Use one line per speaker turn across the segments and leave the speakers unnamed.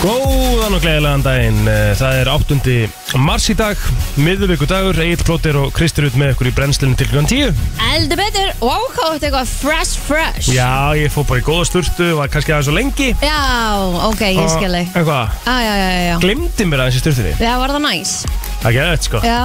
Góðan og gleðilegan daginn, Eh, það er 8. mars í dag, miðvíkudagur, Egil Plóter og Kristur út með ykkur í brennslunum til klukkan 10.
Eldur betur, wow, hvað þetta eitthvað fresh, fresh
Já, ég fór bara í góða sturtu, var kannski aðeins og lengi.
Já, ok, ég skil þig
Og Eitthvað,
Já, já, já, já, já
glimti mér aðeins í sturtunni.
Já, var það næs
Það gerði þetta sko,
Já,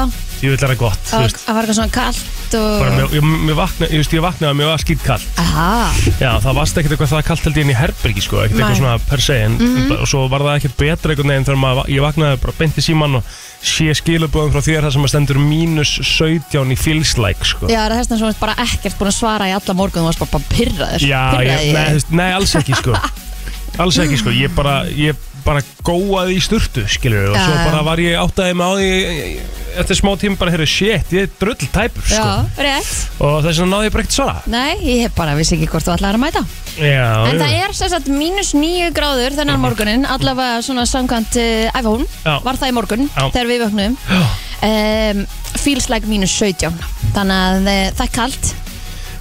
ég vil vera gott, þú
það var
veist.
það var eitthvað svona kalt
Bara,
og
mér, ég, mér vakna, ég, veist, ég vaknaði að mér var skýt kall
Aha,
Já, það varst ekkert eitthvað það kallt held ég inn í herbergi sko, ekkert eitthvað
Nei. Mhm.
svona per se en, og svo var það ekkert betra einhvern veginn þegar maður, ég vaknaði bara beint í síman og sé skilabóðum frá þér þar sem að stendur mínus 17 í feelslæk sko.
já, það er þess að svona bara ekkert búin að svara í alla morgun Þú varst bara, bara pyrraður
Já,
Pirraði
ég, nei,
ég
þú
þig?
veist, nei, alls ekki sko Alls ekki sko, ég bara, ég bara góaði í sturtu, skilur og
Já,
svo
já.
bara var ég áttaði mig á því ég- eftir smá tíma bara, heyrðu, shit, ég er drull tæpur sko,
Já, rétt
og þess vegna náði ég bara ekkert svara
Nei, ég hef bara vissi ekki hvort þú ætlaðir að mæta
Já,
En
jú.
það er sem sagt mínus nýju gráður þennan morgunin, allavega svona samkvæmt uh, iPhone,
Já.
var það í morgun
Já.
þegar við vöknum um, Feels like mínus 17 þannig að uh, það er kalt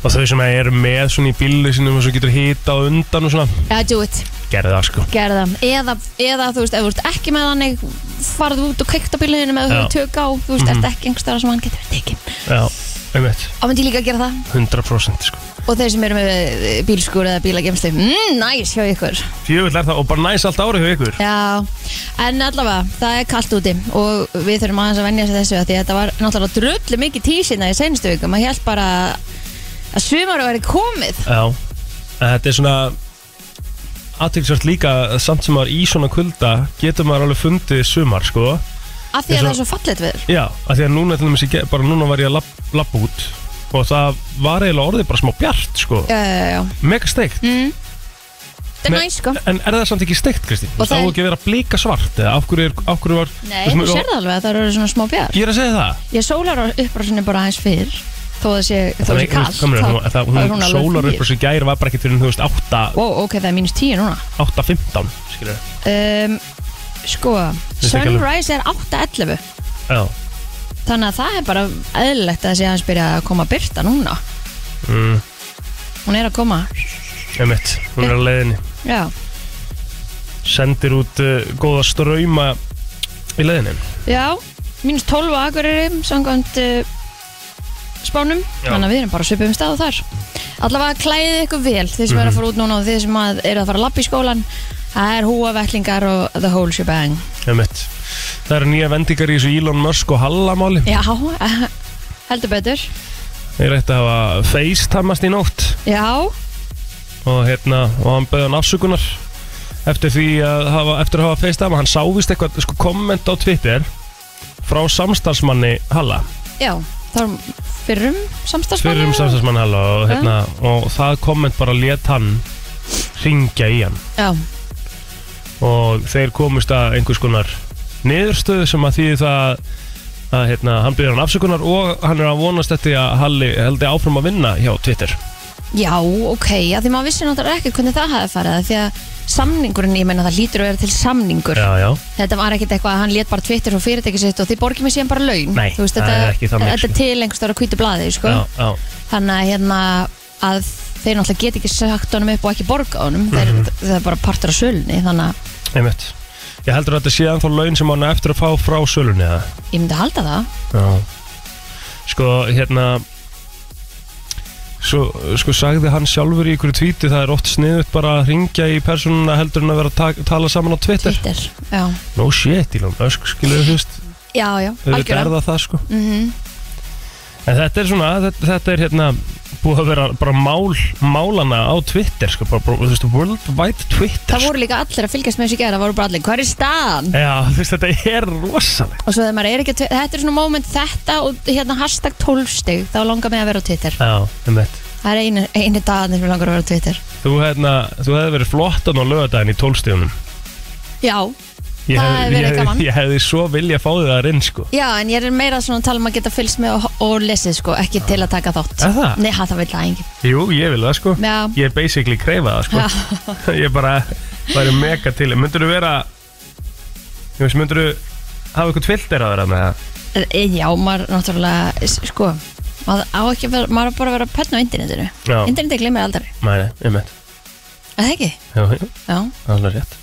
og þau sem eru með svona í bílu sinum og svo getur hita á undan og svona
Já, do it,
gerði það sko
gerð það eða, eða þú veist, ef þú ert ekki með þannig farðu út og kveikt á bílunum ef þú
Já. Mhm.
hefur tök á, þú veist, ert ekki einhverstara sem hann getur verið tekinn.
Já, einmitt,
Þá myndi ég líka að gera það
100% sko
og þeir sem eru með eh, bílskur eða bílagemslu mm, næs hjá ykkur
Fjöfull er það og bara næs allt árið hjá ykkur
Já, en allavega, það er kallt úti og við þurfum aðeins að venja sér þessu af því að þetta var náttúrulega drullu mikið tísina í senstu viku, maður held bara að sumar væri komið
Já, en þetta er svona aðtilsvært líka að samt sem maður í svona kulda getur maður alveg fundið sumar sko
af
Eins
því að
og-
það er svo fallet við
Já, af því að núna til dæmis ég ge- bara núna var ég að lapp, lappa út og það var eiginlega orðið bara smá bjart sko
Já, já, já, já.
mega steikt
þetta er
Me-
næst sko
en er það samt ekki steikt Kristi? Þú
Og
veist, á
það er-
ekki að vera blika svart eða af hverju, er, af hverju var
Nei, þú sér það alveg að það eru svona smá björn
Ég er að segja það
Ég sólar á upprásinni bara aðeins fyrr þó að sé, þó að sé kallt
Kamil,
þá-
hún, það,
þá er
hún, hún
alveg
sólar
fyrr.
upp þessu gæri var bara ekki fyrir hún, þú veist, 8
Ó, ok, það er mínus tíu núna
8.15 skilur
um, Sko,
ekki alveg.
sunrise er 8.11
Já
Þannig að það er bara eðlilegt að það sé aðeins byrja að koma byrta núna
mm,
Hún er að koma
Emmett, hún er á leiðinni
Já,
Sendir út uh, góða ströyma í leiðinni
já Mínus 12 á Akureyri Samkvæmt uh, spánum
Já.
Þannig að við erum bara á svipum stað og þar Allavega klæðið ykkur vel Þið sem eru
Mhm.
að fara út núna og þið sem að eru að fara að lappa í skólan Það er húavellingar og the whole shebang
Emmett Það eru nýja vendingar í þessu Elon Musk og Hallamáli
Já, heldur betur
Ég ætti að hafa FaceTimast í nótt
Já,
og hérna, og hann bauði hann afsökunar eftir því að hafa, eftir að hafa FaceTime hann sávist eitthvað, sko, komment á Twitter frá samstarfsmanni Halla,
já Þar fyrrum samstagsmann
fyrrum samstarfsmanni Halla og hérna, og það komment bara let hann ringja í hann
Já,
og þeir komust að einhvers konar niðurstöðu sem að því það að hérna, hann byrjar hann afsökunar og hann er að vonast eftir því að Halli heldur áfram að vinna hjá Twitter
Já, ok, að því maður vissi náttúrulega ekki hvernig það hafi farið af því að samningurinn, ég meina það lítur að vera til samningur
Já, já,
þetta var ekkert eitthvað að hann lét bara Twitter og fyrirtæki sitt og þið borgið mér síðan bara laun
Nei,
Þú veist,
það
þetta,
er ekki þannig,
þetta
sko.
er til einhverstaðar að kvítu blaði sko.
já, já,
þannig að, hérna, að þeir náttúrulega get ekki sagt honum upp og ekki borga honum þeir,
Mhm.
það er bara partur af sölunni þannig að
einmitt Ég heldur að þetta sé ennþá laun sem hann á eftir að fá frá sölunni eða
ég myndi halda það
Já Sko, hérna Svo, sko, sagði hann sjálfur í ykkur tvíti Það er oft sniðut bara að ringja í persónuna heldur en að vera að ta- tala saman á Twitter
Twitter, já,
No shit, Elon Musk, skilur þú veist
já, já,
Auðvitað er
algjörða
það það, sko
mm
En þetta er svona, þetta, þetta er hérna Búið að vera bara mál, málana á Twitter, sko bara, bara, Þú veist, worldwide Twitter
það voru líka allir að fylgjast með þessu gera það voru bara allir, hvað er staðan?
sko. Já, þú veist, þetta er rosaleg
og svo þegar maður er ekki að twi- þetta er svona moment þetta og hérna hashtag 12 stig þá langar mig að vera á Twitter
Já, einmitt
það er einu, einu dagarnir sem mig langar að vera á Twitter
Þú, hérna, þú hefði verið flottan á lögadaginn í tólstíðunum
já,
Ég
Það
hefði-
hefði verið
ég hefði-
gaman.
Ég hefði svo vilja fá þið það inn sko
já en ég er meira svona að tala um að geta fylgst með og, og lesið sko ekki til að taka þátt
Er það?
nei, ha, það vil það enginn
Jú, ég vil það sko
Já.
Ég er basically kreifað það sko Ég bara væri mega til Myndur þú vera Ég veist, myndur þú hafa eitthvað tvildir á þeirra með það
E, já, maður náttúrulega s- sko maður á ekki að vera, maður á bara að vera að penna á internetinu
Já.
internetið glimir aldrei,
Nei, nei, ég meint
er það ekki?
Jú, jú,
já,
alveg rétt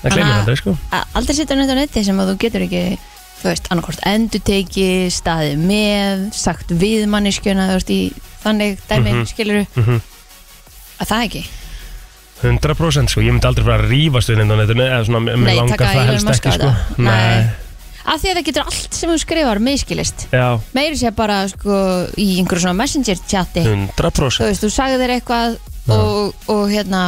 Það gleymir
Þannig að-
aldrei sko
að aldrei setja neitt á netti sem að þú getur ekki þú veist, annarkort enduteki staðið með, sagt við manneskjuna, þú veist, í þannig dæmi, mm
Mhm. Mhm.
að það ekki
100% sko, ég myndi aldrei fara að rífast við neitt á netinu eða svona, mér
Nei,
mér langar
taka
það
Elon
helst
Musk
ekki
á
sko
þetta. Nei. af því að það getur allt sem þú skrifar miskilist
já,
meiri sé bara sko í einhverju svona messenger chati
100%
þú veist, þú sagði þér eitthvað
Mm. Já.
og, og hérna,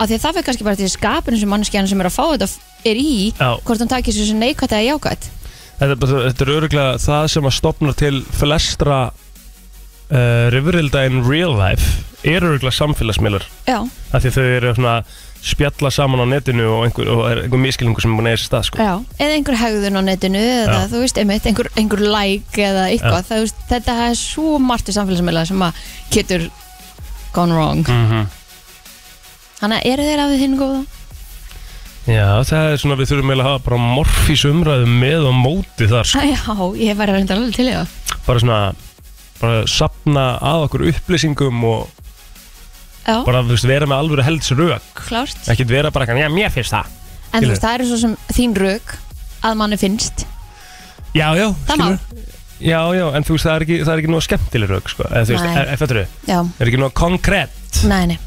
af því að það fyrir kannski bara til skapinu sem manneskjana sem er að fá þetta er í,
Já.
hvort hún takir þessu neikvætt eða jákvætt
Þetta, er bara- þetta er öruglega það sem að stopna til flestra uh, rifrilda in real life er öruglega samfélagsmiðlar
já,
af því þau eru svona að spjalla saman á netinu og einhver, og er einhver miskilningu sem er búin að eiga sér stað sko.
já, eða einhver hegðun á netinu eða
Já.
þú veist, einmitt, einhver, einhver like eða eitthvað, það, veist, þetta er svo margt í samfélagsmiðla sem að getur gone wrong
mm
þannig að eru þeir af því hinn góða?
Já, það er svona við þurfum eiginlega að hafa bara morfís umræðu með og móti þar sko.
já, ég væri reyndar alveg til í það
bara svona bara sapna að okkur upplýsingum og
já,
bara þú veist, vera með alvöru helds rök
klárt
ekkert vera bara kannan, já mér finnst það
en þú
skilur.
veist, það eru svo sem þín rauk að manni finnst
Já, já,
það má,
skilur Já, já, en þú veist, það er ekki, það er ekki nóg skemmtileg rök sko. eða þú veist,
Nei.
er, er, fattur þau,
já,
er ekki nóg konkrétt
nei, nei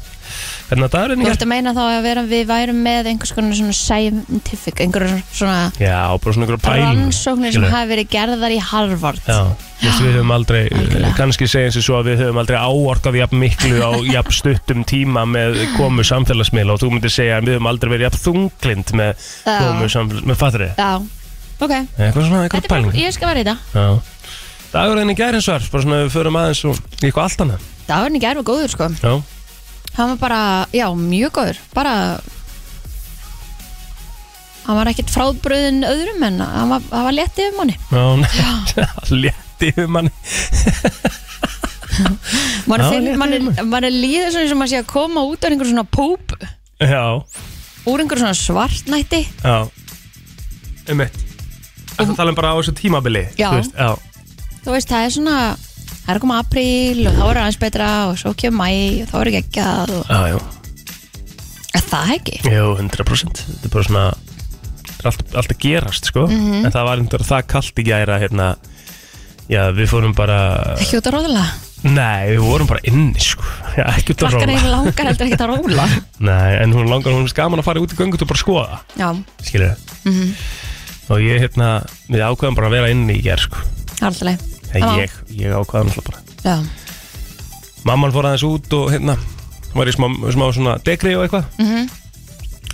Þannig að það er
Þú
einnig
ert að meina þá að vera, við værum með einhvers konar svona scientific, einhverjum svona
Já, bara svona einhverja pæling
rannsóknir sem
skilur.
hafi verið gerðar í Harvard.
Já, veist, við höfum aldrei, eh,
Algjörlega.
kannski segja eins og svo að við höfum aldrei áorkað jafn miklu á jafn stuttum tíma með komu samfélagsmiðla og þú myndir segja að við höfum aldrei verið jafn þunglind með
Já.
komu samfélagsmiðla, með fattri
Já, ok.
eitthvað svona,
Þetta
eitthvað
er bara,
pæling
ég skal vera í þetta.
Já. Dagurinn í gær hins var, bara svona við förum aðeins og í eitthvað allt annað
Það var henni gerð og góður sko.
Já,
Hann var bara, já, mjög góður. Bara, hann var ekkert frábröðin öðrum en hann var, hann var léttið um hann.
já, nei, létti yfir manni
Man,
Já,
finn,
létti
man,
yfir
er, man er líður svona sem að sé að koma út af einhverjum svona póp,
Já,
úr einhverjum svona svartnætti.
já Um eitt Það tala um bara á þessu tímabili
Já.
þú veist, já.
þú veist, það er svona það er að koma apríl og þá er aðeins betra og svo kemur mæ og þá er ekki ekki að og...
Já, já.
er það ekki?
Jú, 100% Þetta er bara svona þetta er allt, allt að gerast sko En það var einhver það kalt í gæra hérna Já, við fórum bara
ekki út að róla
Nei, við vorum bara inni sko Já, ekki út að
krakkar
róla
einu langar heldur ekki að róla
Nei, en hún langar, hún er skaman að fara út í göngut og bara skoða
já, mhm,
Skilur það Og ég hérna, við ákveðum bara að vera inni í gær sko
alltaf
Eða ég, ég ákveða náttúrulega bara
já,
Mamman fór aðeins út og hérna hún Var í smá, smá svona degri og eitthvað
mm -hmm.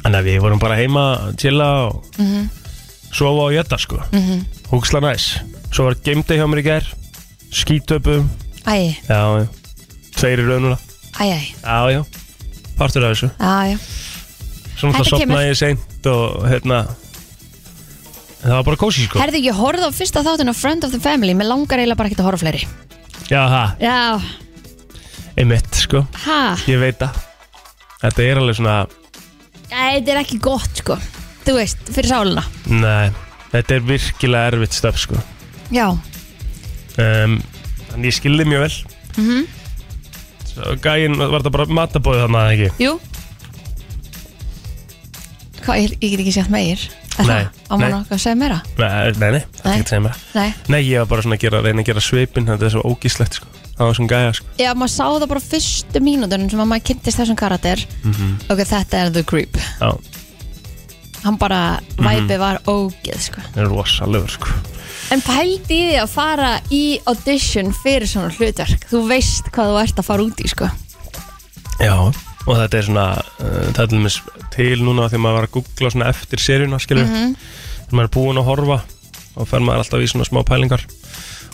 Þannig að við vorum bara heima, chilla og
mhm,
sofa og jötta sko Húksla næs Svo var geimdi hjá mér í gær Skítöpu
æ,
Já, já Tveir í raununa
æ, æ,
Já, já Partur af þessu
já, já
Svo náttúrulega
Þetta kemur.
sopnaði ég seint og hérna en Það var bara kósi sko
herðu ég horfði á fyrsta þáttun á Friend of the Family mér langar eiginlega bara ekki að horfa á fleiri
Já, ha,
já,
einmitt sko
ha,
Ég veit það Þetta er alveg svona
Æ, þetta er ekki gott sko þú veist, fyrir sáluna
Nei, þetta er virkilega erfitt stöf sko
já,
um, Þannig ég skildi mjög vel
mm
Svo Gæinn var þetta bara matabóðið þarna eða ekki
jú hvað, ég, ég get ekki sett meir Er
Nei,
það? á mann
nei.
okkar að segja meira
Nei, eh, nei, nei, það er
Nei.
ekki að segja mér
nei
Nei, ég var bara svona að gera, reyna að gera svipin Þetta er svo ógíslegt sko Það var svona gæja sko
Já, maður sá það bara á fyrstu mínútunum sem að maður kynntist þessum karakter
Mhm.
Ok, þetta er The Creep
Já,
Hann bara,
Mhm.
væpi var ógeð, sko
það er rosalegur sko
En pældi í því að fara í audition fyrir svona hlutverk Þú veist hvað þú ert að fara út í, sko
Já Og þetta er svona, uh, það er til dæmis til núna Þegar maður var að googla svona eftir seríuna skilur Þegar
Mhm.
maður er búin að horfa Og fer maður alltaf í svona smá pælingar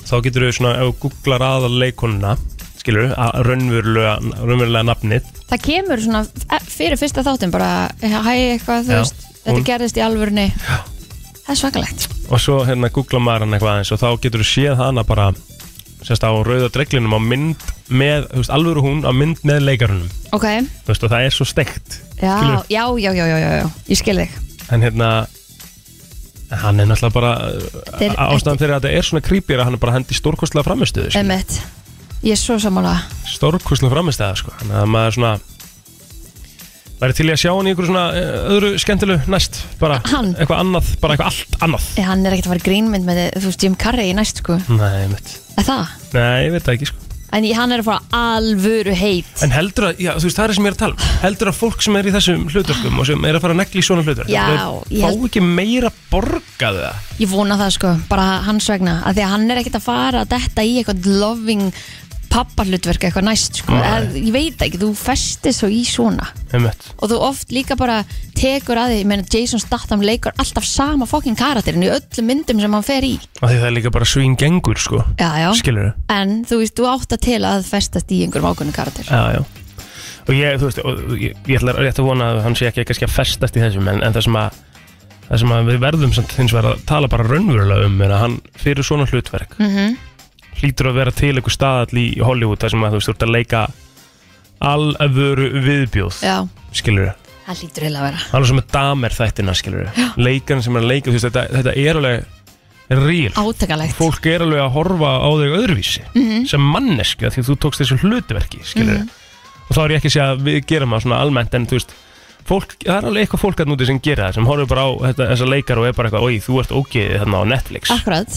Þá getur við svona, ef þú googlar aðal leikonuna Skilur, að raunverulega, raunverulega nafnið
Það kemur svona f- fyrir fyrsta þáttum bara Hæ, eitthvað, þú
Já,
veist, þetta
hún-
gerðist í alvörni Það er svakalegt
Og svo hérna googla maður hann eitthvað aðeins Og þá getur við séð hana bara Sérst á rauða dreglinum á mynd með, þú veist, alvöru hún á mynd með leikarunum
Ok,
þú veist, og það er svo steikt
já,
Skilur.
já, já, já, já, já, já, ég skil þig
en hérna hann er náttúrulega bara Þeir,
Þeir-
ástæðan fyrir að þetta er svona creepy er að hann er bara hendi stórkostlega framistuðu sko.
Emmett, ég er svo sammála
stórkostlega framistuða sko. þannig að maður svona væri til í að sjá hann í einhverju svona eh, öðru skemmtilu næst bara
Hann?
eitthvað annað, bara eitthvað allt annað
Ég, hann er ekkert að fara í grínmynd með þú veist, Jim Carrey í næst sko
Nei, mitt.
Er það?
Nei, ég veit það ekki sko
En ég- hann er að fara alvöru heit
En heldur að, já, þú veist, það er það sem ég er að tala um Heldur að fólk sem er í þessum hlutverkum og sem er að fara að negli í svona hlutverk
Já,
þeir
ég held-
Fá ekki meira borgaðu það
Ég vona það sko, bara hans vegna af Því að hann er ekkert að fara að detta í eitthvað loving pappahlutverk eitthvað næst sko.
Nei.
Eð, Ég veit ekki, þú festist svo í svona
Einmitt.
og þú oft líka bara tekur að því, ég meina Jason Statham leikur alltaf sama fokkin karakterin í öllum myndum sem hann fer í
Af Því það er líka bara svingengur, sko
Já, já,
Skilur þau?
en þú veist, þú átt að til að festast í einhverjum ákveðnum karakter
Já, já Og ég, þú veist, og, ég, ég ætla rétt að vona að hann sé ekki kannski að festast í þessum en, en það sem að það sem að við verðum samt hins vegar að tala bara raunverulega um er að hann fyrir svona hlutverk
mm -hmm.
hlýtur að vera til einhver staðall í Hollywood þar sem að þú veist, þú ert að leika alvöru viðbjóð
Já,
skilur þau,
það lítur heila að vera
alveg sem er damer þættina skilur þau, leikarinn sem er að leika þú veist, þetta, þetta er alveg real
Átakalegt
fólk er alveg að horfa á þau öðruvísi
Mhm.
sem manneski því þú tókst þessu hlutverki skilur
Mhm.
og þá er ég ekki að segja að við gerum það svona almennt en þú veist fólk, það er alveg eitthvað fólk að núti sem gera það sem horfir bara á þetta, þessa leikar og er bara eitthvað oi, þú ert ógeðið þarna á Netflix
Akkurat,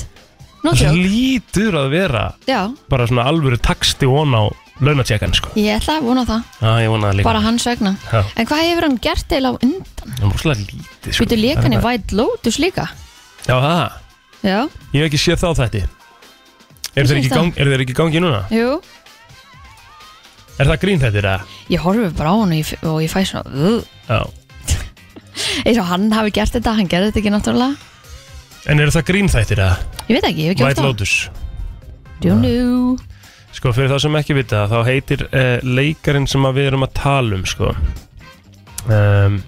Ah, no
það
joke
lítur að vera
Já,
bara svona alvöru taksti von á launatjekkan sko
ég ætla að vona það,
Já, ég vona það líka
bara hans vegna
Já,
En hvað hefur hann gert eiginlega á undan?
það er rosalega lítið sko
Býtu leikan í
Það er
White Lotus líka
bara- Já, það,
Já,
ég hef ekki séð þá þetta
Ég
Eru þeir
finnst
ekki í
það.
gang- eru þeir ekki í gangi núna?
jú
Er það grín þetta? eða?
Ég horfi bara á hann og ég, f- og ég fæ svona "Ugh."
Já
Eins og hann hafi gert þetta, hann gerði þetta ekki náttúrulega
En eru það grínþættir að
Ég veit ekki, ég hef ekki
White
horft á hann.
Lotus?
Do
Ah.
you know?
Sko, fyrir þá sem ekki vita það, þá heitir uh, leikarinn sem að við erum að tala um, sko. Um,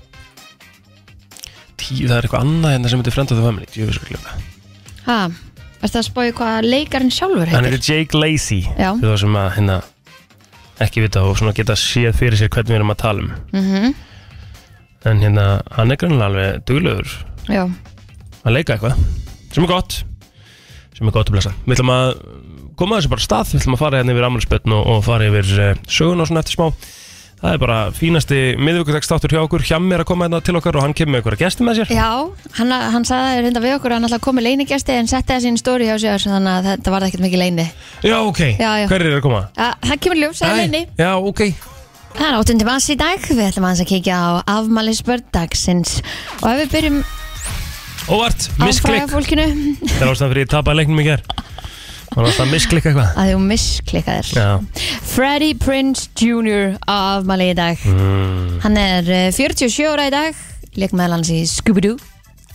tí, það er eitthvað annað hérna sem heitir Friend of the Family, ég veist sko glemma.
Ha, ertu að spója hvað leikarinn sjálfur
Hann
heitir?
heitir Jake Lacey,
Já.
fyrir þá sem að hérna ekki vita og svona geta séð fyrir sér hvernig við erum að tala um.
Mhm,
En hérna, hann er grannlega alveg duglegur
Já,
að leika eitthvað, sem er gott, sem er gott að blessa. Við ætlum að koma að þessu bara af stað, við ætlum að fara hérna yfir ammalspötn og, og fara yfir uh, sögun og svona eftir smá. Það er bara fínasti miðvíkudagstátur hjá okkur, Hjamm er að koma hérna til okkar og hann kemur með einhverja gesti með sér.
já hann, hann sagði reynda við okkur að hann alltaf komið leinigjasti en setti það sín stóri hjá sér þannig að þetta var ekkert mikið leini
Já, ok,
Já, já.
hver er að koma?
Að, Það kemur ljós að leini
Æ, Já, ok.
Það er áttundi mass í dag, við ætlum aðeins að kíkja á afmælisbörn dagsins og ef við byrjum
Óvart,
á fræga
misklikk.
fólkinu
Það er ástæðan fyrir ég tapaði leiknum í ger. Það er ástæðan misklikk eitthvað.
að þú misklikaðir
Já.
Freddie Prince Jr. afmæli í dag
Mm.
Hann er eh, 47 ára í dag, leik meðal hans í Scooby-Doo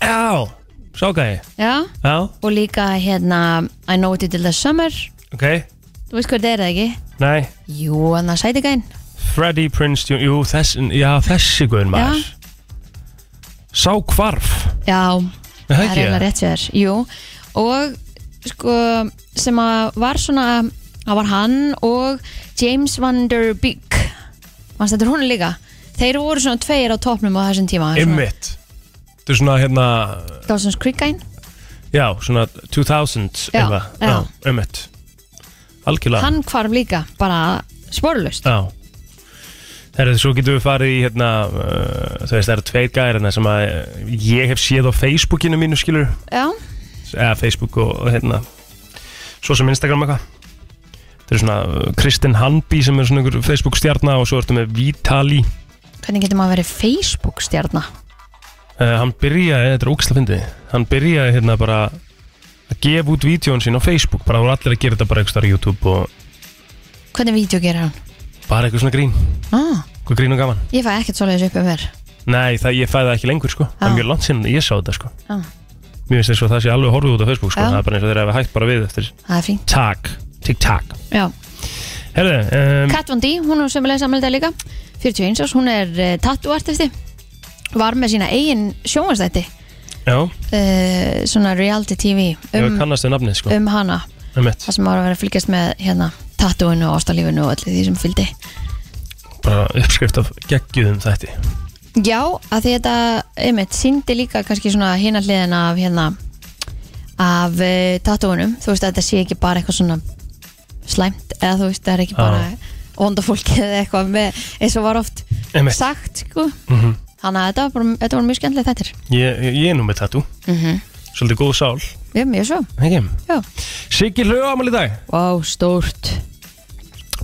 Já, sákaði.
Já,
Já,
og líka hérna I Know What You Did Last Summer
ok.
Þú veist hvað þetta er það ekki?
Nei,
Jú, hann að sæti gæn
Freddie Prinze Jr. Jú, þess, já, þessi guður maður Sá hvarf
Já,
Er
það er
ekki?
eiginlega rétt sér Jú, og sko sem að var svona það var hann og James Van Der Beek Vannst þetta er hún líka Þeir voru svona tveir á topnum á þessum tíma svona
Ymmit Þetta er svona hérna
Dawson's Creek gæn
Já, svona 2000
Já,
eitthvað.
já.
já Ymmit Algjörlega
Hann hvarf líka, bara sporlust
Já Herru, svo getum við farið í hérna uh, Þú veist, það eru tveir gæðir hérna sem að uh, ég hef séð á Facebookinu mínu skilur
Já,
eða Facebook og, og hérna svo sem Instagram eitthvað Þetta er svona uh, Kristinn Hanby sem er svona einhver Facebook stjarna og svo ertu með Vitali
hvernig getur maður að vera Facebook stjarna?
Uh, hann byrjaði, þetta er ógæsla fyndið Hann byrjaði hérna bara að gefa út vídjón sín á Facebook bara voru allir að gera þetta bara eitthvað á YouTube og
Hvernig vídeo gerir hann?
bara eitthvað svona grín,
Ah,
eitthvað grín og gaman
ég fæ ekkert svoleiðis upp um mér
Nei, það, ég fæði það ekki lengur sko Það er
Já.
mjög langt sinni, ég sá þetta sko
Já.
Mér finnst þess að það sé alveg horfið út á Facebook sko
Já.
Það er bara eins og þeir hefði hægt bara við eftir
Það er fínt
Takk, tikk-takk
Já.
Herðu, um,
Kat Von D, hún er sömulega samanlega líka 41 árs, hún er uh, tattooartisti var með sína eigin sjónvastætti
já,
uh, svona reality tv
ég
um,
kannast við nafnið sko
um hana
um mitt,
það sem var að vera að fylgjast með hérna tattooinu og ástalífinu og öllu því sem fylgdi
Bara uppskrift af geggjuðum þætti
Já, að því þetta einmitt síndi líka kannski svona hina hliðin af hérna af eh, uh, tattooinum, þú veist að þetta sé ekki bara eitthvað svona slæmt eða þú veist það er ekki
Já.
bara vonda fólkið eða eitthvað með, eins og var oft
Einmitt.
sagt sko.
Mhm.
þannig að þetta var, bara, þetta var mjög skemmtilegt þettir
ég, ég, ég er nú með tattoo
mm -hmm.
Svolítið góð sál
Ég er mjög svo
Ekki
Já.
Siggi Hlöðu ámali í dag
Vá, stórt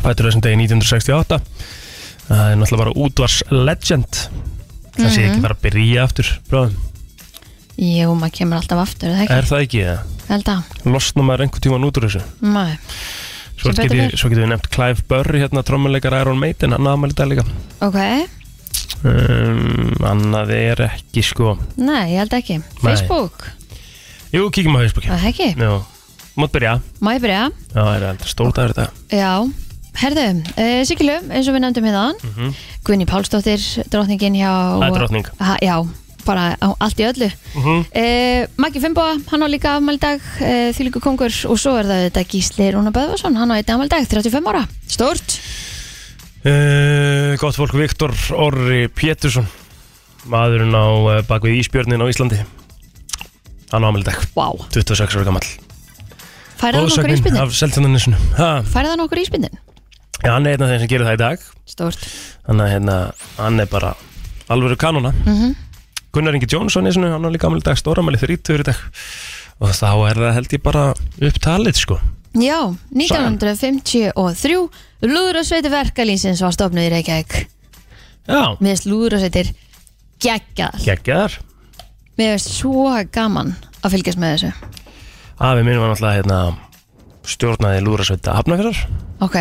Fættur þessum degi 1968 Það er náttúrulega bara útvars legend Það sé
Mhm.
ekki bara að byrja aftur bráðum.
Jú, maður kemur alltaf aftur, er það ekki?
Er það ekki það?
Held að,
Losna maður einhvern tíman út úr þessu
maður
Svo
Sem betur
getum
fer.
get við nefnt Clive Burry hérna trommuleikar Iron Maiden Hann ámali í dag líka
Ok,
um, Annað er ekki sko
nei, ég held ekki Facebook,
Jú, kíkjum á Facebooki
er það ekki?
Já Mátt byrja
Má ég byrja?
Já, það er alltaf stórt að þetta
Já, herðu, uh, Sikilu, eins og við nefndum hérna mm
Mhm.
Gunni Pálsdóttir, drottningin hjá
Það er drottning.
ha, Já, bara á, allt í öllu
mm -hmm.
uh, Maggi Fimboa, hann á líka afmældag uh, Þýlíku kongur og svo er það þetta Gísli Rúna Böðvarsson, hann á einnig afmældag 35 ára, stórt
Uh, gott fólk, Viktor Orri Pétursson maðurinn á uh, bakvið Ísbjörnin á Íslandi hann á ameldag
Vá,
26 ára gammal
færið hann okkur íspindin?
af Seltjarnarnesinu ha,
Færið hann okkur íspindin?
ja, hann er einn af þeim sem gerir það í dag
Stórt
hann er, hérna, hann er bara alvöru kanona
Mhm.
Gunnar Ingi Jónsson í sinu, hann á líka ameldag stóramæli 30 í dag og þá er það held ég bara upptalið sko
Já, 1953 Lúðrasveitir verkalýnsins var stofnuð í Reykjavík
já,
Mér finnst lúðrasveitir geggjað
geggjar
Mér finnst svo gaman að fylgjast með þessu
afi minn var náttúrulega hérna, stjórnaði lúrasveita hafnafjörðar
Ok,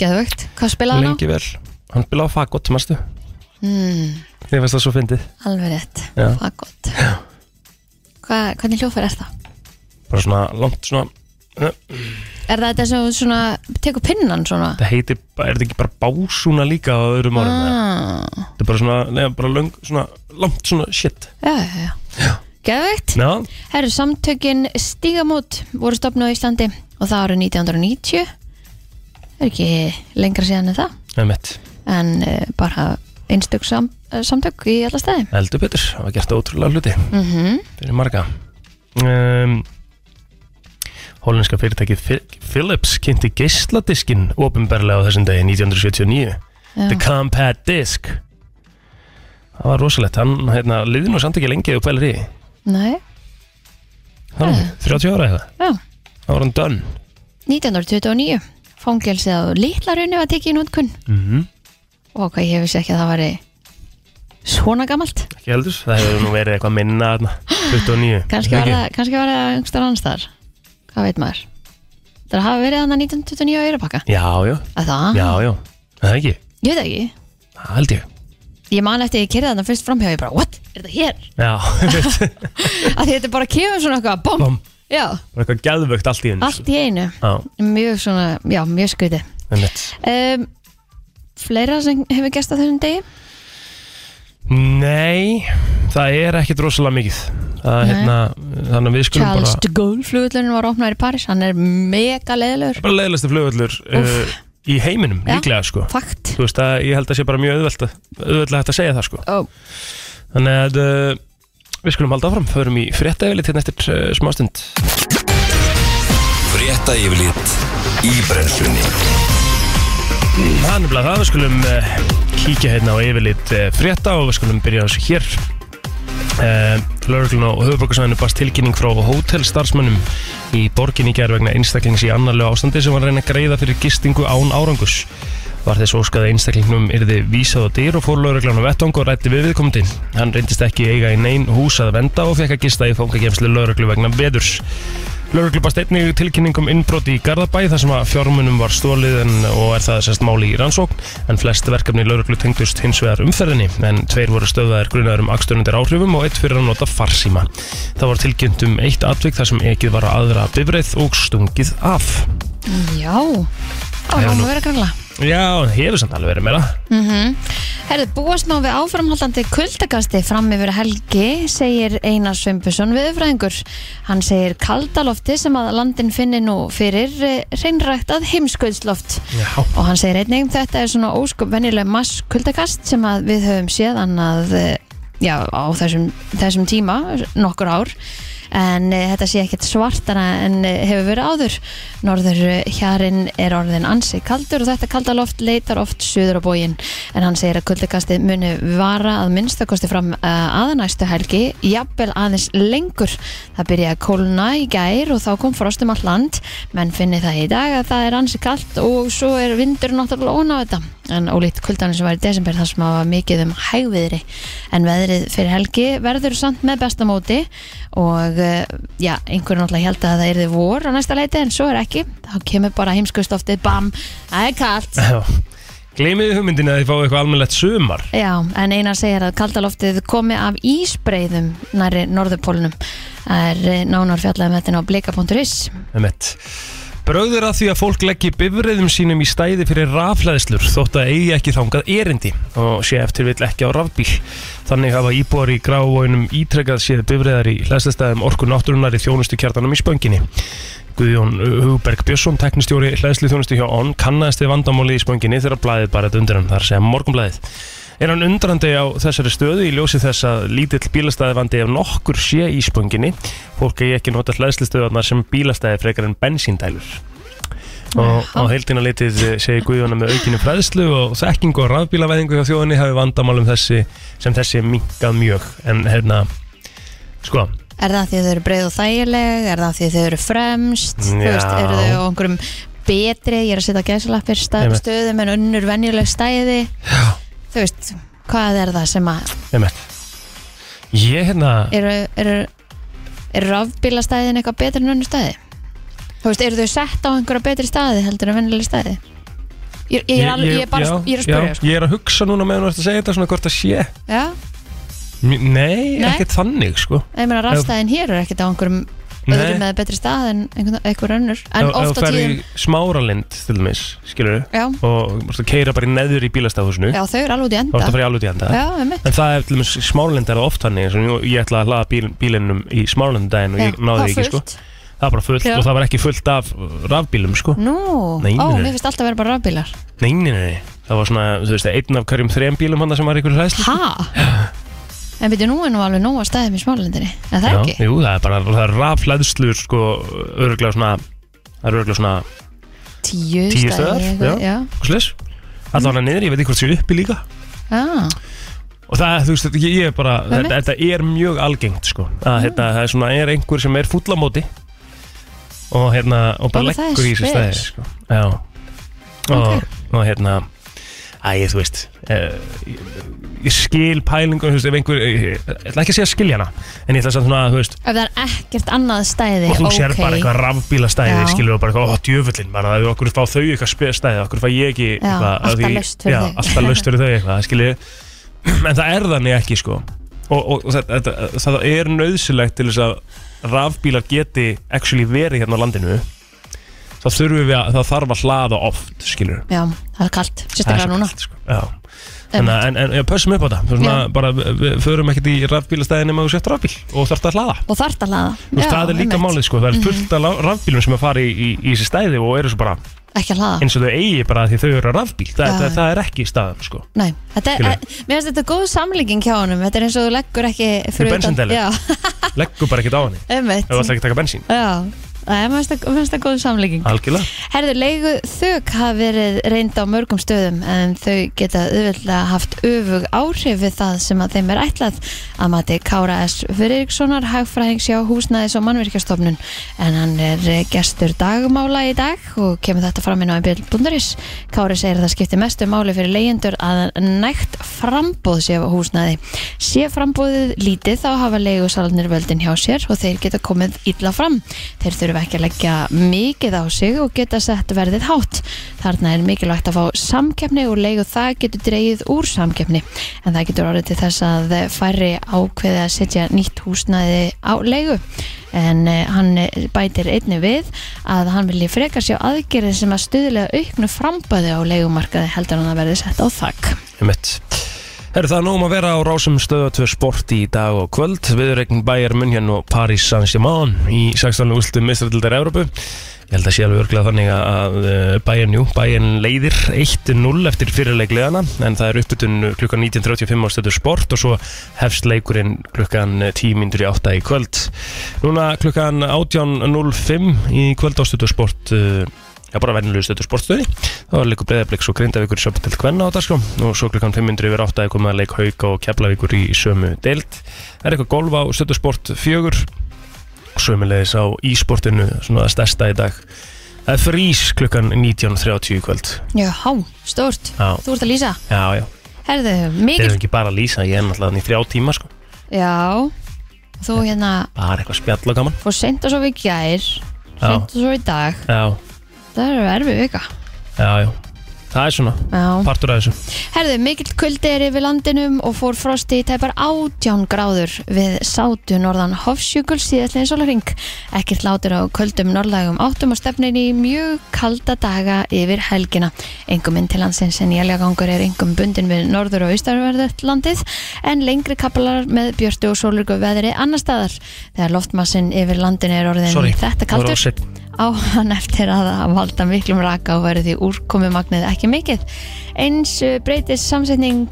geðvögt, hvað spilaði hann á?
lengi vel hann spilaði á fagott, mannstu mm. ég veist það svo fyndið
Hmm, Alveg rétt,
Já.
hvað gott Hva, Hvernig hljófar er það?
bara svona langt svona eh,
Er það þetta sem þú svona, tekur pinnan svona?
það heitir, er þetta ekki bara básúna líka á öðrum árum eða?
Ah,
þetta er bara svona, neða, bara löng, svona langt svona shit
Ah, já, já, já Geðvögt
já,
Herru, samtökin Stígamót voru stopnuð á Íslandi og það eru 1990 Það er ekki lengra síðan en það
með mitt,
en uh, bara einstök sam, eh, samtök í alla staði
eldur betur það var gert ótrúlega hluti
mm -hmm.
fyrir marga um, Hólenska fyrirtækið Phil- Philips kynnti geisladiskin ofinberlega á þessum degi 1979 The Compact Disc það var rosalegt hann, hérna, liði nú samt ekki lengi og pælir í því.
Nei,
Hvað er hann?
Eh.
30 ára eða?
já
Það var hann dönn
1929 fangelsið á Litlarunni var tekið í nútkunn
mm -hmm.
og hvað ég vissi ekki að það væri svona gamalt
Ekki heldur, það hefur nú verið eitthvað minna þarna 29
kannski
Ekki?
var það, kannski var það einhverstaðar annars þar hvað veit maður það hafa verið þannig 1929 á Eyrabakka
Já, já,
að það,
já, já Það er ekki,
ég veit það ekki
það held ég
ég man eftir að ég kerði þarna fyrst framhjá ég bara, what, er þetta hér?
Já,
að því þetta bara kemur svona eitthvað, bom,
kom
já,
Bara eitthvað geðvögt allt í henni
allt í einu
Já,
mjög svona, já, mjög skrítið
einmitt
um, fleira sem hefur gæst á þessum degi
Nei, það er ekkit rosalega mikið Það er
Nei.
hérna, þannig að við skulum
Charles
bara
de Gaulle flugullurinn var opnaður í Paris hann er mega leðilegur
Það er bara leiðilegstu flugvöllur uh,
Úff.
í heiminum,
Já.
líklega sko
fakt,
Þú veist að ég held að sé bara mjög auðvelt að, auðvelt að hægt að segja það sko
Ó.
Þannig að uh, við skulum halda áfram, förum í fréttaefilit hérna eftir uh, smástund
Frétta yfirlit í brennslunni
Það er nefnilega það, við skulum uh, kíkja hérna á yfirlit uh, frétta og við skulum byrja á þessu hér. Uh, Lörglun á höfuborgarsvæðinu barst tilkynning frá hótelstarfsmönnum í borgin í gerð vegna einstaklings í annarlegu ástandi sem var að reyna að greiða fyrir gistingu án árangus. Var þess óskaði einstaklingnum yrði vísað á dyr og fór lauruglan á vettvang og rætti við viðkomandi. Hann reyndist ekki eiga í nein hús að venda og fekk að gista í fóngakemslu lauruglu vegna vedurs. Lörglu barst einnig tilkynning um innbroti í Garðabæ þar sem að fjármunum var stólið en, og er það sérst máli í rannsókn en flest verkefni lörglu tengdust hins vegar umferðinni en tveir voru stöðaðir grunaður um aksturundir áhrifum og eitt fyrir að nota farsíma. Það var tilkynnt um eitt atvik þar sem ekið var á aðra bifreið og stungið af.
já
Já,
það var hann
nú.
að vera grannlega
Já, það hefur samt alveg verið meira.
Herðu, búast má við áframhaldandi kuldakasti fram yfir helgi, segir Einar Sveinbjörnsson viðfræðingur. Hann segir kaldalofti sem að landin finni nú fyrir reynrækt að heimskuldsloft.
Já.
Og hann segir einnig þetta er svona óskup venjuleg mass kuldakast sem að við höfum séð annað eh, já, á þessum, þessum tíma nokkur ár. en e, þetta sé ekkert svartara en e, hefur verið áður norður eh, hjarinn er orðin ansi kaldur og þetta kalda loft leitar oft suður á bógin en hann segir að kuldikastið muni vara að minnstakosti fram e, aðanæstu helgi jafnvel aðeins lengur það byrjaði að kólna í gær og þá kom frost um all land menn finni það í dag að það er ansi kalt og svo er vindur náttúrulega ón á þetta en ólíkt kuldanum sem var í desember þar sem hafa mikið um hægviðri en veðrið fyrir helgi verður samt með besta móti og eh, já, einhverjum náttúrulega held að það yrði vor á næsta leiti en svo er ekki þá kemur bara heimskustoftið, bam, það er kalt
Gleimiði hugmyndinu að þið fáið eitthvað almennlegt sumar
Já, en einar segir að kaldaloftið komi af ísbreiðum næri norðupólnum er eh, nánar fjallaðum þetta inn á blika.is
Emmett. Bröður að því að fólk leggji bifriðum sínum í stæði fyrir rafhleðslur þótt að eigi ekki þangað erindi og sé eftir vill ekki á rafbíl. Þannig hafa íbúar í grávoginum ítrekkað séð bifriðar í hleðslistæðum orku náttúrunar í þjónustu kjartanum í spönginni. Guðjón Hugberg Björnsson, teknistjóri hleðslu þjónustu hjá ON, kannaðist við vandamáli í spönginni þegar blæðið bara þetta undir hann, þar sem morgunblæðið. Er hann undrandi á þessari stöðu í ljósi þess að lítill bílastæðivandi ef nokkur sé í spönginni fólk eigi ekki nota hlæðslistöðarnar sem bílastæði frekar en bensíndælur og á heildina litið eh, segir Guðjóna með aukinu fræðslu og þekkingu og rafbílavæðingu hjá þjóðinni hafi vandamálum þessi sem þessi minkað mjög en hérna, sko
Er það því að þau eru breið og þægileg? Er það því að þau eru fremst? Þú
Já.
veist, eru þau á einhverjum betri? Ég er að setja gæsalappir
Einmitt.
stöðum en unnur venjuleg stæði Já. Þú veist, hvað er það sem að
einmitt. ég hérna,
eru, eru, eru rafbílastæðin eitthvað betri en önnur stæði? Þú veist, eru þau sett á einhverja betri staði heldur en venjuleg stæði? Ég, ég, er alveg, ég, er bara,
já,
ég er að spyrja
já,
sko.
ég er að hugsa núna meðan þú ert að segja þetta svona hvort það sé
Já,
Mj- nei,
Nei.
ekkert þannig sko
ég meina rafstæðin hér er ekkert á einhverjum öðrum með betri stað en einhvern- einhver önnur en
Ef- ef
oft
þú
á
ferð
tíðum
í smáralind til dæmis, skilur
já,
og þú keira bara í neður í bílastafhúsinu
já, þau eru alveg út í
þá ertu
enda
að fara í alveg til enda
Já, einmitt
en það er til dæmis smáralind er það oft þannig eins og nú- ég ætla að hlaða bíl, bílinum í smáralind daginn og
Já,
ég náði
það
því ekki sko
fullt.
það var bara fullt
Já. Mm.
og það var ekki fullt af uh, rafbílum sko
Nú,
Nei,
ó,
nei.
mér finnst alltaf að vera bara rafbílar
nei, nei, nei, nei, það var svona, þú veist, einn af hverjum þrejum bílum hann sem var ykkur hlæsli
Hæ? En byrju, nú er nú alveg nóg að staðið mér smálendinni Er það ekki?
jú, það er bara það er rafhleðslur sko örgulega svona það er örgulega svona
Tíu,
Tíu staðar,
staðir, eitthvað, já.
slis allan að niður, ég veit ekki hvort séu uppi líka
Já.
og það, þú veist, þetta- ég ég er bara
Það er
þetta, þetta er mjög algengt, sko að hérna, það er svona, er einhver sem er fúllamóti og hérna og bara
Ó, það er
leggur í þessu
spes.
stæði sko. já og, og hérna æ, þú veist eh, ég, ég skil pælingu, þú veist, ef einhver ég, ég, ætla ekki að segja að skilja hana en ég ætla samt svona, þú veist
Ef það er ekkert annað stæði,
og þú
ok
sér bara eitthvað rafbíla stæði
Já.
skilur og bara eitthvað, ó, djöfullin, bara að okkur fá þau eitthvað spe- stæði, okkur fá ég ekki eitthvað, af
alltaf
því-
laust fyrir
já,
þau.
alltaf löst fyrir þau eitthvað, skilur en það er þannig ekki, sko og, og, og það, það, það er nöðsilegt til þess að rafbílar geti actually verið hérna á landinu þá þurfum við að, það þarf að hlaða oft, skilur
Já, það er kalt, sérstaklega núna
sko. Já. Þannig að, en, en já, pössum upp á það svona,
Já.
bara, við, við förum ekkert í rafbílastæðin nema þú sett rafbíl og þarft að hlaða
Og þart að laða
Þú veist, það er líka málið sko, það er fullt af la- rafbílum sem að fara í, í, í þessi stæði og eru svo bara
Ekki að laða
eins og þau eigi bara því þau eru rafbíl, það,
Já.
það, það er ekki staðan sko.
Nei, þetta er,
Skilur.
að, mér finnst þetta góð samlíking hjá honum Þetta er eins og þú leggur ekki
Fyrir
utan-
bensíndælu.
Já,
Leggur bara ekkert á henni,
einmitt
ef þú ætlar ekki að taka bensín.
Já, það er mér finnst þetta- mér finnst þetta góð samlíking
Algjörlega.
Herðu, leigu þök hafa verið reynd á mörgum stöðum en þau geta auðvitað haft öfug áhrif við það sem að þeim er ætlað að mati Kára S. Fyriríkssonar hagfræðings hjá húsnæðis og mannvirkjastofnun en hann er eh, gestur dagmála í dag og kemur þetta fram inn á einbjörn.is. Kári segir að það skiptir mestu máli fyrir leyendur að nægt frambóð sé á húsnæði. Sé frambóðið lítið þá hafa leigusalarnir völdin hjá sér og þeir geta komið illa fram. Þeir þurfa ekki að leggja mikið á sig og geta sett verðið hátt. Þarna er mikilvægt að fá samkeppni og leigu það getur dreigið úr samkeppni. En það getur orðið til þess að færri ákveði að setja nýtt húsnæði á leigu. En eh, hann bætir einni við að hann vilji frekar sjá aðgerðið sem að stuðlega auknu frambæði á leigumarkaði heldur hann að verði sett á þakk.
Einmitt. Herru, það er nóg um að vera á rásum stöðu tvö sport í dag og kvöld. Viðurregn Bayern München og Paris Saint-Germain í 16. úrslutum mistrætildar Evrópu. Ég held að sé alveg örglega þannig að eh, Bayern, jú, Bayern leiðir 1-0 eftir fyrirleikleðana en það er uppbytun klukkan 19.35 á stöðu sport og svo hefst leikurinn klukkan 10.08 í kvöld. Núna klukkan 18.05 í kvöld á stöðu sport eh, Já, bara venjulegu stöðu sportstöði. Það var leikur breyðabliks og grindavíkur í söpum til kvenna á dagskrá og svo klukkan 500 yfir 8 er komið að leik hauka og keflavíkur í sömu deild. Það er eitthvað golf á stöðu sport 4 sömulegis á ísportinu svona það stærsta í dag það er frís klukkan 19.30 í kvöld
Já, stórt
já,
Þú ert að lýsa
já, já,
Herðu,
það
mikil
er ekki bara að lýsa ég er náttúrulega þannig í þrjá tíma sko
Já, þú hérna
bara eitthvað spjall og gaman
fór seint að sofa í
já,
gær Seint að sofa í dag
já,
Það eru erfið vika
já, já, það er svona
Já
partur af þessu,
Herðu, mikill kuldi er yfir landinum og fór frosti í tæpar 18 gráður við sátu norðan Hofsjökul síðastlegin sólarring. Ekkert látur á kuldum norðlægum áttum og stefnin í mjög kalda daga yfir helgina. Engum inn til landsins en jæljagangur er engum bundin við norður og austarverðut landið en lengri kaplar með björtu og sólurgu veðri annar staðar. Þegar loftmassin yður landinu er orðin
sorry
þetta kaldur á hann eftir að það valda miklum raka og verði því úrkomi magnið ekki mikið. Eins eh, breytist samsetning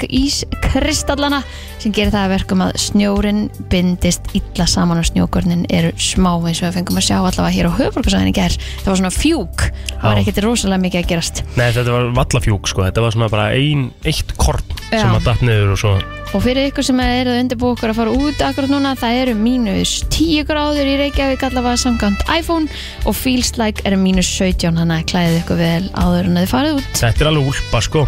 ískristallana sem gerir það að verkum að snjórin bindist illa saman og snjókornin eru smá eins og við fengum að sjá allavega hér á höfbrukarsæðinni ger. Það var svona fjúk, það var
Já.
ekkert rosalega mikið að gerast
nei þetta var vallafjúk sko þetta var svona bara ein, eitt korn
Já.
sem að datt niður og svo
Og fyrir ykkur sem eru að undirbúa okkur að fara út akkurat núna, það eru mínus 10 gráður í Reykjavík allavega samkvæmt iPhone og feels like er mínus 17, hann að klæðið ykkur vel áður en að þið farið út.
þetta er alveg úlpa sko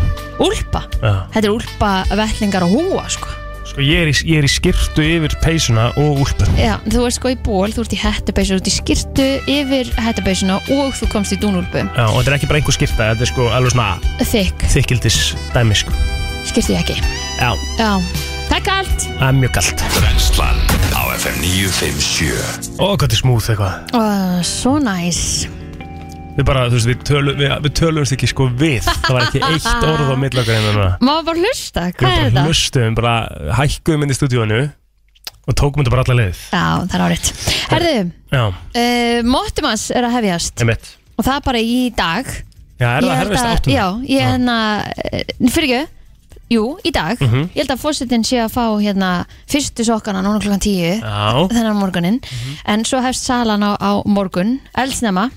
Úlpa?
já.
Þetta er úlpa vellingar og húa sko
sko ég er, í, ég er í skirtu yfir peysuna og úlpu
Já, þú ert sko í ból, þú ert í hettubeysu, þú ert í skirtu yfir hettubeysunna og þú komst í dúnúlpu
já, og þetta er ekki bara einhver skirta þetta er sko alveg svona
Þykk,
þykildis dæmi sko
skirtu ég ekki
já,
Já, það er kalt
það er mjög galt
Brennslan á FM 957
Ó, hvað þetta er smúð eitthvað
Ó, Svo næs
Við bara, þú veist, við, tölu, við, við tölumst ekki sko við Það var ekki eitt orð á millakar einu núna
Má bara hlusta,
Við
hvað er
bara
þetta?
hlustuðum, bara hækkuðum inn í stúdíónu Og tókum þetta bara alla leið
Já, það er áriðt Herðu,
Já,
uh, Móttumans er að hefjast
einmitt
og það bara í dag
Já, er
Ég
það
held
herfist
að-
áttum?
Já, ég hérna, uh, fyrir ekki Jú, í dag
Mhm.
Ég held að fórsetin sé að fá hérna fyrstu sokkana núna klukkan tíu
Já,
þennan morgunin
Mhm.
en svo hefst salan á, á morgun eldsnema,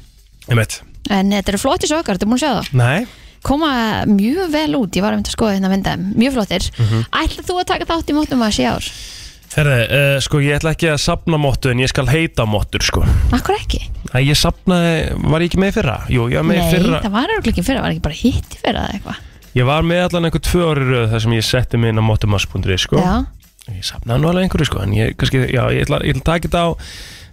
einmitt
en þetta eru flottir sökar, þetta er búin að sjá það
Nei,
koma mjög vel út, ég var að mynda að skoða hérna mynda mjög flottir,
Mhm.
ætla þú að taka þátt í mótnum að sé ár,
herði, uh, sko ég ætla ekki að sapna móttu En ég skal heita móttur, sko
akkur ekki
Æ, ég sapnaði, var ég ekki með í fyrra? Jú, ég var með í fyrra
það var örugglega ekki í fyrra, var ekki bara hitt í fyrra eða eitthvað,
Ég var með allan einhver tvö orður Það sem ég setti mig inn á móttumass.is, sko
já,
Ég safnaði nú alveg einhverju sko En ég, kannski, já, ég ætla, ég ætla að taka þetta á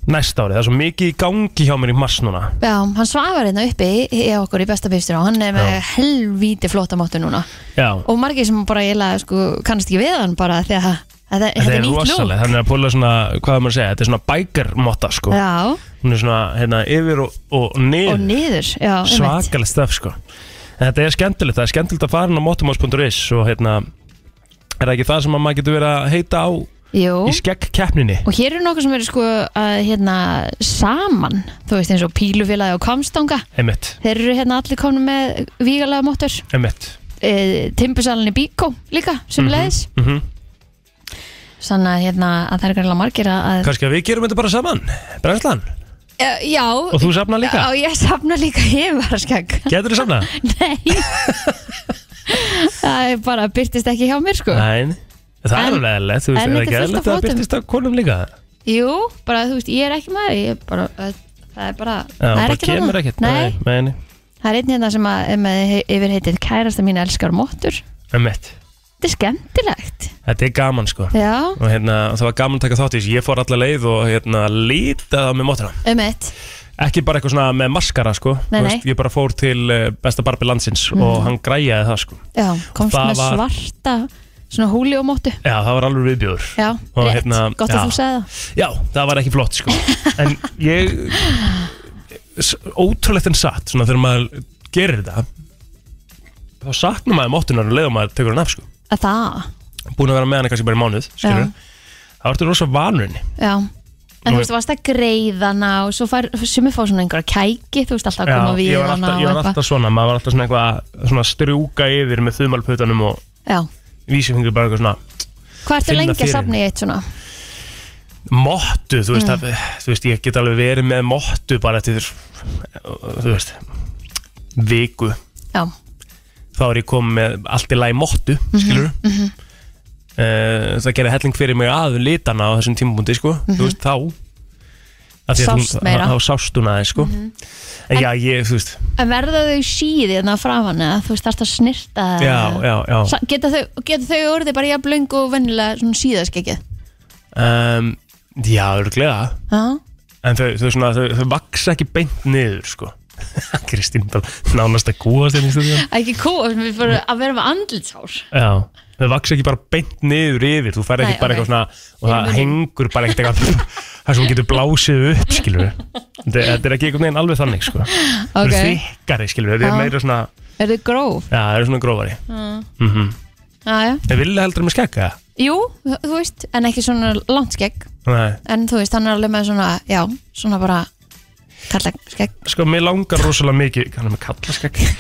næsta ári Það er svo mikið í gangi hjá mér í mars núna
já, hann svafar hérna uppi í í okkur í besta bífstur og hann er með
Já.
helvíti flotta móttu núna
Já
og margir sem bara eiginlega sko, kannast ekki við hann bara því að að það- þetta er nýtt lúk
rosalega, þannig að púla svona, hvað er maður að segja, þetta er svona bækarmotta sko
já,
Hún er svona, hérna, yfir og, og niður
og niður já, einmitt.
Svakalegt stöf sko En þetta er skemmtilegt, það er skemmtilegt að fara inn á motumás.is Og hérna, er það ekki það sem að maður getur verið að heita á
Jú.
í skeggkeppninni
Og hér eru nokkuð sem eru sko að hérna saman, þú veist eins og pílufélagi og kamstanga,
Einmitt,
þeir eru hérna allir komin með vígalega móttur,
einmitt Mhm.
e, timbusalinn í Bíkó líka, sem leiðis,
mm
þannig að hérna að það er greinlega margir að, að
Kannski að við gerum þetta bara saman, brennslan
e, já,
Og þú safna líka,
á ég safna líka heimvaraskegg,
getur þið safna?
nei, það er bara byrtist ekki hjá mér sko,
Nei, það
En-
er alveg eðlilegt, þú veist,
en
er það
þetta
ekki
er fullt af
eðlilegt að það
fótum.
byrtist á konum líka?
jú, bara þú veist, ég er ekki maður, ég er bara, það er bara,
Já,
það er
bara
ekki
kemur
þarna.
ekkert,
nei,
nei, nei,
Það er einn hérna sem að, er með yfir heitið kærasta mín elskar móttur.
með mitt.
Þetta er skemmtilegt.
Þetta er gaman, sko.
Já,
Og hérna, það var gaman að taka þátt í þessu, ég fór alla leið og hérna, lítið á með mótuna.
um eitt.
Ekki bara eitthvað svona með maskara, sko.
Nei,
Þú
nei. Mhm.
Ég bara fór til eh, besta barbi landsins og hann græjaði það, sko.
Já, komst
Það
með
var-
svarta svona húli og móttu.
Já, það var alveg viðbjóður.
Já,
Og
rétt.
hérna,
Gott að
já.
þú segði það.
Já, það var ekki flott sko En ég s- Ótrúlegt en satt Svona þegar maður gerir þetta Þá saknar maður móttunar og leiðum maður tekur hann af sko
Að það,
Búin að vera með hann kannski bara í mánuð skilurðu. Þá ertu rosa vanur henni
já. En þú veist, varst að greiða hana og svo fær, sumi fá svona einhverja kæki, þú veist, alltaf að koma við
ég var,
hana
alltaf, ég
og
var
eitthvað.
alltaf svona, maður var alltaf svona eitthvað svona að strjúka yfir með þumalputanum og
Já.
vísifingur bara eitthvað svona
Hvað ertu
Finna
lengi að
fyrir
safna í eitt svona?
mottu, þú veist, mm. þú veist ég get alveg verið með mottu bara eftir þú veist viku,
Já,
þá er ég komið með allt í lagi mottu,
Mhm,
Eh, skilur mm það gerði helling fyrir mig að litana á þessum tímabundi, sko þú veist, þá Af því að
Mhm. Sást
hún-
meira. Mhm.
þá sást hún aðeins, sko en já, ég, þú veist
en verða þau síði þannig að framan eða þú veist, þarfst að snirta eða-
já, já, já
Sa- Geta þau, geta þau orðið bara jafn löng og vennilega svona síðaskekkið?
um, já, örglega
Já,
en þau, þau, svona, þau, þau vaksa ekki beint niður sko Kristín bara nánast að kúa sér í stundum
ekki kúa, við fyrir að vera með andlitshár.
já þau vaksa ekki bara beint niður yfir þú fær ekki
Nei,
bara
ok.
eitthvað svona og það
Fyrir
hengur bara ekkert eitthvað þar sem hún getur blásið upp skilur við þetta þetta er ekki einhvern veginn alveg þannig sko okay. þau
Ok,
eru þykkari skilur við þau eru
Já.
meira svona já
er þau gróf?
þau eru svona grófari mm -hmm.
Já, já.
en vilja heldur með skekka
Jú, þú veist, en ekki svona langt skegg,
nei
en þú veist, hann er alveg með svona, já, svona bara kalla skegg.
sko mér langar rosalega mikið hann er með kallaskegg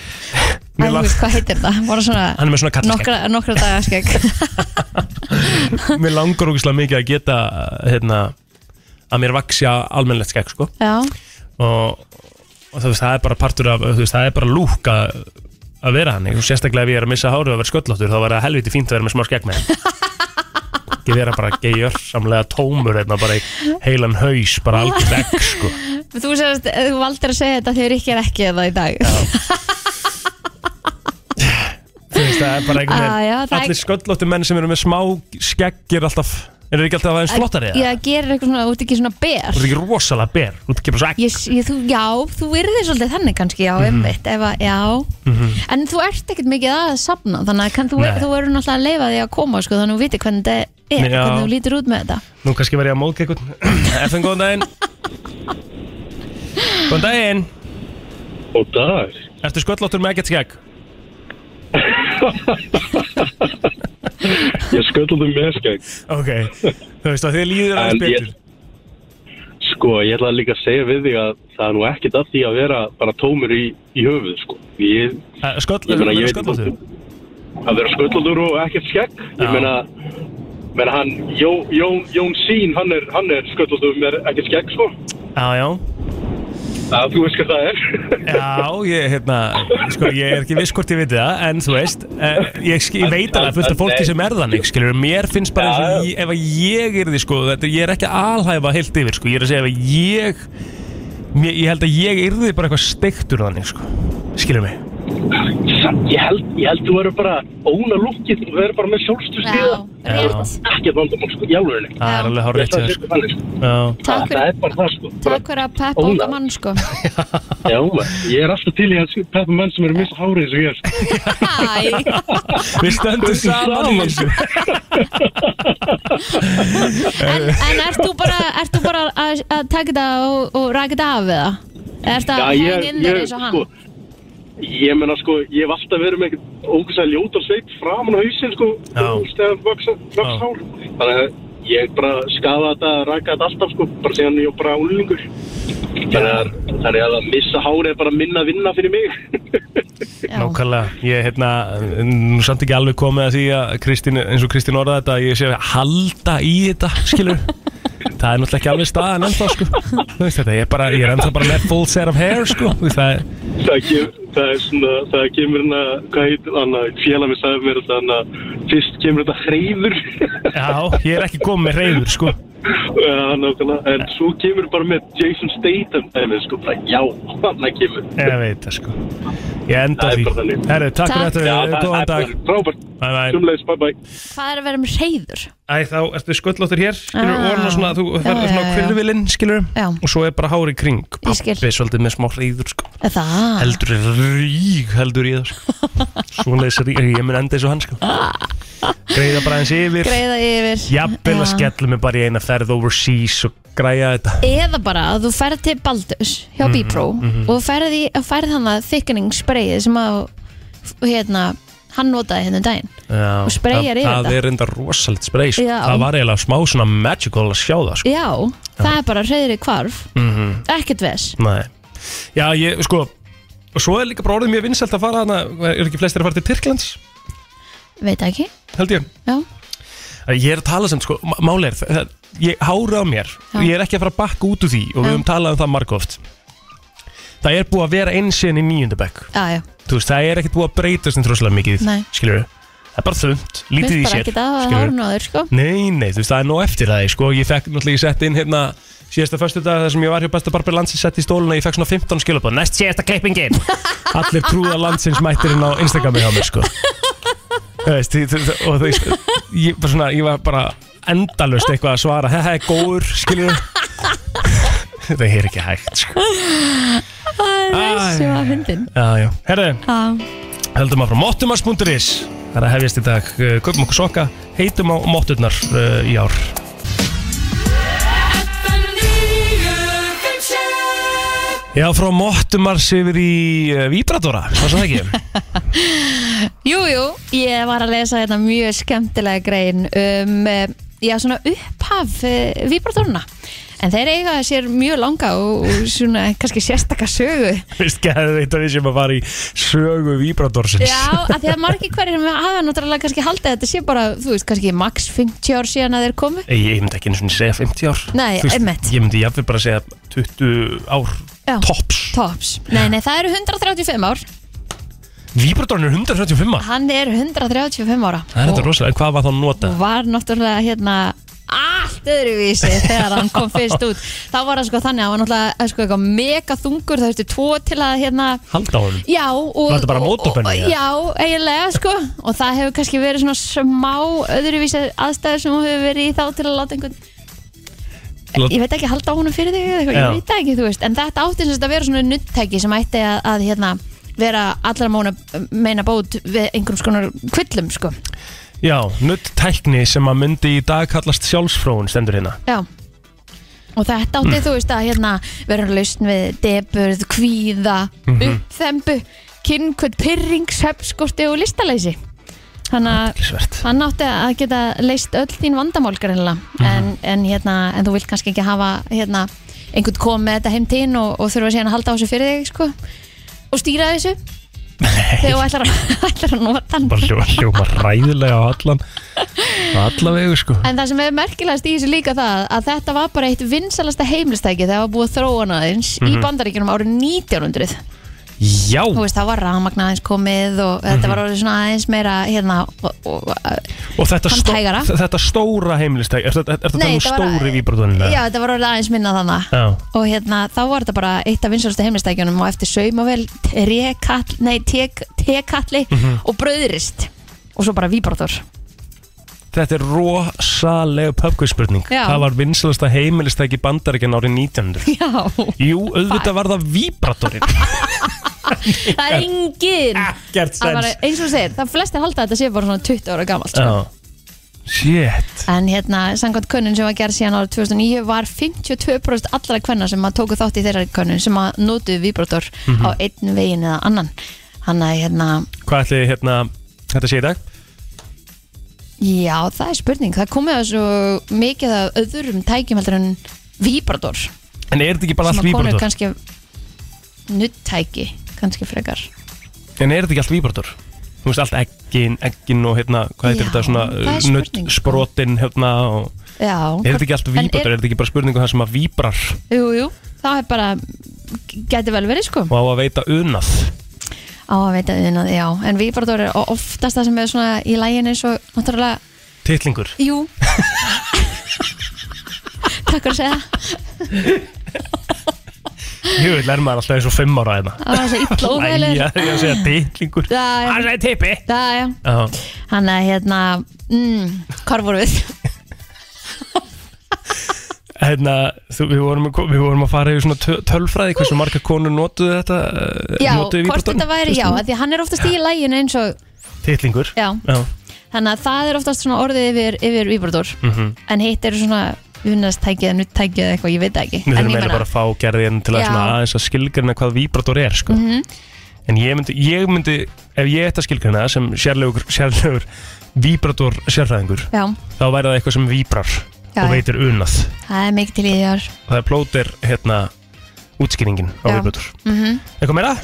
Æ,
Mér
þú
lang-
veist, hvað heitir það? Bara svona
hann er með svona kallaskegg
nokkra, nokkra daga skegg.
mér langar ógislega mikið að geta hérna, að mér vaksja almennlegt skegg sko.
já,
og, og þú veist, það er bara partur af þú veist, það er bara lúk að, að vera hann og sérstaklega ef ég er að missa hárið og vera sköllóttur þá verða helviti fínt að vera með smá skegg með ekki vera bara geigjör samlega tómur hérna, bara í heilan haus bara algjör vekk sko.
þú sérst, þú valdir að segja þetta þegar ekki er ekki það í dag.
þú veist, það er bara einhvern
Ah, já,
veginn
það er-
allir sköllóttur menn sem eru með smá skegg er alltaf, eru ekki alltaf aðeins flottari
Ég
eða?
það gerir eitthvað svona, þú ert ekki svona ber.
Þú ert ekki rosalega ber, þú ert ekki bara svo ekki
Ég, ég, þú, já, þú yrðir svolítið þannig kannski,
Mhm.
já, einmitt, ef að, já. En þú ert ekkert mikið að safna, þannig að kann, þú,
Nei.
þú verður náttúrulega að leifa því að koma, sko, þannig að þú viti hvernig þetta er,
Já.
hvernig þú lítir út með þetta.
Nú kannski var ég að móðka einhvern FN, góðan daginn Góðan daginn
Og dag?
Ertu sköllóttur með ekkert skegg?
Ég um sköldum með skegg.
Ok, þú veist að þið líður
En
aðeins
ég-
betur
Sko, ég ætla líka að segja við þig að það er nú ekkert að því að vera bara tómur í, í höfuð, sko. Ég,
Eh, Sköll,
ég
þú verður
meina, ég veit ekki
sköllóttur?
hvort- að vera sköllaldur og ekkert skegg. Ég
Já.
meina, meina hann, Jó, Jón, Jón Sín, hann er, hann er sköllaldur með ekkert skegg, sko.
Já, já,
Það, þú veist hvað það er.
já, ég, hérna, sko, ég er ekki viss hvort ég veit það, en þú veist, eh, ég, sk- ég veit alveg fullt af fólki sem er þannig, skilur, mér finnst bara eins og, ég- ef að ég er því, sko, þetta, ég er ekki að alhæfa heilt yfir, sko, ég er að segja ef að ég, mér, ég held að ég er því bara eitthvað steiktur þannig, sko, skilur mig.
Samt, ég held, ég held þú verður bara óna lukkið og verður bara með sjálfstu
Já,
stíða.
rétt.
Ekkert vandamál, sko, í alveg henni.
Það er
Já.
alveg hár
Ég
rétt hjá
ætla að
þér,
segja þannig, sko.
sko. Já.
Takk fyrir-
Það er bara það, sko. Bara-
Takk fyrir að peppa út af mann sko
Já, maður. ég er alltaf til í að peppa menn sem eru að missa hárið eins og ég er. sko.
Æ,
Við stöndum saman í þessu
En, en ert þú bara, ert þú bara að, að taka þetta og, og rækja þetta af við það? Ert það að hengja inn þér eins og hann?
sko, ég menna sko, ég hef alltaf verið með eitthvað ógæslega ljótar sveit framan á hausinn, sko,
Já.
stefn vaks
Já.
hár. Þannig að ég bara skafa þetta, ræka þetta alltaf, sko, bara síðan ég var bara úlingur. Þannig að, þannig að að missa hárið er bara minna vinna fyrir mig.
Já.
Nákvæmlega, ég er hérna nú samt ekki alveg komið að því að Kristín, eins og Kristín orðaði þetta, ég sé að halda í þetta, skilur Það er náttúrulega ekki alveg staðan ennþá, sko Þú veist þetta, ég er bara, ég er ennþá bara með full set of hair, sko Þú veist, Það er,
það, kem, það er svona, það kemur hérna, hvað heit, hann að félag mér sagði mér þetta, hann að fyrst kemur þetta hreyður.
já, ég er ekki komið með reyður, sko
Já, nákvæmlega, en svo kemur bara með Jason Statham dæmið, sko, bara já, hann kemur.
Ég veit það, sko Ég enda á
Það er
því
bara þannig.
Herru, takk fyrir
Takk.
þetta, góðan dag
Frábært,
Bye, bye.
sumleis, bye bye.
Hvað er að vera með reyður?
Æ, þá ertu sköllóttur hér, skilur,
Ah.
og orðin og svona, þú
Já,
ferður svona
já, já.
kvirvilinn, skilur,
Já.
og svo er bara hár í kring.
Ég skil.
Pabbi er svolítið með smá reyður, sko.
Er Það
heldur er rík heldur í það sko. svona þess að ég mun enda eins og hann sko. greiða bara eins yfir
greiða yfir
jafnvel að
Já.
skellum mig bara í eina ferð overseas og græja þetta
Eða bara að þú ferð til Baldus hjá
Mhm,
mm, B-Pro og ferð, í, ferð hann að thickening sprayið sem að hérna, hann notaði hérna um daginn
Já,
Og spreyjar
það-
yfir
það
þetta.
er enda rosalegt sprey sko.
Já.
það var eiginlega smá svona magical að sjá það sko.
Já, það er bara reyðri kvarf
mm
ekkert ves
Nei Já, ég, sko Og svo er líka bara orðið mjög vinsælt að fara hana Er ekki flestir að fara til Tyrklands,
veit það ekki
held ég
Já.
Að Ég er að tala sem, sko, má- máli er það- það- Ég hára á mér
Já.
Ég er ekki að fara að bakka út úr því Og við
Já.
höfum talað um það margóft Það er búið að vera einsinn í níundabæk
Já, já,
Þú veist, það er ekkert búið að breytast En þróslega mikið,
Nei.
skilur Það er bara þönd,
við
lítið í
bara
sér
ekki það að
skilurðu.
hárun á þér sko
Nei, nei, þú veist, það er nóg eftir það, sko Ég fekk, náttúrulega, ég sett inn hérna Síðasta föstu dag þar sem ég var hjá besta barber landsins Sett í stóluna, ég fekk svona 15 skilabóð Næst síðasta klippingin Allir trúða landsins mættirinn á Instagrami hjá mér, sko Þú veist, þú- þú- þú- og þú veist Ég var svona, ég var bara endalust eitthvað að svara Þetta er góður, skiljum Þetta er ekki hægt, sko
Það er
Æ.
þessi að hundin
Já, já, herðu
Já,
Heldum áfram mottumars.is Það er að hefjast í dag uh, Kaupum okkur soka, heitum á motturnar uh, í ár Já, frá mottumars yfir í uh, Víbratora, svo sem það ekki
Jú, jú, ég var að lesa þetta mjög skemmtilega grein um, eh, já, svona upphaf uh, vibratorna en þeir eiga sér mjög langa og, og svona kannski sérstaka sögu
Vist gæðið eitt af því sem að fara í sögu Víbratorsins
Já, af því að margir hverjir hafa náttúrulega kannski haldið að þetta sé bara, þú veist, kannski max 50 ár síðan að þeir komu
Ég, ég myndi ekki einu svona segja 50 ár
Nei,
Þú veist,
einmitt.
Ég myndi jafnvel bara segja 20 ár
Já.
tops
Tops, nei, nei, það eru 135 ár
Víbratorinn er 135 ár
Hann er 135 ára
Það er þetta
og,
rosalega, en hvað var það að nota?
og var náttúrulega hérna allt öðruvísi þegar hann kom fyrst út þá var það sko þannig að hann var náttúrulega sko, eitthvað mega þungur, það veistu tvo til að hérna
Halda á honum
Já, og,
Var þetta bara
og-
mótorbenni,
og-
eða?
Já, eiginlega sko og það hefur kannski verið svona smá öðruvísi aðstæður sem hún hefur verið í þá til að láta einhvern
Lát-
ég veit ekki halda á honum fyrir þig eða eitthvað,
Já.
ég veit það ekki, þú veist en þetta átti sem sagt að vera svona nuttæki sem ætti að, að hérna, vera allra móna meina bót við einhverjum skonar kvillum sko,
Já, nutt tækni sem að myndi í dag kallast sjálfsfróun stendur hérna
já og
Mm.
þetta átti þú veist að hérna vera lausn við deburð, kvíða
Mhm.
uppþembu, kynkvöld pyrring, svefnskorti og listaleysi þannig að
Lísvert
hann átti að geta leist öll þín vandamál greinlega en, en, hérna, en þú vilt kannski ekki hafa hérna, einhvern kom með þetta heim til þín og, og þurfa síðan að halda á þessu fyrir þig sko, og stýra þessu þegar þú ætlar, að- ætlar að nota hann
Bara hljóma, hljóma ræðilega á allan á alla vegu sko
En það sem er merkilegast í þessu líka það að þetta var bara eitt vinsalasta heimlistæki þegar var búið þróun aðeins í bandaríkjunum árið 1900
Já,
Þú veist, það var rafmagn aðeins komið og þetta var orðið svona aðeins meira hérna, og, og,
og þetta,
hann
stó,
tægara.
þetta stóra heimilistæk Er þetta er þetta
Nei,
um
þetta var-
stóri víbratunina?
Já, þetta var orðið aðeins minna þannig
Já,
og hérna, þá var þetta bara eitt af vinsalustu heimilistækjunum og eftir saumavel rekall, nei, tek- tekalli
Mhm.
og bröðrist og svo bara víbrator
þetta er rosalega pubquizspurning
Já.
Það var vinsalasta heimilistæk í bandaríkjan árið 1900
Já,
Jú, auðvitað var það víbratorinn
það er engin
Ekkert
Það var
sens
eins og þú segir, það flestir halda að þetta sé bara svona 20 ára gamalt sko.
Já Shit
En hérna, samkvæmt könnun sem var gerð síðan árið 2009 var 52% allra kvenna sem að tóku þátt í þeirra könnun sem að notuðu víbrator
Mhm.
á einn veginn eða annan Þannig að hérna,
Hvað ætli hérna, þetta sé í dag?
Já, það er spurning. Það komið að svo mikið af öðrum tækjum heldur en víbrator sem
En er þetta ekki bara allt
að konur
víbrator?
kannski nuttæki kannski frekar.
En er þetta ekki allt víbrator? Þú veist, allt eggin, eggin og hérna, hvað heitir
Já,
þetta svona,
það er
nutt,
spurning, sko.
sprotin, hérna, og
Já.
er þetta ekki allt
En
víbrator? Er þetta ekki bara spurningu það sem að víbrar
Jú, jú, það er bara gæti vel verið sko
og á að veita unað?
á að veita unað, já, en víbrator er oftast það sem er svona í lægin eins og náttúrulega,
Tittlingur.
jú Takk fyrir að segja það
Jú, við lærum maður alltaf eins og fimm ára hérna.
Það var svo illa óþægilegur
Læja, ég að segja tittlingur.
Já, já.
Það er tippi.
Það, já,
Já,
hann að hérna mm, hvar voru við?
hérna, þú, við, vorum, að ko- við vorum að fara yfir svona tö- tölfræði, hversu marga konur notuðu þetta, eh,
Já,
notuðu
hvort
víbratorn?
þetta væri, já, af því að hann er oftast í lægin eins og
Tittlingur.
Já, þannig að það er oftast svona orðið yfir, yfir vibrator
Mhm.
en hitt eru svona unnastækið, nuttækið eða eitthvað, ég veit það ekki
Við
En
þurfum
ég
eiginlega
meina-
bara að fá gerðin til að,
Já. Mhm.
svona, aðeins að skilgrina hvað víbrator er sko. En ég myndi, ég myndi ef ég ætti að skilgrina það sem sérlegur, sérlegur víbrator sérfræðingur
Já,
þá væri það eitthvað sem víbrar
Já,
og
já.
veitir unað
það er mikið til í því þar
og það er plóter hérna útskýringin á
Já.
viðbútur eitthvað meira?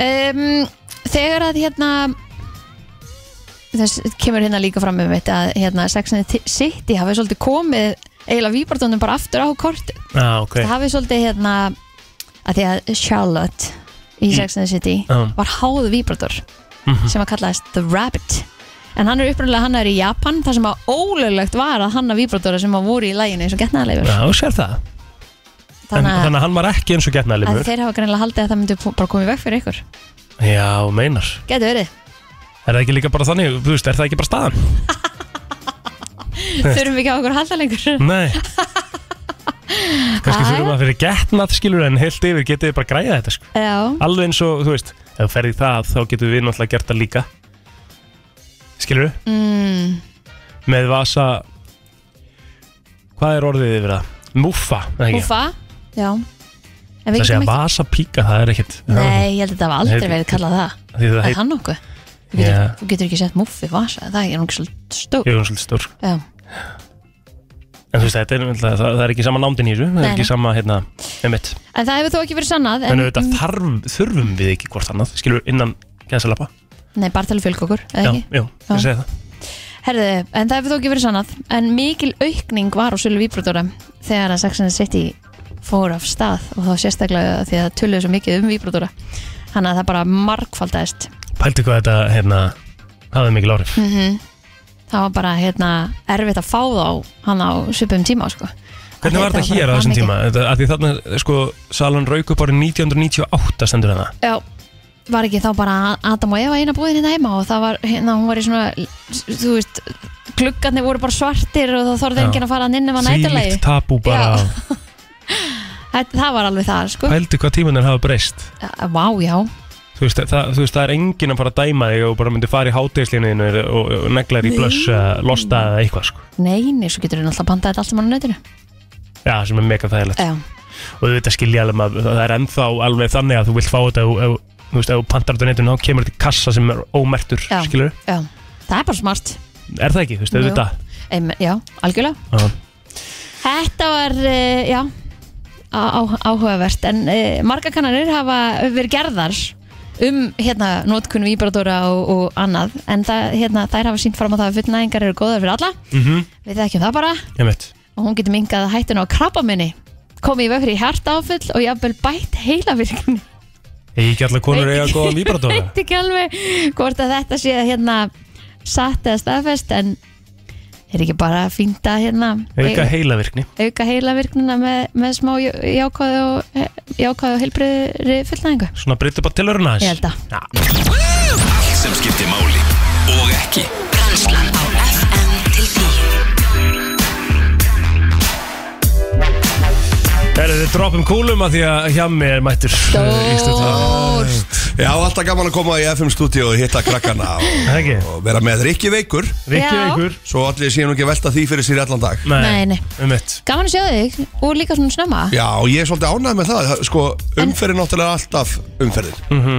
um, Mhm. Þegar að hérna þess kemur hérna líka fram um mitt að hérna Sex and the City hafi svolítið komið eiginlega víbartónum bara aftur á kort
Já, ok
það hafi svolítið hérna að því að Charlotte
Mm.
í Sex and the City
Já. mhm.
var háðu víbrator sem að kallaðist The Rabbit en hann er upprunnilega hann er í Japan þar sem að ólöglegt var að hanna víbratora sem að voru í læginu eins og getnaðarleifur
Já, þú sér það En,
þannig að,
Þannig að hann var ekki eins og
að
getnaðlimur
þeir hafa greinlega haldið að það myndi bara komið veg fyrir ykkur
Já, meinar
getur verið,
Er það ekki líka bara þannig, þú veist, er það ekki bara staðan?
þurfum við ekki á okkur að halda lengur
Nei Kannski
Jæja.
þurfum að fyrir getnað skilur en heilt yfir getið þið bara að græja þetta sko.
já,
Alveg eins og, þú veist, ef þú ferð í það þá getum við náttúrulega gert það líka Skilur
mm,
Með vasa Hvað er orðið yfir það? Múfa, eða ekki?
húfa já, en
Það sé
við getum
að
ekki
vasa píka, það er ekkit
nei, ég held að þetta hafa aldrei
Nei,
verið kallað það
Því það
það er
heit,
hann okkur Þú getur,
Já.
þú getur ekki sett muffi vasa, það er nokkuð svolítið stók
ég er um svolítið stór
Já.
En þú veist, þetta er, náttúrulega- það, það er ekki sama námdin í þessu Það
Nei,
er ekki
nei.
sama, hérna, emitt
En það hefur þó ekki verið sannað
En auðvitað þarf, þurfum við ekki hvort annað Skilur innan gæðsalapa
Nei, bara til að fjölga okkur, eða
Já,
ekki?
já,
Já.
ég segi það
Herðu, en það hefur þó ekki verið sannað En mikil aukning var á sölu víbrotóra Þegar að Saxon City fór af stað Og þá sérstaklega því að það töluðu svo mikið um víbrotóra Þannig að það bara markfaldaðist
Pældi hvað þetta, hérna, hafði mikil áhrif
Það var bara hérna, erfitt að fá þá hann á svipum tíma sko.
Hvernig var þetta hér á
bara
þessum
mikið.
tíma? Þetta, að því þarna, sko, salun rauk upp árið 1998 stendur hana
Já, var ekki þá bara Adam og Eva eina búin hérna heima Og það var, hérna, hún var í svona Þú veist, gluggarnir voru bara svartir Og þá þorði
Já.
enginn að fara hann inn ef hann
Þvílíkt tabú bara
Það, það var alveg það, sko
Pældi hvað tímanir hafa breyst
Vá, já,
Þú veist, það, þú veist, það er enginn að fara að dæma þig og bara myndi fara í hátegislinniðinu og, og neglar í blöss, uh, losta eða eitthvað sko.
neini, svo getur við náttúrulega bandað þetta allt saman á netinu
Já, sem er mega þægilegt
Já,
og þú veit að skilja alveg að það er ennþá alveg þannig að þú vilt fá þetta ef- ef- þú veist, ef þú pantar þetta á netinu þá kemur þetta í kassa sem er ómertur,
Já.
skilur
já, það er bara smart
er það ekki, þú veist,
Jú.
auðvitað
Eim, Já, algjörlega
Já.
Þetta var, uh, já á, á, áhugavert, en uh, marga kannanir hafa verið gerðar um hérna nótkunn víbratóra og, og annað, en það, hérna, þær hafa sínt fram á það að fullnæðingar eru góðar fyrir alla
mm -hmm.
við þekkjum það bara og hún getur mingað hættun á krabbaminni komið í vefri í hjartáfull og jafnvel bætt heilavirkni
ekki allar konur eiga góða víbratóra
veit ekki alveg hvort að þetta sé hérna satt eða staðfest en er ekki bara fínt að hérna
auka
ei-
heilavirkni
auka heilavirknina með, með smá já- jákvæðu og, jákvæðu og heilbriðri fullnæðingu
svona breytta bara tilurinn
ég
aðeins
held að
Allt sem skiptir máli og ekki
Brennslan á FM til 10
er þið droppum kúlum að því að hjá mér mættur uh, í stúdíó.
stórt
Já, alltaf gaman að koma í FM stúdíu og hitta krakkana og,
Það er ekki,
og vera með Rikki veikur
Rikki
Já.
veikur
Svo allir séu nú ekki að velta því fyrir sér í allan dag
Nei, nei.
um mitt
gaman að sjá þig og líka svona snömma
Já, og ég er svolítið ánægð með það Sko, umferðin náttúrulega er alltaf umferðin
Mhm.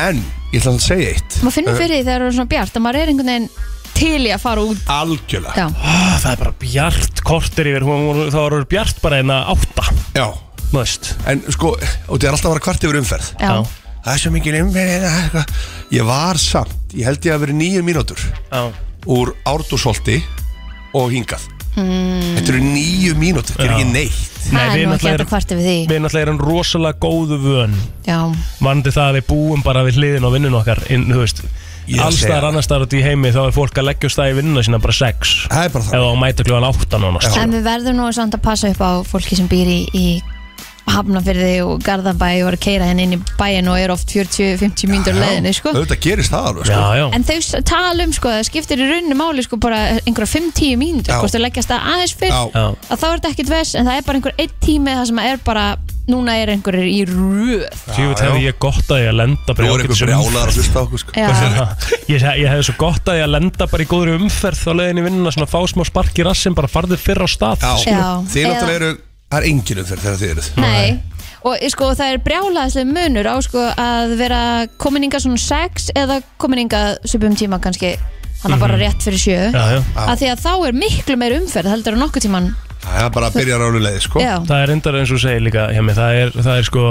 En, ég ætla að segja eitt
maður finnur fyrir því þegar það er svona bjart að maður er einhvern veginn til í að fara út
Algjörlega
já,
Ah, Það er bara bjart kortir yfir hún, hún, Það voru bjart bara einna átta
Já,
Þú veist
en sko, og það er alltaf að vera kvart yfir umferð
já.
Já.
Það er svo mikil umferð eða eitthvað. Ég var samt, ég held ég að vera nýju mínútur
Já.
Úr Árdusolti og hingað
Hmm.
Þetta eru nýju mínútur, þetta er ekki neitt
það
Nei,
er
við
nú ekki
náttúrulega
hægt að
erum-
kvarta við því
Við náttúrulega erum rosalega góðu vön
já,
vandi það að við búum bara við hliðin á vinnun okkar inn, þú veist,
Ég er að segja
allstaðar
það.
annarstaðar út í heimi þá er fólk að leggja stæði vinnuna sína bara sex
Það er bara
eða
það
á mæta kljóðan átta nánast
en við verðum nú samt að passa upp á fólki sem býr í, í Hafnafyrði og Garðabæ og er að keira henni inn í bæin og er oft 40-50 mínútur á leiðinni sko.
Auðvitað gerist það alveg sko.
Já, já,
en þau s- tala um sko, það skiptir í rauninu máli sko, bara einhverja 5-10 mínútur
Já.
hvort þau leggjast það aðeins fyrr
Já.
já
að þá er þetta ekkit vess en það er bara einhver einn tími það sem er bara núna er einhverjir í röð
Sjöfut
já.
hefði ég gott að ég að lenda
Nú
bara í
er einhver
ágætis
brjálaðar að hlusta á okkur sko.
Já.
Já, Ég, ég hefði svo gott að ég að lenda bara í góðri umferð á leiðin í vinnuna, svona fá smá spark í rassin bara farðu fyrr á stað
Já,
skilur.
Já.
þið náttúrulega eru Það er engin umferð þegar þið eruð
Nei. Og sko, það er brjálaðislega munur á sko, að vera komin inga svona 6 eða komin inga svipum tíma kannski hann er bara rétt fyrir sjö
já, já.
að því að þá er miklu meir umferð heldur en nokkuð tíman
Það er bara að byrja ránulegði sko
Já,
Það er endara eins og þú segir líka hjá mig, það er, það er sko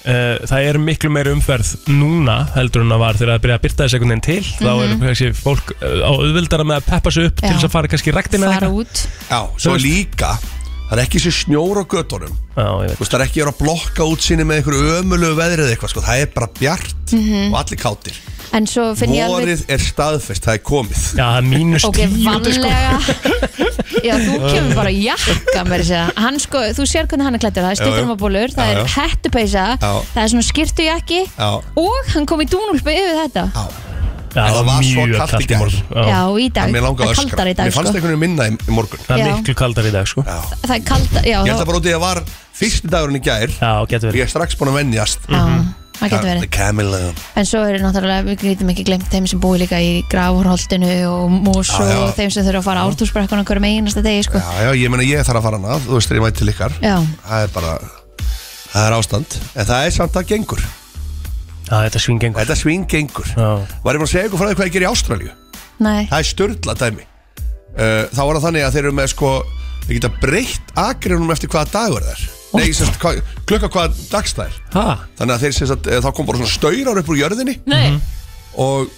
Uh, það er miklu meiri umferð núna heldur en það var þegar það byrjaði að byrta þessu einhvern veginn til þá er kannski fólk uh, á auðvildara með að peppa sig upp
Mhm. Já.
til þess að fara kannski í ræktina eða
fara
eitthvað.
út
Já, svo
veist-
líka Það er ekki sér snjór á götunum Þú
Já, ég veit
veist, það er ekki að vera að blokka útsinni með einhverju ömulegu veðrið eða eitthvað sko. Það er bara bjart og allir kátir
En svo Mhm. finn ég alveg
Vorið er staðfest, það er komið
Já, það er mínus
Ok,
tíu úti, sko.
vanlega Já, þú kemur bara í jakka mér sér Hann sko, þú sér hvernig hann er klættur Það er stuttarmabólur, það
Já,
er
já.
hettupeysa
Já.
Það er svona skirtujakki
Já.
Og hann kom í dúnúlpu yfir þetta
Já,
Já,
það var svo
mjög
kalt í
í
gær.
morgun Já,
Já, í dag,
það mér langar að
það er
öskra
kaldar í dag
Mér fannst
sko.
einhvern veginn minna í, í morgun
Það er
Já.
miklu kaldar í dag sko
Já.
Það er kaldar, já,
Ég
þá-
held að bara út í að var fyrsti dagurinn í gær
Já, getur
Ég
verið
er strax búin að venjast
já það getur verið
Camille
En svo eru náttúrulega, við getum ekki glemt þeim sem búi líka í grafurholtinu og mosu
Já, já.
og þeim sem þurfa að fara ártúrsbrekkan okkur með einasta degi, sko.
Já, já, ég meina ég þarf að fara hana Þú veist, þegar ég mæti til ykkar
Já.
Það er bara, það er ástand En það er samt að gengur
Já, þetta svingengur
Þetta svín gengur
Já.
Var ég bara að segja ykkur frá því hvað ég ger í Ástralju
Nei,
Það er störla dæmi uh, Þá var það þannig að þeir eru með sko Þeir geta breytt akrinum eftir hvaða dagur það er Nei, sérst, hvað, klukka hvaða dags það er
Ha?
Þannig að þeir sérst að eh, þá kom bara svona staurar upp úr jörðinni
Nei.
Og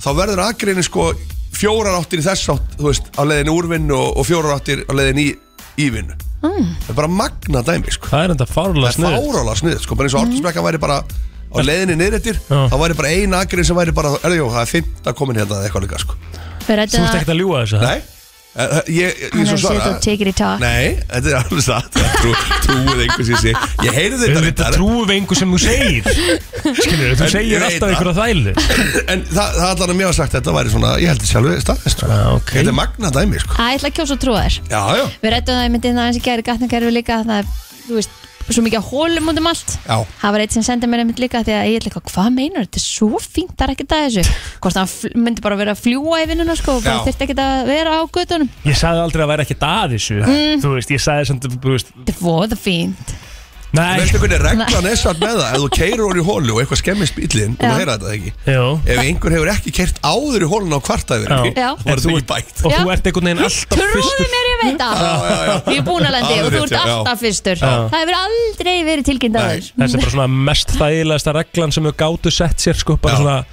þá verður akrinni sko Fjórar áttir í þess átt, þú veist Á leiðinni úr vinnu og, og fjórar áttir á leiðinni í, í vinnu Það er bara magna dæmi sko
Það er enda fárlega
Það er
snöð
fárála sniðið, sko, bara eins og Ortinsbrekka væri bara á leiðinni niðrættir,
Mhm. Já.
þá væri bara ein akrin sem væri bara, erðjó, það er fimmt að komin hérna eða eitthvað líka, sko.
við
Þú
rættum
ert
það,
ekkert að ljúga þessu ha?
Nei, eh, eh, ég, ég, ég
hann
svo
hefur sett og
svara.
tekið í takk.
Nei, þetta er alveg satt, það trú, trúið einhvers í sig. Ég heyrði þetta
Þetta trúum við einhver sem þú segir Skilur, þú
En ég
segir
veit
alltaf
það.
einhverja þælu
en það, það allan að mér var sagt, þetta væri svona, ég held þetta sjálfur staðist, sko.
Já, Ah, ok.
Þetta er magna dæmi, sko.
Æ, ég ætla að kjósa að trúa þér.
Já, já,
Við rættum það, ég myndi það eins og gæri gatnakerfi líka, það er, þú veist, svo mikið af hólum út um allt.
Já.
Það var eitt sem sendið mér einmitt líka því að ég ætla eitthvað, hvað meinar þetta er svo fínt, það er ekkert að þessu. Hvort hann fl- myndi bara vera að fljúa í vinnuna, sko, og bara
Já.
þyrfti ekkert að vera á göttunum.
Ég sagði aldrei að væri ekki að þessu
Mm.
Þú veist, ég sagði samt, þú veist
Þetta er voða fínt.
Nei,
veistu hvernig reglan er satt með það, ef þú keirur úr í hólu og eitthvað skemmist bílinn, þú
Já.
heyra þetta ekki.
jú
Ef einhver hefur ekki keirt áður í hólun á kvartæður,
Já.
Já.
þá er þú í bætt.
Og
Já.
þú ert einhvern veginn alltaf
Trúðu
fyrstur
mér ég veit það Ég er búin að lendi
Já,
og þú
rétt,
ert
já, já.
alltaf fyrstur Það hefur aldrei verið tilkynnt að
Nei.
þér
Þetta er bara svona mest þægilegasta reglan sem þau gátu sett sér sko, bara
Já.
svona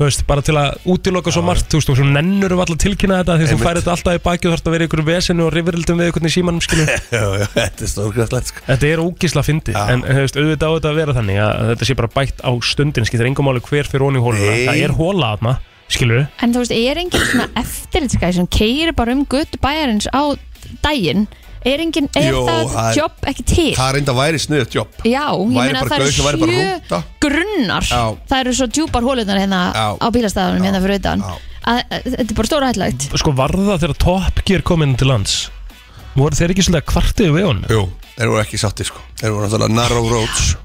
þú veist, bara til að útiloka svo margt þú veist, og svo nennur við alltaf að tilkynna þetta því að þú
Einmitt.
færi þetta alltaf í baki og þarf að vera í ykkur vesinu og rifrildum við ykkur í símanum skilu
Já, já, þetta er stórgrætlegt, sko.
Þetta er ógísla fyndi
Já.
en en, þú veist, auðvitað á þetta að vera þannig að þetta sé bara bætt á stundin skilur engum máli hver fyrir onni í hóluna
Nei.
Það er hóla aðna, skilur
En þú veist, er engin svona eftirlitskæði sem keyrir bara um götu bæjarins á daginn Er, engin, er
Jó,
það
það er-
jobb ekki til?
Það er enda væri sniðut jobb
Já, ég
Væri
meina
bara
það
gaur sem væri
eru
bara
sjö
rúta.
grunnar
Já.
Það eru svo djúpar hólunar hérna
Já.
á bílastæðunum hérna fyrir utan
Já.
að, að, Þetta er bara stóra hættlegt
Sko varða þegar Top Gear kom inn til lands voru þeir ekki svolítið að kvartið við honum?
Jú, þeir voru ekki sáttir sko Þeir voru náttúrulega narrow roads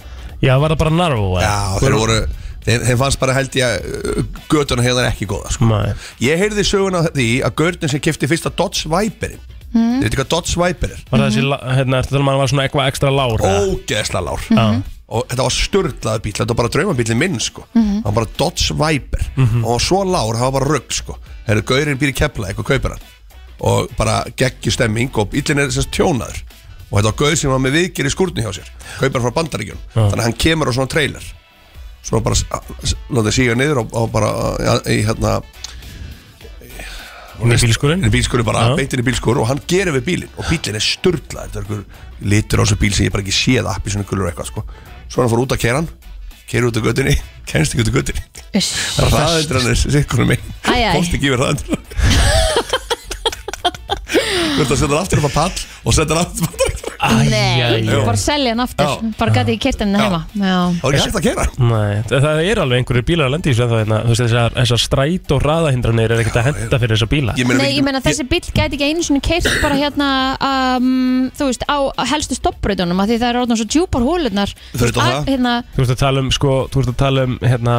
Já, var það bara narvo? eða?
Já, þeir voru Þeim, þeim fannst bara held ég að uh, götuna hefðar ekki góða sko.
Nei.
Ég heyrði söguna af því að götun sem kefti fyrsta Dodge Viperin
Hmm?
mm. Þetta hvað Dodge Viper er?
Var það þessi, la- hérna, ertu að tala um að hann var svona eitthvað ekstra lár? eða?
Ógeðsla lár Mhm. Og þetta var störlaðu bíl, þetta var bara draumabílinn minn sko
Mhm.
Það var bara Dodge Viper Og hann var svo lár, það var bara rugg sko Þegar gaurinn býr í kepla, eitthvað kaupir hann Og bara geggju stemming og bílinn er sérst tjónaður Og þetta var gaur sem var með viðgerð í skúrni hjá sér Kaupir hann frá bandaríkjun Þannig að hann kemur á svona trailer Svo bara, s- a- s- látið síga niður og, og bara ja, í hérna
Inn í bílskúrinn?
inn í bílskur bara
Já.
beitt inn í bílskur og hann gerir við bílinn og bílinn er sturdlað þetta er einhver litur á þessu bíl sem ég bara ekki séð appi svona kulur eitthvað sko svo hann fór út að kera hann kera út á göttinni kennst ekki út á göttinni hraðendur hann er sikkunum minn
Æ, æ.
komst ekki yfir hraðendur Þú ert að setja hann aftur upp á pall og setja hann aftur upp á pall
Æ,
Nei,
æ, æ.
bara selja hann aftur
Já.
Bara gæti ekki kert henni hérna heima Já.
Þá er ég hægt að kera hann
Nei, það það er alveg einhverju bílar að lenda í þessu ennþá, hérna, þú veist, þessar, þessar stræt og hraðahindranir er ekkert að henda fyrir þessar bíla
Ég meina,
Nei,
við
ég
getum-
meina þessi bíl gæti ekki einu sinni keirt bara hérna, um, þú veist, á helstu stoppbröðunum að því það eru orðin svo djúpar hólunar
Fyrir utan
að-
það?
Hérna,
Þú veist að tala um, sko, þú veist að tala um, hérna,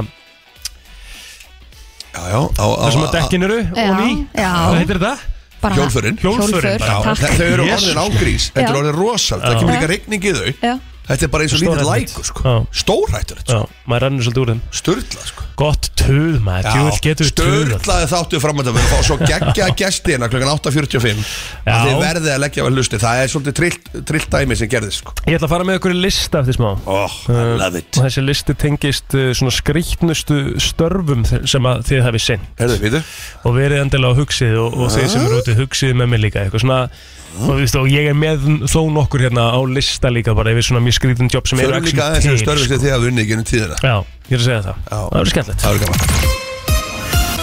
Já, já, á, á,
það sem að
á-
dekkin eru
Já,
og ný
já.
Hvað heitir þetta?
bara
Hjólförin.
Hjólförin
Hjólför,
bara.
Já,
takk.
þe- Þau eru
Jesus.
orðin ágrís, þetta
Já.
er orðin rosal, það
Já.
kemur
Já.
líka rigning í þau
Já.
Þetta er bara eins og lítið
Stórhættulegt.
lækur
Já.
sko. Stórhættulegt,
Já, maður rennur svolítið úr þeim
störtlað sko.
Gott töð maður, djúvill getur við töð
Sturlaði þáttu framöndan Við erum að fá svo geggja gestina klukkan 8.45
Já.
að Þið verðið að leggja á hlusti Það er svolítið trillt, trillt dæmi sem gerðist sko.
Ég ætla að fara með okkur í lista eftir smá
oh,
Uh,
I love it
Og þessi listi tengist uh, svona skrýtnustu störfum þe- sem að þið hafið sinn
Herðu, veitu
og verið endilega á hugsið og, og þeir sem eru úti hugsið með mig líka eitthvað svona og, þú veist, og ég er með þó nokkur hérna á lista líka bara yfir svona mjög skrýtin jobb sem eru
Förum líka aðeins
actually
sem störfum sem þið hafið unnið gennum tíðina
Já, ég er að segja það
Já.
Það verður skemmtilegt
Það verður gaman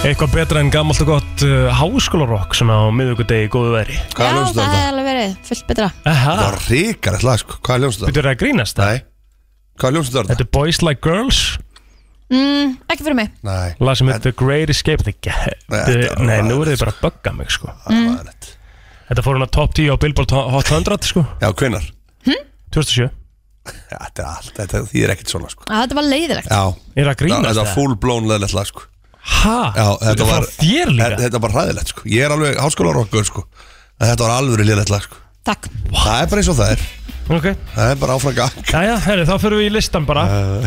Eitthvað betra en gamalt og gott uh, háskólarokk svona á miðugudegi í góðu veri
Já,
Hvaða ljónstu
það hefði
þetta?
alveg verið fullt betra
Aha,
Það var ríkar eitthvað sko. Hvaða ljónstu þetta?
byrjuðu að grínast það?
Nei Hvaða ljónstu þetta?
Þetta er Boys Like Girls
mm, Ekki fyrir mig
Nei
Lag sem heitir The Great Escape Þið getur,
Þetta var
nei, nú
aðeins,
eru þið bara að bugga mig sko
Það
Mm.
var rétt.
Þetta fór hún að top 10 á Billboard Hot 100 sko
Já, hvenar?
2007
Já, Þetta er allt, þetta þýðir ekkert svona sko.
að Þetta var leiðilegt
Já,
Er að
það-
grínast
þetta var
það?
full blown leðilegt lag sko.
Hæ?
Já,
Þetta var þér
e-
líka?
Þetta var ræðilegt sko. Ég er alveg háskólarokkur sko. En Þetta var alvöru leðilegt lag sko.
Takk
Það er bara eins og það er
Ok
Það er bara áfram gang
Jæja, herri, þá fyrir við í listan bara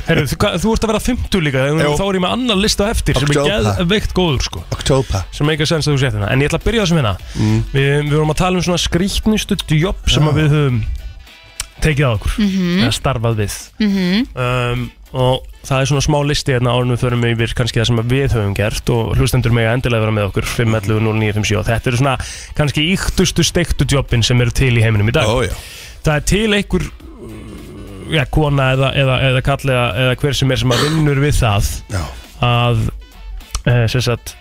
Herri, þú, hva- þú ert að vera 50 líka
Jú.
Þá er ég með annan lista á eftir sem er
Október.
geðveikt góður sko
Oktober
sem eitthvað sens að þú sett hérna en ég ætla að byrja þessum hérna við, við vorum að tala um svona skrýtnustu jobb sem að við höfum tekið að okkur eða starfað við um, og það er svona smá listi hérna árum við förum yfir kannski það sem að við höfum gert og hlustendur mega endilega vera með okkur 511 0957 þetta eru svona kannski íktustu steiktu jobbin sem eru til í heiminum í dag
Ó já
það er til einhver uh, ja, kona eða, eða, eða kalli eða, eða hver sem er sem að vinnur við það
Já
að e, sem sagt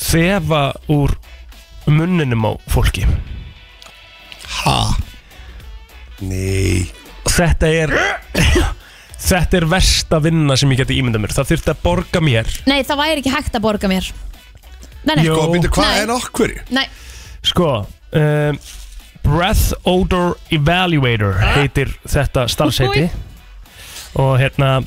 þefa úr munninum á fólki
Ha Nei
þetta er þetta er versta vinna sem ég geti ímyndað mér það þurfti að borga mér
Nei, það væri ekki hægt að borga mér Nei, nei,
Jó.
Góð myndu, hvað
Nei.
er okkur?
nei
sko um, Breath Odor Evaluator heitir þetta starfseiti og hérna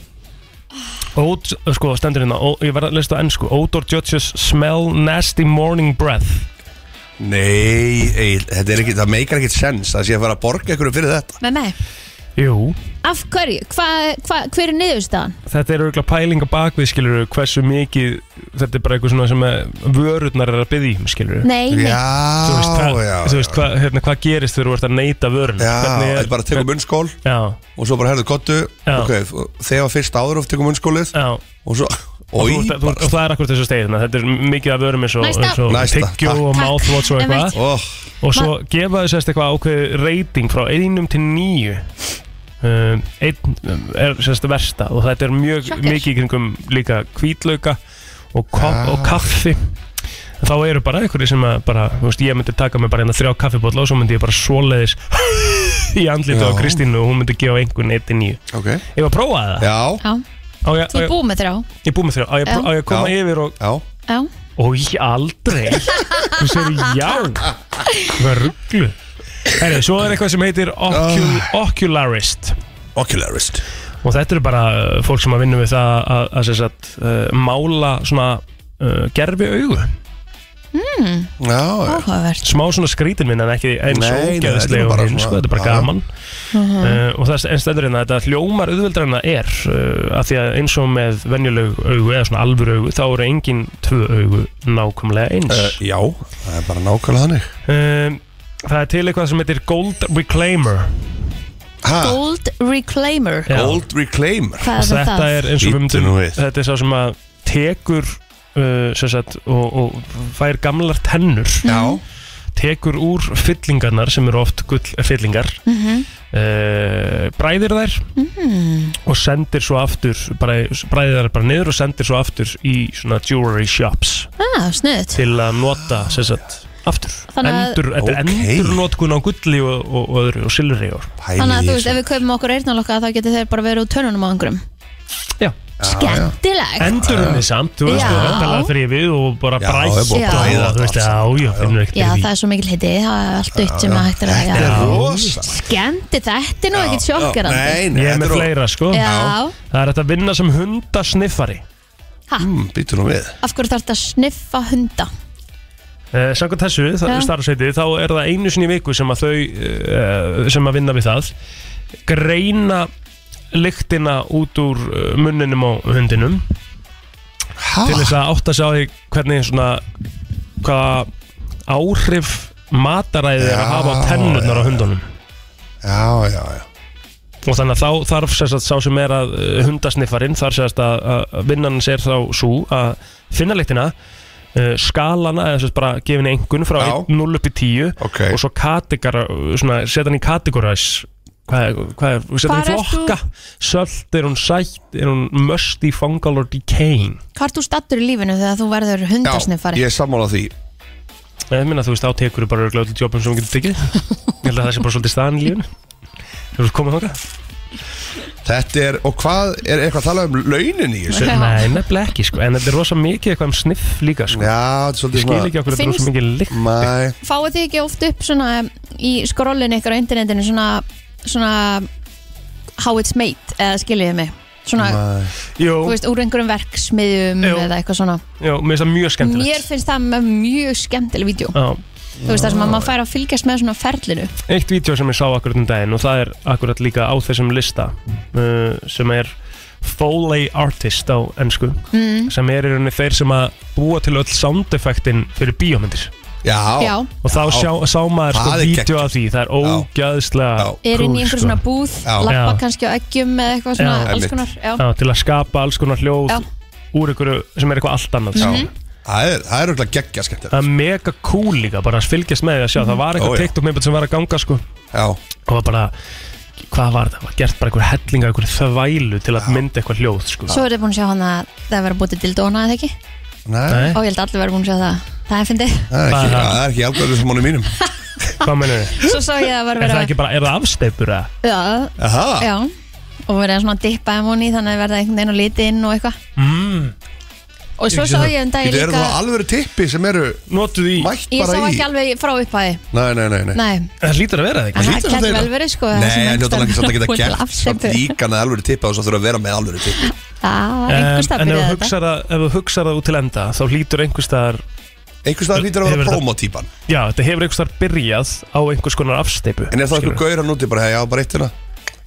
Ód, sko, stendur hérna, ó, ég verð að lesta á ennsku Odor judges smell nasty morning breath
Nei, Egil, þetta er ekki, það meikar ekkert sens að sé að fara að borga einhverju fyrir þetta
Með með
Jú,
Af hverju? Hva, hva, hver er niðurstaðan?
þetta er auðvitað pælinga bakvið skilur hversu mikið þetta er bara eitthvað svona sem að vörurnar er að byggja um skilur
Nei, nei
Já,
þú veist, hvað,
já,
þú veist hvað, hérna, hvað gerist þegar þú ert að neyta vörun
Já, þetta er bara að tegum munnskól
já,
og svo bara herðu kottu
Já.
ok, þegar fyrst áður of tegum munnskólið
já,
og svo,
og,
oi,
þú, ert- þú, og það er akkur þessu stegið þetta er mikið af vörum eins og,
Næsta.
eins og
Næsta,
tyggjó
takk.
og mouthwatch og
Einmitt.
eitthvað
oh,
og svo gefa þau sérst eitthvað ákveð reyting frá einum til níu um, einn um, er sérst versta og þetta er mjög
Sjokker.
mikið í kringum líka kvítlauka og, ja.
Ah.
og kaffi En þá eru bara einhverju sem að bara, þú veist, ég myndi taka mig bara hérna þrjá kaffibótla og svo myndi ég bara svoleiðis í andlita á
Já.
Kristínu og hún myndi gefa einhvern 1 til 9
ok
Ég var að prófa það
Já,
Já,
á, ég, á,
þú er
ég,
búið með þrjá
ég búið með þrjá, á ég,
Já.
á ég að koma
Já.
yfir og
já,
Já,
Og ég aldrei Þú segir já Hvað rugglu Herri, svo er eitthvað sem heitir ocul
Ah.
Ocularist
ocularist
Og þetta eru bara uh, fólk sem að vinna við það að, að, að, að, að mála svona uh, gerfi augu
Já, já,
Hmm, áhugavert
Smá svona skrítin minn en ekki eins og
Nei, nei, þetta
ógeðslega
er
og
bara
hinn
svona-
sko, Þetta er bara
Já. Mm.
gaman uh, Og það er stendur hérna að þetta hljómar auðveldar en það er uh, að Því að eins og með venjuleg augu eða svona alvur augu Þá eru engin tvö augu nákvæmlega eins
uh, já, það er bara nákvæmlega þannig
um, Það er til eitthvað sem heitir Gold Reclaimer
ha,
Gold Reclaimer
Já.
Gold Reclaimer
Hvað
Og
er það?
Þetta er eins og við
Bíddu
myndum
nú við.
Þetta er sá sem að tekur uh, sem sagt, og, og fær gamlar tennur
Já,
tekur úr fyllingarnar sem eru oft gull fyllingar mm
Mhm.
bræðir þær og sendir svo aftur bara, bræðir þær bara niður og sendir svo aftur í svona jewelry shops
ah, Snuðt
til að nota sem sagt, aftur
Þannig að-
endur, þetta er
Ókei.
endur notkun á gulli og, og, og öðru og silri og
pæli
Þannig að þú veist, ef við kaupum okkur eyrnalokka þá getur þeir bara verið úr tönunum á einhverjum
Já.
sko.
Skemmtilegt
endurunni samt, þú veist,
Já.
og endalega fyrir við og bara
Já,
brætt
er búið
að bræða
og þú veist,
þetta
já,
allt
já, finnur ekkert
Já,
fyrir
það
því
er svo mikill hiti, það er allt dutt sem að hægt er að
Þetta er
já.
rosa
Skemmti þetta er nú ekkert sjokkarandi
Nei, nei,
Ég er
þetta
með
er
fleira, sko
Já,
Það er hægt að vinna sem hundasniffari
mm, Býtu nú við
af hverju þarf þetta að sniffa hunda?
eh, Samkvæmt þessu,
Já.
starfseiti, þá er það einu sinni í viku sem að þau eh, sem að vinna við það greina lyktina út úr uh, munninum á hundinum
Ha?
til þess að átta sig á því hvernig svona hvaða áhrif mataræði er
Já,
að hafa á tennurnar á hundunum
Já, já, já
og þannig að þá þarf sérst að sá sem er að uh, hundasniffarinn þarf sérst að, að vinnan sér þá svo að finna lyktina uh, skalana eða sérst bara gefinni engun frá
Já.
0 upp í 10
Ok.
og svo kategara, svona, setja hann í kategoræs hvað er, hvað er, setja hann í
Hvar ert þú?
flokka sölt, er hún sætt, er hún musty, fungal or decaying
Hvað ert þú stattur í lífinu þegar þú verður
Já,
hundasniffari?
ég er sammála því
Ég minna, þú veist, þá tekur þú bara örugglega öll jobbum sem þú getur tekið Ég held að það sé bara svolítið staðan í lífinu Þú veist komið þangað?
Þetta er, og hvað, er eitthvað að tala um launin í þessu?
Já.
Já,
Nei, nefnilega ekki, sko En þetta er rosa mikið eitthvað um sniff líka, sko
þetta er svolítið
Ég skil ekki okkur þetta er
Finnst-
rosa mikið lykt
Mæ,
Fáið þið ekki oft upp svona um, í skrollinu ykkur á internetinu svona, svona how it's made eða skiljiðið mig svona,
mæ
Jú,
þú veist, úr einhverjum verksmiðjum
Jú.
eða eitthvað svona
jú, mér finnst það mjög skemmtilegt
Mér finnst það með mjög skemmtileg vídeo
Já,
Þú veist það sem að maður fær að fylgjast með svona ferlinu
eitt vídeo sem ég sá akkurat um daginn og það er akkurat líka á þessum lista uh, sem er Foley Artist á ennsku mm. sem er í rauninni þeir sem að búa til öll sound effektin fyrir bíómyndir
Já,
Já,
og þá
Já.
sjá, sá maður sko
Það er
vídeo
geggjað.
af því, það er ógæðslega
Já.
er inn í
kúl,
einhver
sko.
svona búð
Já.
Lappa
Já.
kannski á eggjum eða eitthvað svona
Já.
alls
Einmitt.
konar Já,
Já, til að skapa alls konar hljóð
Já. Mhm.
úr einhverju sem er eitthvað allt annað sko.
já Það er, það er auðvitað geggja skemmt
Um,
það er mega cool líka, bara að fylgjast með því að sjá það var
Mhm. Ó,
eitthvað
já.
teikt upp með sem var að ganga sko
Já,
og var bara, hvað var það, var gert bara einhver hellinga, einhver þvælu til að mynda eitthvað hljóð sko
svo er þið búin að sjá hann að það verður bútið til dóna eða ekki
Eh.
nei,
Nei,
Ó, ég held að allir verður búin að sjá það Það er fyndið
það er ekki,
Bara-
það er ekki algjörðu sem honum mínum
hvað mennur þið?
Svo sá ég
Er
að verður
það
verið
ekki bara, er það afsteipur eða?
að Já,
Aha,
Já, og verið svona að dippa um hún í þannig að verða einhvern veginn og liti inn og eitthvað
Mm.
Og svo
Ég sé
sá
það.
ég en dag
þetta eru
líka
það alvöru tippi sem eru
Notuð í, Eh.
mætt
Ég sá
bara í
ekki alveg frá upphæði
Nei, nei, nei, nei
Nei,
það lítur að vera það ekki
það
hlýtur að
gæti
vera.
vel verið sko það sem
Nei, en
einhvers
þetta er ekki samt að
staðar
geta
búið til
gert samt
afstöðu.
líka með alvöru tippa og svo þurfa að vera með alvöru tippi
Það var einhvers
En,
staðar
en ef
byrjaði
þú
þetta.
hugsar það- ef þú hugsar það út til enda þá hlýtur einhvers staðar
Einhvers staðar hlýtur að
Hefur
vera
þetta-
promotýpan
já, þetta hefur einhvers staðar byrjað á einhvers konar afsteipu
En er það einhver gaur hann úti bara, hei, já, bara eitt hérna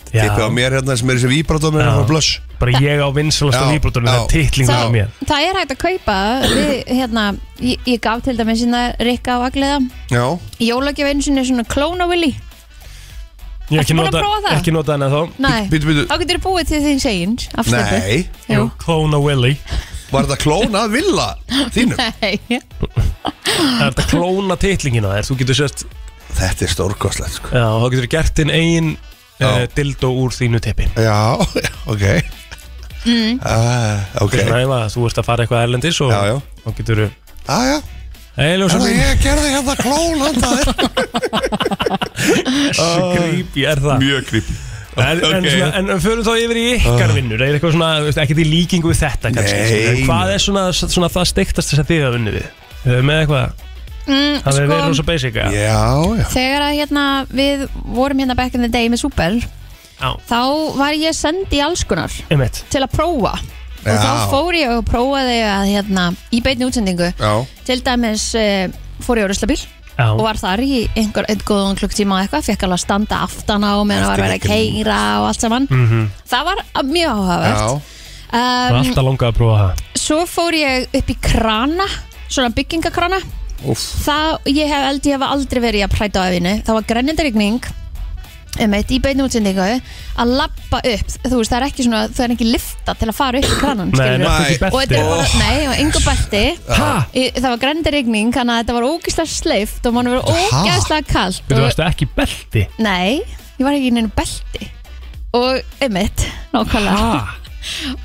Tippi á mér hérna sem er þessi víbratum
Já.
hérna frá blöss
bara ég á vinsalasta
Já,
víbrotunum
já.
það er titlingur á
Það-
um mér
Það er hægt að kaupa við, hérna, ég, ég gaf til dæmis hérna Rikka á Agliða
Já,
Jólagjöf einu sinni svona klóna Willy
Ég hef
Ertu
ekki
búin að
nota,
prófa það?
ekki nota henni þá
Nei,
Bíddu, bíddu, bíddu.
þá getur búið til þín segins afstöpu
nei,
Jú.
Klóna Willy
var þetta klóna villa þínum?
Nei,
Það er þetta klóna titlingina þér Þú getur sérst
Þetta er stórkostlegt, sko
Já, þá getur gert þinn eigin
Já.
uh, dildó úr þínu tippi
Já, ok mm. uh, Ok,
Svona ef að þú ert að fara eitthvað erlendis og
Já, já.
þá getur þú
aðja
Hei, ljósa
Þannig að
mín
ég gerði hérna klón handa þér
Grípi er það
Mjög creepy
En, en,
Ok. Ah.
svona, en förum þá yfir í ykkar vinnur Er eitthvað svona, þú veist, ekkert í líkingu við þetta kannski
Nei.
skilur, en Hvað er svona, svona það steiktast sem þið hafa unnið við? Þið hefur með eitthvað?
mm,
Það hefur verið
sko,
rosa basic eða?
Já, já
Þegar að hérna við vorum hérna back in the day með Super
Já,
þá var ég send í alls konar
einmitt
til að prófa og þá
Já.
fór ég og prófaði að hérna í beinni útsendingu
Já,
til dæmis uh, fór ég á ruslabíl
Já,
og var þar í einhver einn góðan klukktíma og eitthvað, fekk alveg að standa aftan á meðan það var verið að keira og allt saman
Mhm.
það var uh, mjög áhugavert
Mm. já,
var
um,
alltaf langað að prófa það
svo fór ég upp í krana svona byggingakrana
úff
það, ég hef held ég hef aldrei verið að præta á efinu það var grennendarigning um eitt í beinu útsendingu að lappa upp, þú veist það er ekki svona það er ekki lifta til að fara upp í kranan
Nei,
skilurðu.
nefnir
Nei.
ekki
og þetta
besti
er bara, nei, og engu bætti
Ha?
það var grennendarigning, þannig að þetta var ógislega sleift og mann verið
Ha?
ógislega kalt
Þú
og,
veist ekki belti
nei, ég var ekki í neinu belti og einmitt, nákvæmlega
Ah.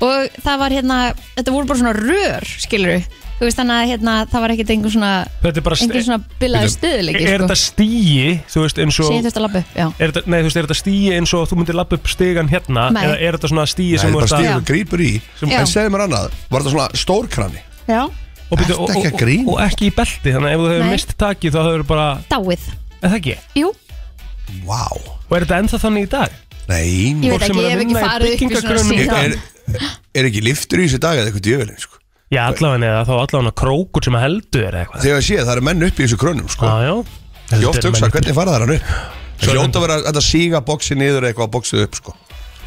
og það var hérna, þetta voru bara svona rör skilur þú veist þannig að hérna, það var ekkert einhver svona
Þetta er bara sti-
engin svona sko. bilaði stöðuleiki
Er þetta stíi, þú veist, eins
Síðan
og
þurfti að labba upp, já
Er þetta, nei, þú veist, er þetta stíi eins og þú myndir lappa upp stigan hérna
Nei.
Eða er þetta svona stíi
Það
sem
er
þú
bara
ert
stíður
að
og grípur í
Já.
En segðu mér annað, var þetta svona stórkrani?
Já,
og, byrju,
Ertu ekki að
og,
grínast?
og, og ekki í belti Þannig að ef þú hefur
Nei.
mist takið þá hefur bara
dáið Mm.
Er það ekki?
Jú,
Vá
Og er þetta ennþá þannig í dag?
Nei,
ég
Fólk
veit
sem er
ekki,
að
ég hef ekki
vinna í
farið upp í svona
byggingagrunum í dag.
síðan
er, er ekki liftur í þessu dag eða eitthvað djöfilin, sko
Já, allavega eða þá allavega krókur sem heldur eða eitthvað
Þegar ég sé að það eru menn upp í þessu krönum, sko
Já, já
Ég oft hugsa, hvernig fara það hann upp? Það hljóta að vera hægt að síga boxi niður eitthvað og boxið upp sko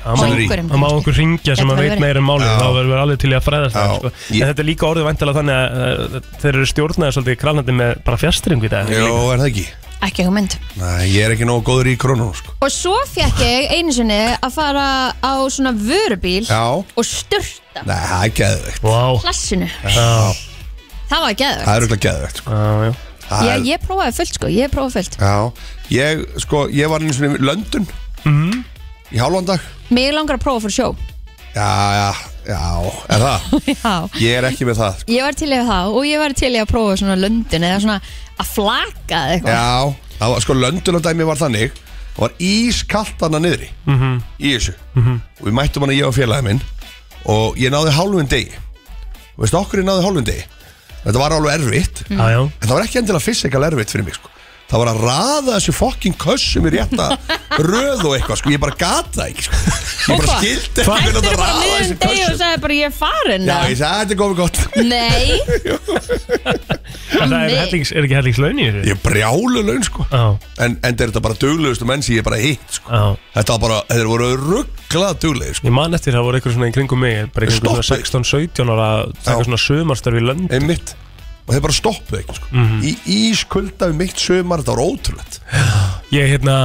Það má-
Og
einhverjum
það má
kannski.
einhver ringja sem
Gæti
að
það
veit
verið.
meira um málið
Já.
þá verður við alveg til í að fræðast það
Já.
sko.
Ég-
en þetta er líka orðið væntalega þannig að uh, þeir eru stjórnaði svolítið kralnandi með bara fjastringu í dag
Jó, er það ekki?
ekki hugmynd
Nei, ég er ekki nógu góður í krónunum sko
og svo fekk ég einu sinni að fara á svona vörubíl
Já.
og styrta
Nei, það er geðvegt
Vá,
plassinu
já,
það var geðvegt
Það er auðvitað geðvegt sko
já, já.
Það er-
ég, ég prófaði fullt sko, ég prófaði fullt
Já, ég, sko, ég var einu svona í London Í hálfan dag
mig langar að prófa fyrir sjó
Já, já, já, er það?
já
Ég er ekki með það sko.
Ég var til í það og ég var til í að prófa svona löndin eða svona að flaka eða eitthvað.
Já, það var, sko, London að dæmi var þannig Það var ískallt hana niðri -hmm. Í þessu Og við mættum hana ég og félagi minn Og ég náði hálfum degi Og veistu okkur ég náði hálfum degi Þetta var alveg erfitt
já,
Mm.
já.
En það var ekki endilega fysikal erfitt fyrir mig sko. Það var að raða þessu fokkin kössum í rétta röð og eitthvað sko. Ég bara gata ekki sko. Ég bara
hvað?
skildi ekki hvernig átti
Þetta er
að
bara
raða
miðum
þessu
degi og
kössum
sagði bara ég er farin
Já,
eða?
ég sagði þetta er komið gott
Nei,
En Það er,
Nei.
hellings, er ekki hellingslaun í þessu?
Ég er brjálu laun sko
Ah.
Já,
En, en þetta er bara duglegustu menn sem ég er bara hitt sko.
já
Þetta var bara, þetta voru rugglað duglegu sko.
Ég man eftir það voru einhver svona í kringum mig bara einhver svona
Stoppaði.
16-17 ára að taka
Já.
svona sömarstarf í lönd
Einmitt Og þeir bara stoppuðu ekki sko.
Mhm.
Í ískulda við mitt sömar Þetta var ótrúlegt
Ég hérna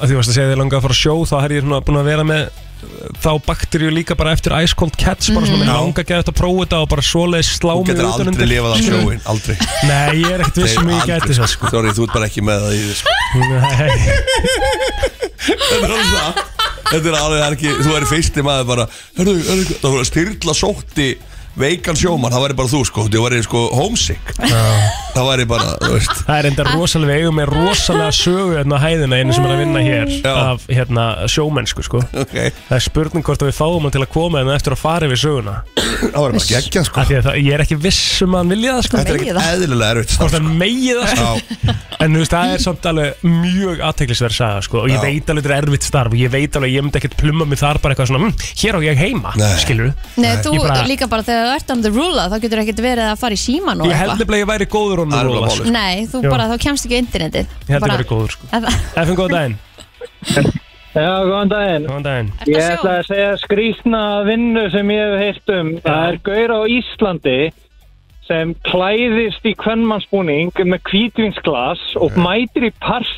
að því varst að segja að þið langaði að fara á sjó þá er ég svona búin að vera með uh, þá bakteríu líka bara eftir Ice Cold Cats bara svona með
Mm. Já.
langa að þetta að prófa þetta og bara svoleiðis slá
Þú
mig
getur
um
utan
aldrei
undir.
lifað af sjóin Aldrei
Nei, ég er ekkert vissum ég
Aldrei,
gæti það sko
Sorry, þú ert bara ekki með það í því sko.
Nei,
Þetta er alveg það Þetta er alveg það er ekki Þú væri fyrsti maður bara Hörru, hörru Það voru að styrla sótti Veikan sjómann Það væri bara þú sko Þú væri sko homesick Það væri bara Þú veist
það er enda rosalega við eigum með rosalega sögu hérna á hæðina einu sem er að vinna hér
Já.
af hérna sjómennsku sko
Ok
Það er spurning hvort að við fáum hann til að koma en eftir að fara yfir söguna
Það væri bara geggja sko
af því að það, ég er ekki viss um að hann vilja það sko
Þetta er
megi
ekki
það.
eðlilega erfitt
hvort
starf,
það megi það sko
sko.
En þú veist, það er samt alveg mjög aðteglisverð saga, sko, og ég
Já.
veit alveg þetta er erfitt starf og ég veit alveg, að ég myndi ekkert plumma mig þar bara eitthvað svona, hm, hér á ég heima,
Nei.
skilur
Nei
Ég
þú
bara-
líka bara þegar þú ert on the rula þá getur ekkert verið að fara í síman og
Ég held
eitthvað
nefnilega að ég væri góður honum
Það er bara
Róla,
málið.
sko.
Nei, þú
Já.
bara, þá kemst ekki á internetið
Ég held ég
Bara-
væri góður, sko
Að það-
Efum, góðan daginn,
Já, góðan daginn.
góðan daginn
Ertu
Ég
að
ætla
sjá?
að segja skrýtna vinnu sem ég hef heilt um. Það er gaur á Íslandi sem klæðist í kvennmannsbúning með kvítvinsglas og mætir í part.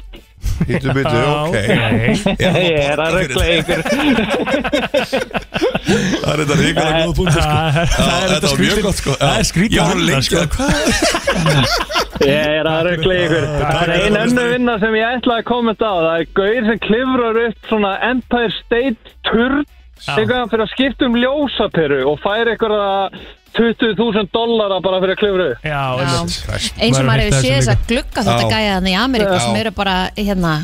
Hittu byttu, ok
Nei.
Ég
Ég er að rögla ykkur.
Það er þetta ríkala góða punktu sko
Það
Já,
er- það er
Þetta
þetta
var mjög
skrítið
gott sko Já,
Það er skrítið sko.
Ég voru
vinna,
lengi að hvað
Ég er að rögla ykkur. Það er ein önnu vinna sem ég ætla að kommenta á. Það er gaur sem klifrar upp svona Empire State turn eitthvað fyrir að skipta um ljósaperu og fær eitthvað 20.000 dollara bara fyrir að klifra upp.
Já, einmitt.
Eins og
Maður
maður
hefur heyrt
hefur
þessu
séð þess að glugga þetta
Já.
gæja þannig í Ameríku
Já. Mm.
sem eru bara hérna,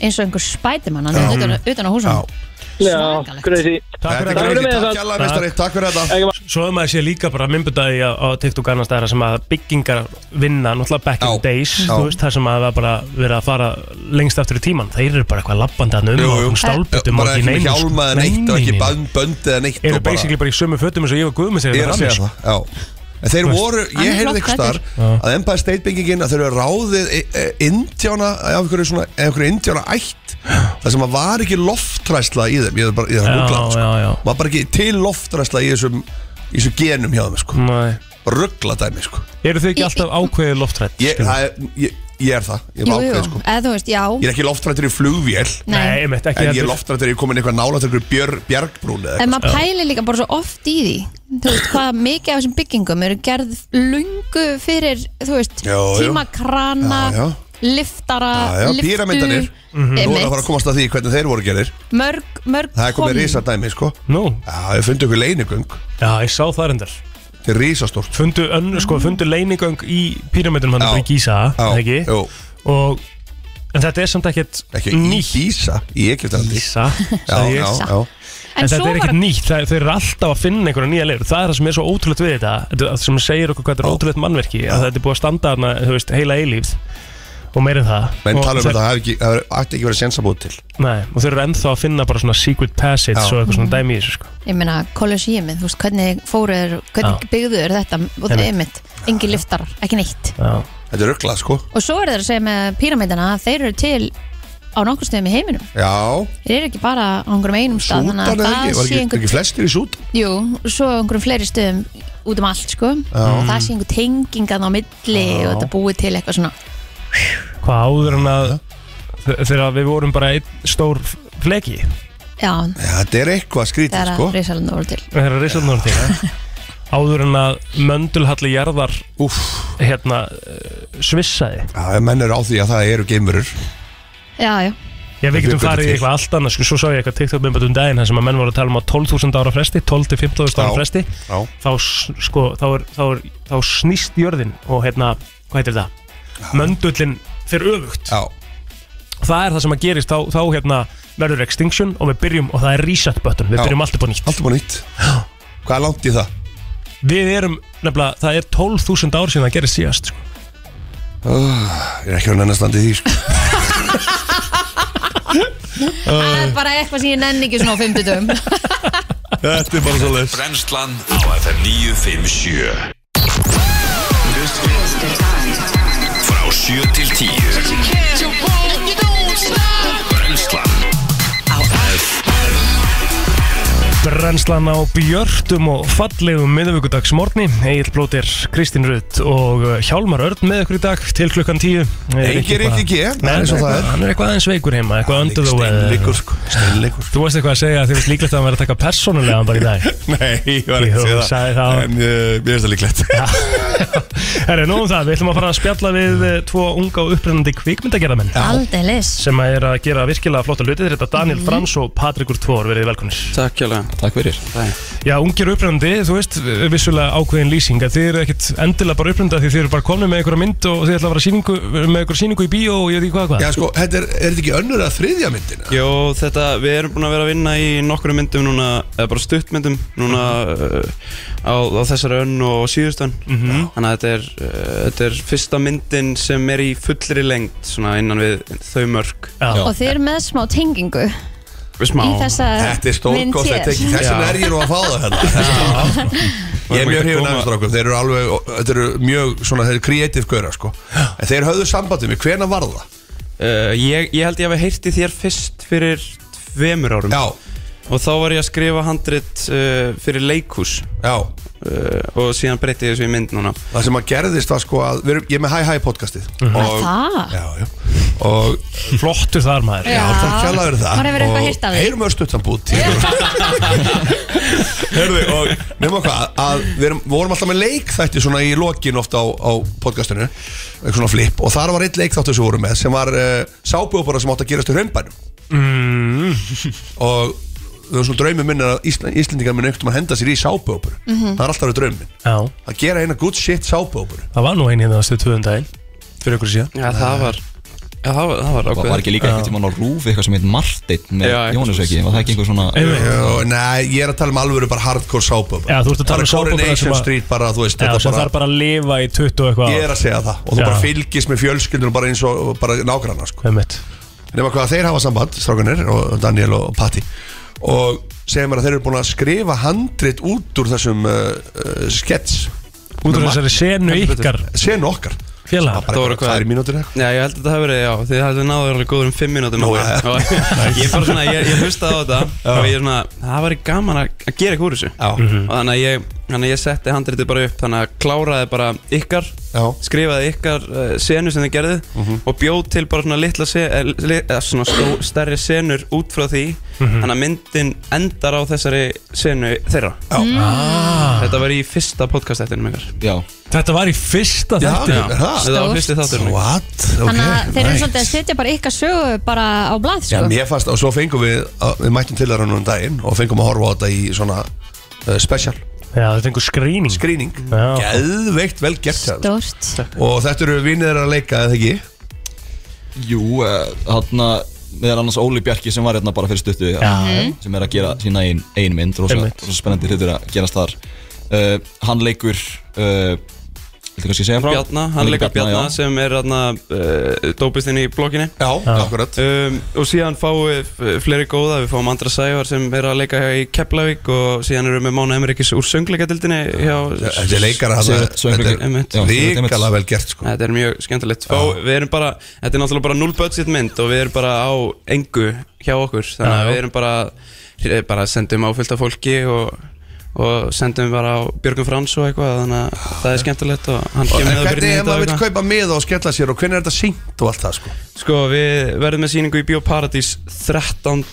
eins og einhver spætimann hann er utan, utan á húsum
Já,
Svakalegt.
greiði
Takk
Þetta
fyrir
er greið
þetta.
Takk fyrir
Takk
þetta.
hjá meistari Takk fyrir þetta
Svo hefur maður sé líka bara mymbutaði á, á TikTok annars staðar sem að byggingar vinna náttúrulega back in
Já.
the days
Já.
þú veist það sem að það var bara verið að fara lengst aftur í tíman, þeir eru bara eitthvað labbandi að
Jú,
nöðum
jú.
og sko. stálputum
Bara ekki með hjálma eða neitt og ekki band- bönd eða neitt
eru
og bara-
basically bara í sömu fötum eins og ég og
Ég
Guðmund segir sko.
er að segja það, já En þeir voru,
Hann
ég
er
heyrði
flott
ykkur starf að Empire State byggingin að þeir eru ráðið e- e- indjána, af einhverju svona af einhverju indjána ætt það sem að var ekki loftræsla í þeim ég er bara, ég er
Já,
rugglað sko.
já, já.
var bara ekki til loftræsla í þessum í þessum genum hjá þeim
Hm.
sko.
Nei.
ruggla dæmi sko.
Eru þið ekki alltaf ákveðið loftrætt?
ég, það er, ég, ég er það, ég er
Jú, jú,
ákveð sko.
eða þú veist, já
ég er ekki loftrættur í flugvél
Nei, ég veit ekki
en ég er
heldur.
loftrættur í komin eitthvað nála til einhverju björ, bjargbrún eða eitthvað
En maður pæli líka bara svo oft í því Þú veist, hvað mikið af þessum byggingum eru gerð lungu fyrir, þú veist,
Já, já.
tímakrana,
Já, já.
liftara,
Já, já,
lyftu,
píramídarnir.
Mhm.
Nú er að fara að
Mm. einmitt,
komast að því hvernig þeir voru gerir
mörg, mörg
Það er komið
tonn.
risadæmi sko
Nú,
Já, við fundum ykkur leinigöng
já, ég sá það reyndar
Þetta er risastórt
Fundu, önnu, sko, fundu leiningöng í píramidunum hann
Já.
bara í Gísa,
Já,
eða ekki?
jú.
Og, en þetta er samt ekkert
Ekki í
nýtt
Gísa, í Egyptalandi
Gísa,
Já,
sagði ég
já, já
En, þetta
svo
er
var-
ekkert nýtt, það, þau eru alltaf að finna einhverja nýja leir Það er það sem er svo ótrúlegt við þetta þetta- Það sem segir okkur hvað þetta er ótrúlegt mannverki að Þetta er búið að standa hana, þú veist, heila eilífð Og meira en það
Menn
og,
tala um
þeir-
þetta, það hafi ekki- það hafi- ætti ekki verið sensabúð til
Nei, og þeir eru ennþá að finna bara svona secret passage
Já.
og eitthvað svona dæmi í þessu sko.
Ég meina, kolosíumið, þú veist, hvernig fóruður, hvernig
Já.
byggðuður þetta og það er einmitt, engin liftarar, ekki neitt
Já.
Þetta er rugglað sko
Og svo er það að segja með píramídana að þeir eru til á nokkur stöðum í heiminum
Já,
Þeir eru ekki bara á einhverjum einum stað
Sútan
Þannig
eða
að
ekki,
það
var
sé
ekki,
einhver
ekki flestir í Sútan
Jú, og svo á einhverjum fleiri stöðum út um allt sko og það sé einhver tengingan á milli og þetta búið til eitthvað svona
Hvað áður en að Þegar við vorum bara einn stór fleki
Já,
Já, þetta er eitthvað skrítið,
þegar
sko
að risalanda voru til
Þegar risalnur til eh, Áður en að möndulhalli jarðar
Úff,
Hérna eh, Svissaði
já, ef menn eru á því að það eru geimurur
Já, já,
Já, við getum
bjuggum
farið
til.
í eitthvað allt annað sko, Svo sá ég eitthvað TikTok myndbætt um daginn þar sem að menn voru að tala um á 12.000 ára fresti 12-15.000
Já.
ára fresti
Já,
þá, s- sko, þá, er, þá, er, þá snýst jörðin og hérna, hvað heitir það? Möndullin fer öfugt
já,
Það er það sem að gerist þá, þá hérna, verður extinction og við byrjum og það er reset button Við
Já.
byrjum alltaf búin nýtt
allt búin nýtt Hvað er langt í það?
Við erum, nefnilega, það er 12.000 ára síðan það gerist síðast sko.
Ég er ekki verið nennast landið því, sko
það er bara eitthvað sem ég nenni ekki svona á 50 dögum
Þetta er bara svo leys
Brennslan á FM 957 Frá 7 til 10 Brennslan
á
Brennslan á björtum og fallegum miðvíkudags morgni Egil Blóter, Kristín Rutt og uh, Hjálmar Örn með okkur í dag til klukkan 10
Engir ekki ekki, það er
Nei,
eins og það er
hann er eitthvað aðeins veikur heima, eitthvað önduð og
Steinleikur, sko, steinleikur
Þú varst eitthvað að segja að þið finnst líklegt að hann verði að taka persónulega hann bara í dag
Nei, ég var ekki
Ég
að
hugsaði
segja
það.
það En uh, mér finnst það líklegt
Herri, nóg um það, við ætlum að fara að spjalla við eh, tvo unga og upprennandi kvikmyndagerðamenn
Aldrei lis
sem að er að gera virkilega flotta hluti þetta er Daniel Frans og Patrikur Tvor verið velkonir
Takk hjálpa Takk fyrir
Já, ungir og upprennandi, þú veist, vissulega ákveðin lýsing að þið eru ekkit endilega bara upprennandi því þið eru bara komin með einhverja mynd og þið ætla að fara síningu, með einhverja síningu í bíó og ég veit ekki hvað hvað
Já, sko, þetta er, er þetta ekki önnur að þriðja myndina?
Jó, þetta, við erum búin að vera að vinna í nokkru myndum núna eða bara stuttmyndum núna uh, á, á þessari önn og síðustönn
Mhm.
Þannig að þetta er, uh, þetta er fyrsta myndin sem er í fullri lengd svona innan við þau mörg
Já,
Og þið eru með smá tengingu
Við smá
í þessa
Þetta er stórkost,
mynd
þetta er ekki,
hér.
þess vegna er ég nú að fá það hérna Ég er mjög hrifin aðeins strákum, þeir eru alveg, þetta eru mjög svona, þeir eru kreatív gauðra sko En þeir höfðu sambandi með hvena var það?
uh, ég, ég held ég hafi heyrti þér fyrst fyrir tveimur árum
Já,
Og þá var ég að skrifa handrit uh, fyrir leikhús
já,
uh, Og síðan breytti ég þessu í mynd núna
það sem að gerðist var sko að, við erum, ég er með Hi Hi podcastið og,
Það?
Já, já, og
flottur þar maður
Já.
það kjallaður það
Maður hefur eitthvað heyrt af því.
Og heyrum östuttan bút Herðu, og nefnum hvað að við erum, vorum alltaf með leikþætti svona í lokin ofta á, á podcastinu eitthvað svona flip og þar var eitt leikþáttu sem við vorum með sem var uh, sábjóbara sem átti að gerast í raunbænum mm. og það var svona draumi minn er að Ísland, Íslendingar minn einhvern veginn henda sér í sábjóbur
Mhm.
það er alltaf verið draumin
Já,
að gera eina good shit sábjóbur
það var nú einu hérna stöð tvöðum daginn fyrir ykkur síðan
Já, það var, Eh, já, það var, það var
Var,
ákveðið
var ekki líka einhvern tímann á rúfi eitthvað sem heit Martin með
Já, eitthvað
Jónus ekki, var það ekki einhver svona
Einmitt.
Nei, ég er að tala um alvöru bara hardcore sábjóbur
Já, þú ert að tala um sápuopera sem
Coronation
að-
Street bara, þú veist,
Já,
þetta
sem
bara
þarf bara að lifa í 20 og eitthvað
Ég er að segja það og þú
Já.
bara fylgist með fjölskyldunum bara eins og bara nágranna sko.
Einmitt.
nema hvað þeir hafa samband, strákanir og Daniel og Patti og segja mér að þeir eru búin að skrifa handrit út úr þessum uh, uh, skets
Út úr
Með
þessari senu
Heldur betur.
ykkar
sen okkar
félagar
Það
bara
voru hvað?
tvær mínútur eitthvað
Já, ég held að það hefur verið, já, þið hefðu náður alveg góður um fimm mínútum
Nú,
Já,
ja.
Ég bara svona, ég, ég hlustaði á þetta og ég svona, það væri gaman að að gera eitthvað úr þessu
Já. Mhm.
og þannig að ég, þannig að ég setti handritið bara upp þannig að kláraði bara ykkar
Já. Mhm.
skrifaði ykkar uh, senu sem þið gerðið og bjóð til bara svona litla se, eh, li, eh, svona stó, stærri senur út frá því
Mhm.
þannig að myndin endar á þessari senu þeirra
Já.
Mm.
Ah.
Þetta var í fyrsta podcastettinum ykkar
Já,
Þetta var í fyrsta
Já,
þætti
er það?
Þetta var
Stórt.
fyrsti þátturinn ykkar.
What?
Þannig að þeir eru
nice.
svolítið að setja bara ykkar sögu bara á blað
Já,
sko
mér fannst, og svo fengum við, að- við mættum til þeirra núna um daginn og fengum að horfa á þetta í svona uh, special
Já, þetta er einhver skrýning
skrýning,
Já.
geðveikt vel gert hjá þeim.
Stort
og þetta eru vinir þeirra að leika, eða ekki?
jú, uh, þarna meðal annars Óli Bjarki sem var hérna bara fyrir stuttu Já. sem er að gera sína ein, ein mynd rosa,
Einmitt.
Eh, rosa spennandi hlutur að gerast þar uh, hann leikur uh, Viltu kannski segja frá?
Bjarna, hann leikar Bjarna
já.
sem er þarna uh, dópistinn í blokkinni
Já, akkurat
um, og síðan fáum við f- fleiri góða við fáum Andra Sævar sem er að leika hjá í Keflavík og síðan erum við Mána Emrikis úr söngleikadildinni hjá
Þetta er leikara hann
Sigurð- Sigurður Ingi-
einmitt.
Já, Sigurður Ingi-
Ríkala vel gert sko
Þetta er mjög skemmtilegt Fá, Við erum bara, þetta er náttúrulega bara null budget mynd og við erum bara á engu hjá okkur
Já,
þannig
já.
að við erum bara, eh, bara sendum á fullt af fólki og, og sendum bara á Björgum Frans og eitthvað þannig að það er skemmtilegt og hann
En
kemur með að
hvernig
byrja
ef
þetta og
maður vil
eitthvað.
kaupa miða og skella sér og hvernig er þetta sínt og allt það sko
Sko við verðum með sýningu í Bíóparadís 13.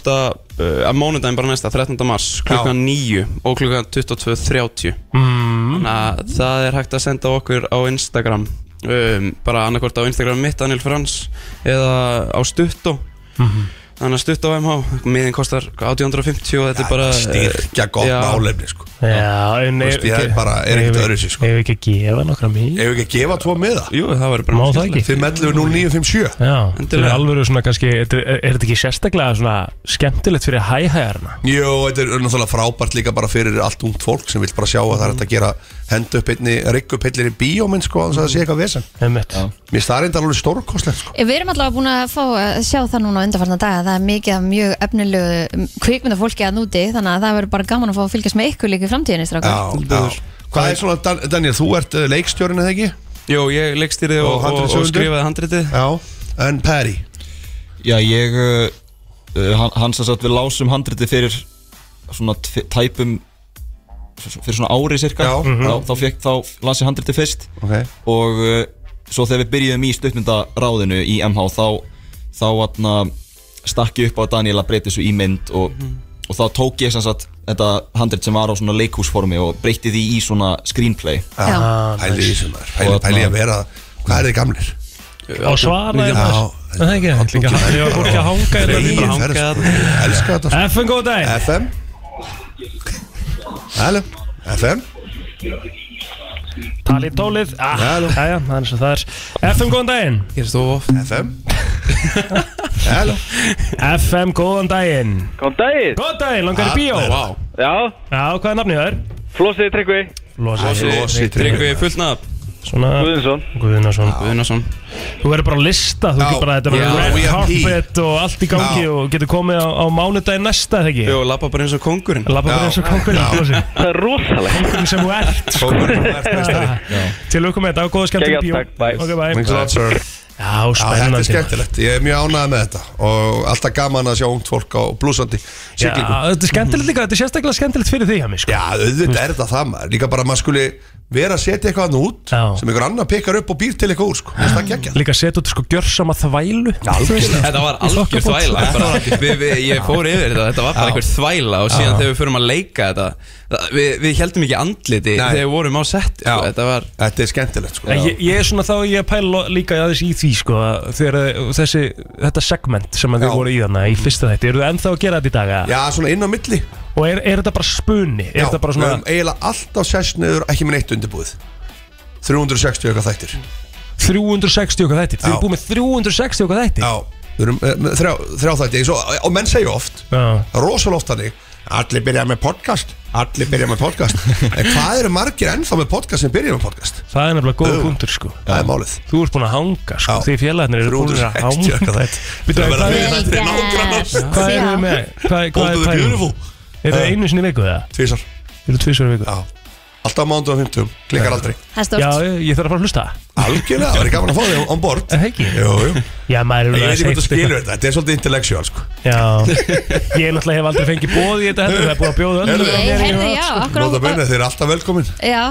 Uh, að mánudaginn bara næsta, 13. mars klukkan 9 og klukkan 22.30 mm.
Mhm.
að það er hægt að senda okkur á Instagram um, bara annarkvort á Instagram mitt Daniel Frans eða á Stutto
Mhm.
þannig að Stutto MH miðin kostar 1850 og þetta er bara uh,
Styrkja gott
Já.
málefni sko
Já, en
Þú veist, ég er bara- er ekkert öðruvísi, sko.
Ef við ekki að gefa nokkra mjög
Ef við ekki að gefa tvo miða
Jú, það verður
Má það
bara skemmtilegt.
ekki?
5.11.09.57
Já, þetta
Endilega.
er alveg svona kannski þetta Er er þetta ekki sérstaklega svona skemmtilegt fyrir hæhæðarna?
Jú, þetta er náttúrulega frábært líka bara fyrir allt ungt fólk sem vil bara sjá að það er hægt að gera hend upp einni, rigg upp einni bíóminn sko þannig að það sé eitthvað vesen
Einmitt.
Mér starrið er alveg stórkostlegt sko
Við erum allavega búin að fá að sjá það núna á undarfarna daga, það er mikið af mjög efnilegu kvikmynda fólki að núti þannig að það verður bara gaman að fá að fylgjast með ykkur líka í framtíðinni strákar.
Já, já Hvað er svona, Dan- Daniel, þú ert uh, leikstjórinn eða ekki?
Jú, ég leikstýrði og,
Og
og, og,
handritshöfundur?
skrifaði handritið
Já En Perry
Já, ég uh, uh, hann- Hann sem sagt við lásum handriti fyrir svona tve- tæpum fyrir svona ári cirka
Já.
þá, þá, fékk, þá las ég handriti fyrst
Ok.
og uh, svo þegar við byrjuðum í stuttmyndaráðinu í MH þá, þá atna, stakk ég upp á að Daniel að breyta þessu í mynd og, og þá tók ég sem sagt þetta handrit sem var á svona leikhúsformi og breytti því í svona screenplay
Ah,
Já.
Pæli í sem er Pæli,
Og
pæli
þarna-
að vera Hvað er þið gamlir?
Á svara er það Er það ekki? Líka- Ég var fólki að hanga hérna í
Regin
það
ferð sko Elskar þetta sko
FN góð dag
FM Halló FM
Talið tólið ah,
Já, nú.
Jæja, það er eins og það er FM góðan daginn
Gerist þú of
FM Halló
FM góðan daginn
Góðan daginn
Góðan daginn, langar í bíó Já,
Já,
hvað er nafnið það er?
Flósið Tryggvi
Losi
Losi
Tryggvi fullnaf
Svona
Guðinsson
Guðunarsson
Guðnason
Þú verður bara að lista Þú
Já.
getur bara Þetta
Já,
verður
VIP.
red carpet og allt í gangi
Já.
og getur komið á, á mánudaginn næsta, þegar ekki?
Jú, lappa bara eins og kongurinn
Lappa bara
Já.
eins og kongurinn Losi
Það er rosalegt
Kongurinn sem þú ert sko.
Kókurinn er meistari
Til okkur með þetta og góða skemmt
Geggjað, takk, bye.
Ok, bye
Thanks a lot, sir. Já,
Já,
þetta er
spennandi
skemmtilegt, ég er mjög ánægð með þetta og alltaf gaman að sjá ungt fólk á blúsandi
Já,
siglingu Já,
þetta er skemmtilegt líka Þetta er sérstaklega skemmtilegt fyrir því, Hami, sko
auðvitað er þetta það maður, líka bara að maður skuli vera að setja eitthvað annað út
Já.
sem einhver annar pekar upp og býr til eitthvað úr sko, Mér finnst það gekkja
Líka setja út sko gjörsama þvælu
Þetta var algjör þvæla bara, við, við, Ég fór yfir þetta, þetta var bara einhver þvæla Og síðan þegar við förum að leika þetta það, við, við heldum ekki andliti
Nei.
þegar við vorum á sett sko,
Já.
Þetta var
Þetta er skemmtilegt sko
En Ég, ég er svona þá, ég pæla lo- líka aðeins í því sko að þegar eh, þessi, þetta segment sem að þið
Já. Mhm.
voru í þarna í fyrsta þætti, eru þið ennþá að gera þetta í dag eða?
Já, svona inn á milli Já,
og er, er þetta bara spuni? Er þetta bara
við
svona
höfum eiginlega alltaf sérst niður, ekki með neitt undirbúið 360 eitthvað þættir
360 okkar þætti? Þið
Já.
eru búið með 360 okkar þætti?
Já, við erum eh, með þrjá, þrjá þætti eins og, og menn segja oft
Já.
rosalega oft þannig Allir byrja með podcast Allir byrja með podcast En hvað eru margir ennþá með podcast sem byrja með podcast?
Það er nefnilega góð
Jú.
punktur sko
Það er málið
Þú ert búin að hanga sko,
Já.
því félagarnir eru búin að
360
hanga
okkar þætti.
Býtu,
Það
hvað
verða
er-
við- þetta er nágrannar.
Hvað eru þið með? Hvað, hvað er
Óttuðu
pælum?
beautiful
Er það einu sinni í viku það?
Tvísar
Eru tvisvar í viku?
Já Alltaf á mánuðu og 50 Klikkar aldrei
Það er
Já,
stort.
ég, ég þarf að fara að hlusta
Algjörlega Það er gaman að fá þig on board
Er það ekki?
Jú, jú
Já, maður
En
er
Ég veit ekki hvað þú
alveg heilt eitthvað.
skilur þetta Þetta er svolítið intellectual sko
Já, ég náttúrulega hef aldrei fengið bóð í þetta heldur, það er búið að bjóða
Heyrðu,
öllum að mér
Nei,
í
heyrðu,
það,
já,
sko.
okkur á
Nóta benni þeir eru alltaf velkomin
hérna Já,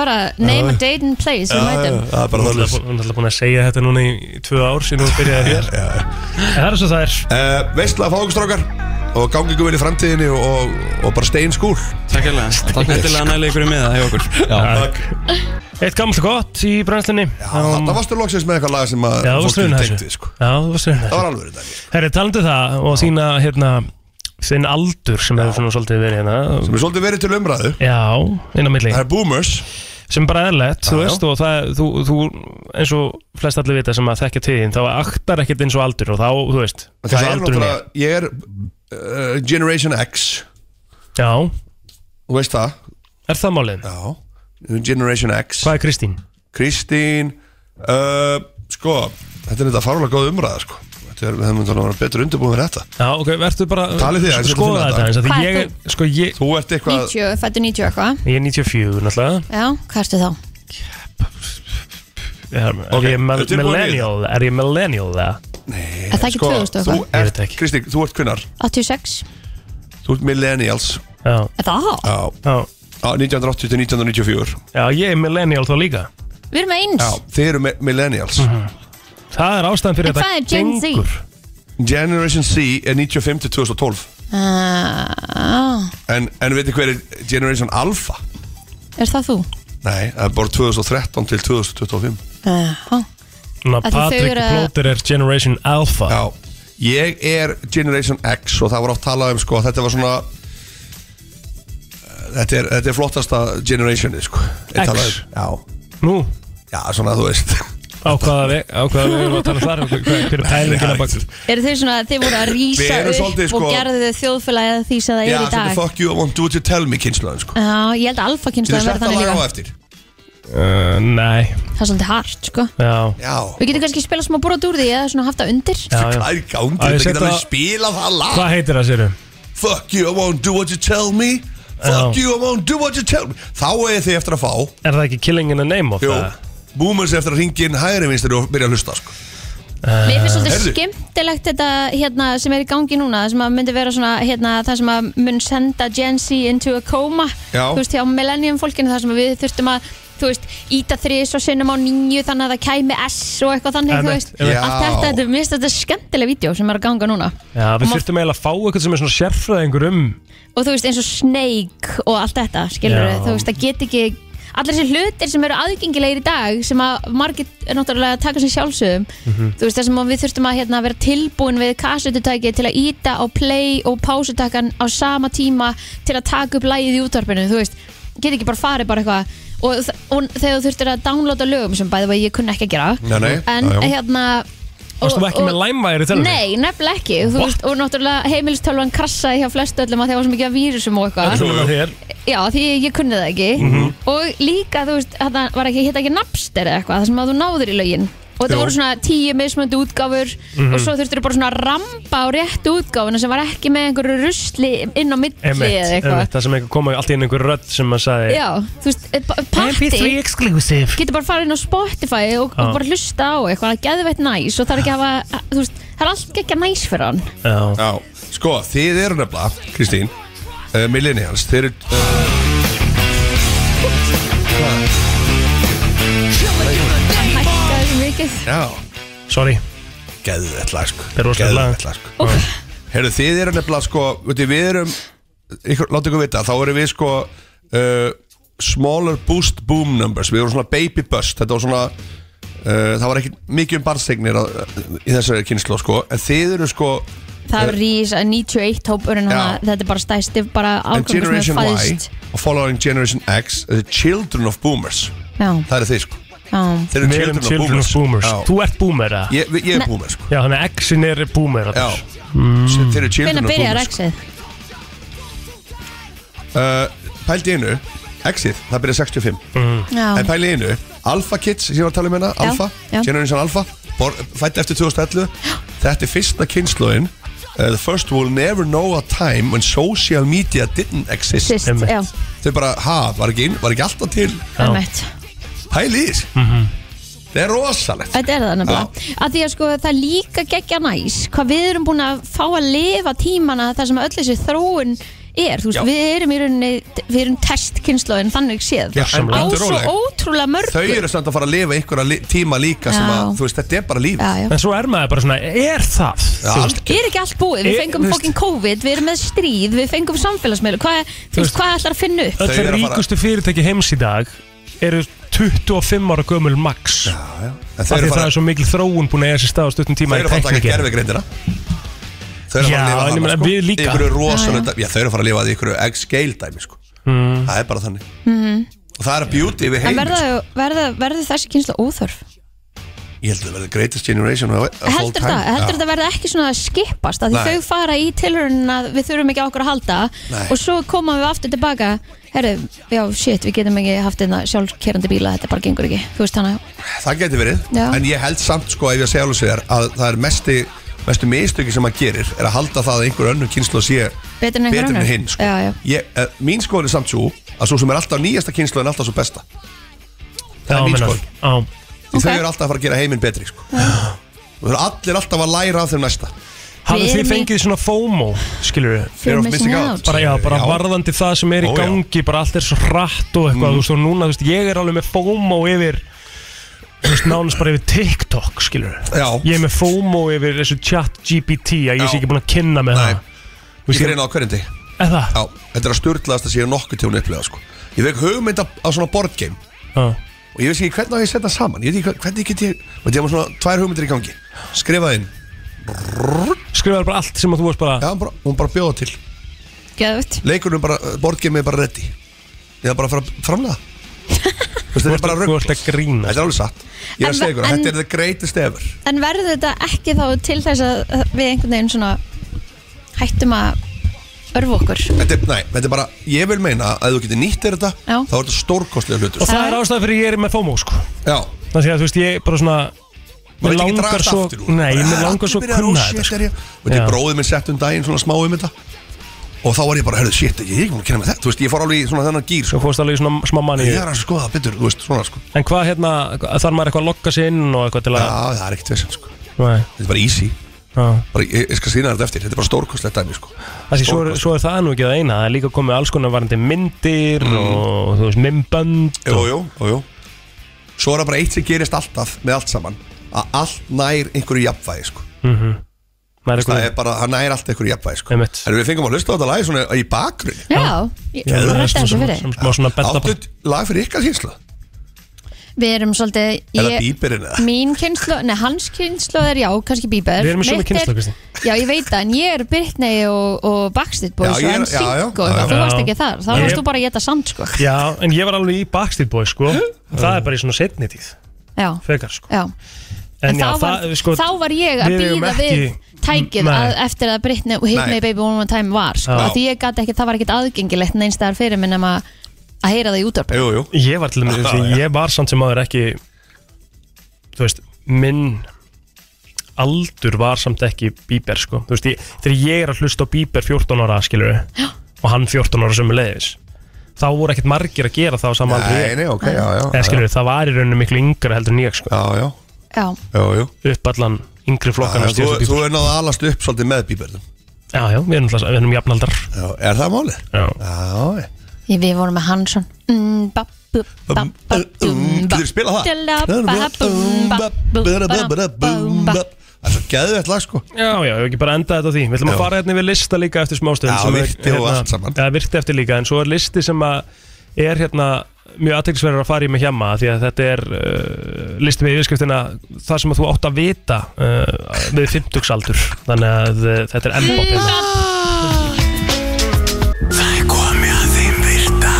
bara name a date and place við
Það
mætum.
er bara
Hún er
þannig
náttúrulega búin að segja þetta núna í, í tvö ár síðan hún byrjaði hér En það er svo það er
uh, Veistlega fákustrákar Og gangi ykkur vel í framtíðinni og, og, og bara stein skúr
Takk hérlega Endilega næli ykkur í miða hjá okkur
Eitt gamalt og gott í brennslinni
Já, Þetta varstu loksins með eitthvað lag sem að
Já, þú
fólk
varst raun
getur
þessu
tengt við, sko.
Já, þú varst raun
Það
þessu
var alveg þetta
Herri, talandu það og þína, hérna, þinn aldur sem hefur svona svolítið verið hérna
Sem er svolítið verið til umræðu
Já, inn á milli
Það er boomers
sem er bara eðlilegt, þú
Já, já.
veist og það, þú, þú, eins og flest allir vita sem að þekkja tíðin, þá aktar ekkert eins og aldur og þá, þú veist,
Það
hvað
er
aldurinn
náttúrulega, ég er uh, Generation X
er Já,
Þú veist það?
er það málið?
Já Generation X
Hvað er Kristín?
Kristín uh, Sko, þetta er þetta farulega góð umræða sko. Þetta er, það myndi að vera betur undirbúin fyrir þetta
Já, ok, verður bara
Talið þið,
sko,
þetta er
skoða
fyrir
þetta
þetta.
eins af
Hvað
Því
ert
ég, er- sko, ég,
Þú ert eitthvað
90, fættu 90 eitthvað
ég er 94 náttúrulega
Já, hvað ertu þá?
Er,
Ok,
er ég me-
tilbúin í
millennial? Er ég millennial það?
Er það ekki 2000
Sko, þú
eitthvað?
Ég
ert,
veit ekki.
Kristín, þú ert kvinnar
86?
Þú ert millennials
Já,
Er það?
Já,
já,
á 1980 til 1994
já, ég er millennial þá líka
Við erum eins
Já, Mhm. þið eru mi- millennials
Það er ástæðan fyrir
En hvað er
þetta
Gen Z?
gengur
Generation C er 95 til 2012
uh,
En, en veitir hver er Generation Alpha?
Er það þú?
Nei, það er bara 2013 til 2025
Uh,
Ná,
Af því þau
Patrick
eru-
Plóter er Generation Alpha
Já, ég er Generation X og það var átt talað um sko að Þetta var svona eh, Þetta er, þetta er flottasta generationi sko er
X?
talað um.
Nú,
Já, já, svona þú veist
á hvaða við, á hvaða við erum að tala þar Hver hver er pælingina bak
Eru þau svona að þið voru að
Við
rýsa
erum
upp
svolítið,
og
sko-
gerðu þau þjóðfélagið því sem það
Já,
er í
svona
dag?
fuck you, I want you to tell me kynsluðan sko
Já, ég held að
Getur
alfakynsluðum verður
slett að
þannig
laga á
líka
eftir
Uh, Nei,
Það er svolítið hart, sko
já
Já,
Við getum kannski spilað smá brot úr því eða svona haft það undir
Já, já.
hvað er í gangi?
Á, ég
Þetta
set
getur alveg
það-
spilað það lag
Hvað heitir það sérum?
Fuck you, I won't do what you tell me Fuck you, I won't do what you tell me Þá er þið eftir að fá
Er það ekki Killing in a Name of
Jú,
það?
boomers eftir að ringin hægri vinstri og byrja að hlusta sko.
Mér finnst svolítið
Heyrðu.
skemmtilegt þetta hérna, sem er í gangi núna það sem að myndi vera svona hérna, það sem að mun senda Gen Z into a coma
Já.
þú veist hjá millennium fólkinu það sem við þurftum að þú veist, íta þrís og sinnum á nýju þannig að það kæmi S og eitthvað þannig þú
Emmett,
veist,
emmett.
allt
Já.
þetta, þetta, mér finnst þetta skemmtilega vídeo sem er að ganga núna
Já, við
Og má-
þurftum eiginlega að fá eitthvað sem er svona sérfræðingur um
og þú veist eins og Snake og allt þetta skilur
Já.
þú veist það get ekki allir þessi hlutir sem eru aðgengilegir í dag sem að margir er náttúrulega að taka sér sjálfsögum
Mhm.
þú veist það sem að við þurftum að hérna, vera tilbúin við kassututæki til að íta á play og pásutakkan á sama tíma til að taka upp lægið í útvarpinu þú veist, get ekki bara farið bara eitthvað og, þ- og þegar þú þurftir að downloada lögum sem bæði og ég kunni ekki að gera
Nei, nei,
en
já, já.
hérna
Varstum
og-
ekki með
og-
læmværi til
Nei, nefnilega ekki Þú veist, Og náttúrulega heimilistölvan krassaði hjá flestu öllum að það var svo mikið af vírusum og eitthvað
Þér,
Já, því ég kunni það ekki Og líka, þú veist, þetta var ekki hitt ekki napster eða eitthvað, það sem að þú náður í lögin Og þetta
Jú.
voru svona tíu mismöndu útgáfur Og svo þurftur bara svona að ramba á réttu útgáfuna sem var ekki með einhverju rusli inn á milli eða
emitt,
eitthvað
emitt, það sem eitthvað koma allt í einu einhver rödd sem maður sagði
Já, þú veist, eh, pa- party
exclusive
getur bara farið inn á Spotify og, og
Já.
bara hlusta á eitthvað, það er geðveitt næs og það er ekki að hafa, þú veist, það er allt ekki að næs fyrir hann
Já,
Já, sko, þið eru nefnilega, Kristín uh, Millennials, þið eru uh,
Hækka þessu mikið
Já,
sorry,
geðvett lag, sko
er rosalegt lag.
Geðvett lag, sko Heyrðu, þið eru nefnilega, sko, veitir, við erum ykkur, Láttu ykkur vita, þá erum við, sko uh, Smaller boost boom numbers Við erum svona baby bust Þetta var svona Uh, það var ekki mikið um barnstegnir uh, í þessari kynslu sko. en þið eru sko
Það er rís að 91 hópurinn hana,
Já.
þetta er bara stæsti bara
en
ágangur sem
Generation Y
er fæðist
og following Generation X the children of boomers
Já,
það eru þið sko
já
Þeir eru
við erum children of boomers
Já.
Þú ert boomer eða?
Ég, ég er boomer sko
Já, þannig að X-in er boomer
Já
allir.
mm. Þeir eru children
Hvenær
of
byrjar
boomers sko.
X-ið?
uh, Pældi einu Exit, það byrjar 65
Já,
En pældi einu Alpha Kids, sem ég var að tala um hérna
Já,
Alpha,
já.
Generation Alpha bor- Fætt eftir 2011 Þetta er fyrsta kynsluðin uh, The first will never know a time When social media didn't exist
sýst,
Einmitt.
já,
Þau bara, ha, var ekki, inn- var ekki alltaf til
emmett
Pæli í þess Það er rosalegt
Þetta er það nefnilega að Því að sko það er líka geggja næs Hvað við erum búin að fá að lifa tímana Það sem öll þessi þróun er Þú veist,
Já.
við erum í rauninni Við erum testkynnslóðin þannig séð
Já, en
Á
bíddu
svo
róleg.
ótrúlega mörgu
Þau eru samt að fara að lifa einhverja li tíma líka sem
Já.
að, þú veist, þetta er bara lífið
Já, já
En svo er maður bara svona, er
Já,
það? Þú veist,
algjörlega.
er ekki allt búið, við
Ég-
fengum
þú veist-
fokkin COVID, við erum með stríð, við fengum samfélagsmiðlu, hvað, þú veist,
veist-
hvað ætlar að finna upp?
Öll
Þau eru að fara-
ríkustu fyrirtæki heims í dag eru 25 ára gömul max
Já, já. En
af
þeir
því
eru
það
fara
er svo mikil þróun búin að eiga sér stað á stuttum tíma
Þau eru að fara að taka gerfegreindina Þau eru að fara að
Já,
lifa
en ég
þarna
meina,
sko
við líka.
Ykkur er
Já,
rosalega Já, þau eru að fara að lifa því ykkur X-scale dæmi sko
Mm.
Það er bara þannig Og það er að beauty við
Mhm. En
heim
verða, verða, verða þessi kynsla óþörf?
Ég held að það verði greatest generation of, of all
heldur
time
það, heldur það verði ekki svona að skipast af því
Nei.
þau fara í tilhörin að við þurfum ekki á okkur að halda
Nei.
og svo koma við aftur tilbaka herru, já, shit, við getum ekki haft þetta sjálfkerandi bíla, þetta bara gengur ekki þú veist hana,
það Það geti verið,
Já.
en ég held samt sko ef ég segja alveg sér að það er mesti mestu mistöki sem maður gerir er að halda það að einhver önnur kynslu sé
Betri en einhver
betur en
önnur?
hinn sko.
Já, já.
Ég, eh, mín skoðun er samt svo að svo sem er alltaf nýjasta kynslu er alltaf svo besta það
Já,
er mín
meina,
skoðun
já,
okay. þau
Ok.
eru alltaf að fara að gera heiminn betri sko. og þau eru allir alltaf að læra af þeim næsta
Hafið
Við
þið
erum í-
fengið svona FOMO, skilur við?
Fear
fyrir
of
mig
missing
sinni
out.
át
Bara, já, bara
Já.
varðandi það sem er í
Ó, já. Mm.
gangi, bara allt er svo hratt og eitthvað, þú veist, og núna, þú veist, ég er alveg með FOMO yfir, þú veist, nánast bara yfir TikTok, skilur við?
Já.
Ég er með FOMO yfir þessu chat GPT að ég
Já.
sé ekki búin að kynna með
Nei.
það. Þú
ég
veist,
greina á hverjum dag
Er það?
Já, þetta er að styrlaðast að sé nokkuð til hún upplega sko. Ég vek hugmynd af, af svona board game
Já.
og ég veist ekki hvernig á ég að setja saman ég veit ekki hva- hvernig get ég og ég hafa svona tvær hugmyndir í gangi skrifaði inn,
Skrifaðu bara allt sem að þú varst bara,
já, hún bara, hún bara bjóða til
Geðvögt.
leikunum bara, boardgame er bara ready ég er bara að fara að framlega þetta
þú
er bara
ert- þú ert að
rugglust.
grína.
þetta er alveg satt ég er að
En-
segja ykkur að
en-
þetta er the greatest ever
en verður þetta ekki þá til þess að við einhvern veginn svona hættum að örfa okkur
þetta er, nei, þetta er bara, ég vil meina að ef þú getur nýtt þér þetta
Já.
þá er þetta stórkostlega hlutur
Og það er ástæða fyrir ég er með FOMO, sko.
já,
Þannig að, þú veist, ég bara svona,
maður
mér
veit ekki að
langar
dragast
svo,
aftur úr.
nei,
Bara,
mér
"Ah,
langar
allir
svo að
byrjaðir,
kunna
"Oh,
þetta,
shit,
sko.
er ég-" og þetta
Já.
er bróðið minn sett um daginn svona smá um þetta og þá var ég bara, herðu, shit, ég er ekki múin að kynna með þetta þú veist, ég fór alveg í svona þennan gýr sko.
Svo fórst alveg í svona smá manni
ég er að skoða það betur, þú veist, svona sko
En hvað hérna, þarf maður eitthvað að lokka sig inn og eitthvað til
já,
að
það er ekkert vesen, sko
Nei,
þetta er bara easy
já.
bara, ég, ég skal sína þetta eftir, þetta er bara stórkostlegt dæmi sko.
Það sé, svo, er- svo er það nú ekki það eina Það er líka komið alls konar varandi myndir og þú veist, mymbönd
Mm. jú, jú, jú, jú. svo er það bara eitt sem gerist alltaf með allt saman að allt nær einhverju jafnvægi sko. það er bara, það nær allt einhverju jafnvægi sko.
Einmitt.
Herru, við fengum að hlusta á þetta lagi svona í bakgrunn
já, ég rætti þessu fyrir
Sem smá svona betta
áttu lag fyrir ykkar sínslu
við erum svolítið
eða
ég-
bíberinn eða
Mín kynslu, neða hans kynslu er já, kannski Bieber
Við erum í sömu
Mitt er-
kynslóð, Kristín.
Já, ég veit það, en ég er Britney og, og Backstreet
Já,
Boys
ég er- já,
og
já,
NSYNC og
já,
eitthvað,
já.
þú varst
Já.
ekki þar þá
Nei.
varst þú bara að geta sand, sko
Já, en ég var alveg í Backstreet Boy, sko Það er bara í svona setni tíð,
Já,
frekar, sko
já, en
já, sko,
þá, var, þá var ég að
við eigum
býða við
ekki-
tækið
Nei.
að, eftir að Britney og Hit
Nei.
Me Baby One More Time var sko,
Já.
af því ég gat ekki, það var ekkit aðgengilegt neins staðar fyrir minn nema að heyra það í útvarp
jú, jú.
Ég var til dæmis,
Já, já.
ég var samt sem maður ekki Þú veist, minn aldur var samt ekki Bieber, sko Þú veist, ég, þegar ég er að hlusta á Bieber 14 ára, skilur við Og hann 14 ára sem er leiðis Þá voru ekkert margir að gera það á sama aldrei
nei, nei, ok, já, já,
Eða
já,
skilur það var í rauninu miklu yngra heldur en ég sko
já, já,
Já,
já, já.
Upp allan yngri flokkana
Þannig að
já,
þú, þú er náðu að alast upp svolítið með bíberðum
já, já, við erum, alltaf- við erum jafnaldar
er það málið?
Já,
já, já.
ég, við vorum með Hansson Mm, ba, bu, ba, ba, dum, ba.
Getur þið spila
Djalla,
það?
ba, bum, ba, bu, ba, bum, ba.
Það er svo geðvett lag sko
já, já, við ekki bara enda þetta á því Við ætlum
Já.
að fara hérna við lista líka eftir smástöðum
Já,
sem er, hérna-
virti og allt saman.
Já, virti eftir líka, en svo er listi sem að er hérna mjög aðteklisverður að fara í með hjemma því að þetta er uh, listi með yfirskriftina það sem að þú átt að vita uh, við 50 aldur þannig að uh, þetta er M-bop hérna.
Það er komið að þeim virta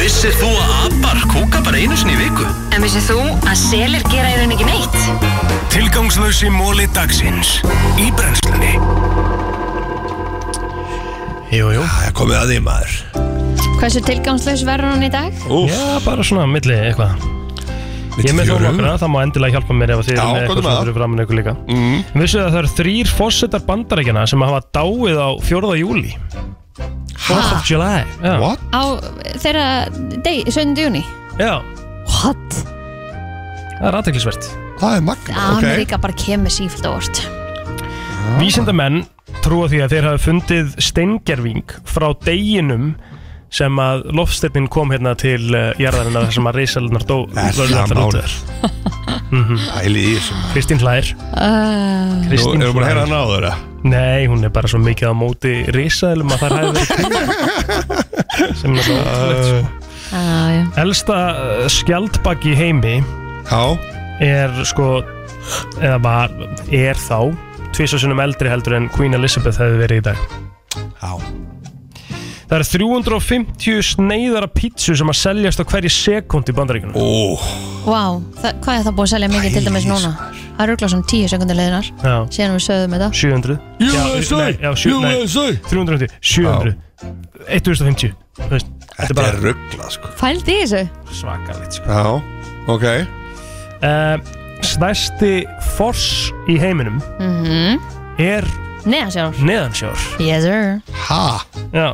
Vissir þú að abar kúka bara einu sinni í viku?
En vissið þú að selir gera í rauninni ekki neitt?
Tilgangslösi móli dagsins Í brennslunni
Jú, jú,
Það er komið að því maður
Hversu tilgangslaus verður hún í dag?
já, bara svona milli eitthvað
Milli
Ég er með þó
fjöru.
nokkra, það má endilega hjálpa mér ef þið
Já,
eru með
komdu
eitthvað
með
sem
það.
fyrir framann ykkur líka mm. Vissu það að það eru þrýr fórsetar bandarækjana sem hafa dáið á 4. júli 4th of July Já,
What?
Á þeirra deg, 17. júni
Já
What?
það er aðteklisvert
Það er magna Ok
Ameríka bara kemur sífilt á orð
Ah.
Vísindamenn trúa því að þeir hafa fundið steingerving frá deginum sem að loftsteinnin kom hérna til uh, jarðarinnar þar sem að reysalunar dó
Er
lögðu
það
allar út
málið?
þar.
Æli í þessu maður.
Kristín Hlær
uh,
Nú
Kristín
erum við búin að heyra hann áður eða?
Nei, hún er bara svo mikið á móti reysalum að það hafi verið til sem er svo ótrúlegt sko.
uh,
Elsta uh, skjaldbaki í heimi
Já
er sko eða bara er þá tvisvarsunum eldri heldur en Queen Elizabeth hefði verið í dag
Já
Það eru 350 sneiðara pítsu sem að seljast á hverju sekund í bandaríkunum
Ó,
Vá, það, hvað er það búið að selja mikið til dæmis núna? Það eru örugglega svona 10 sekundir leiðinar
Já.
síðan við sögðum þetta
700
USA,
nei, já, sjö, nei, 350 700 1050 þú veist, Þetta er
þetta er
bara
ruggla sko
Fældi í þessu?
svakalegt sko.
Já, ok
uh, Stærsti fors í heiminum
Mhm.
er
Neðan sjálf
neðansjór
Yes sir
Ha,
Já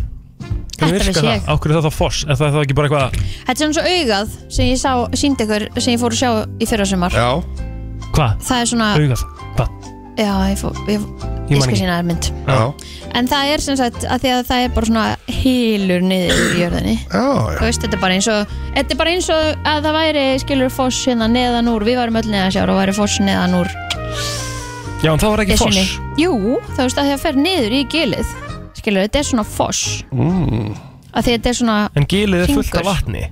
Þetta
Hvernig virkar
vissi ég.
það? Á hverju er það þá fors? Er það, það ekki bara eitthvað
Þetta er svona svo augað sem ég sá, síndi ykkur sem ég fór að sjá í fyrrasumar
já
Hvað?
Það er svona,
Augað? Hvað?
já, ég, fó, ég,
Ég
ég
man
skal
ekki.
sína þær mynd
Já,
En það er sem sagt, að því að það er bara svona hýlur niður í jörðinni
já, já
Þú veist, þetta er bara eins og Þetta er bara eins og að það væri, skilur, foss hérna neðan úr Við varum öll neðan sjálf og væri foss neðan úr
Já, en það var ekki fors
Jú, þú veist, að því að fer niður í gilið Skilur, þetta er svona foss mm. Að því að þetta er svona,
En gilið er fullt af
Hringur.
vatni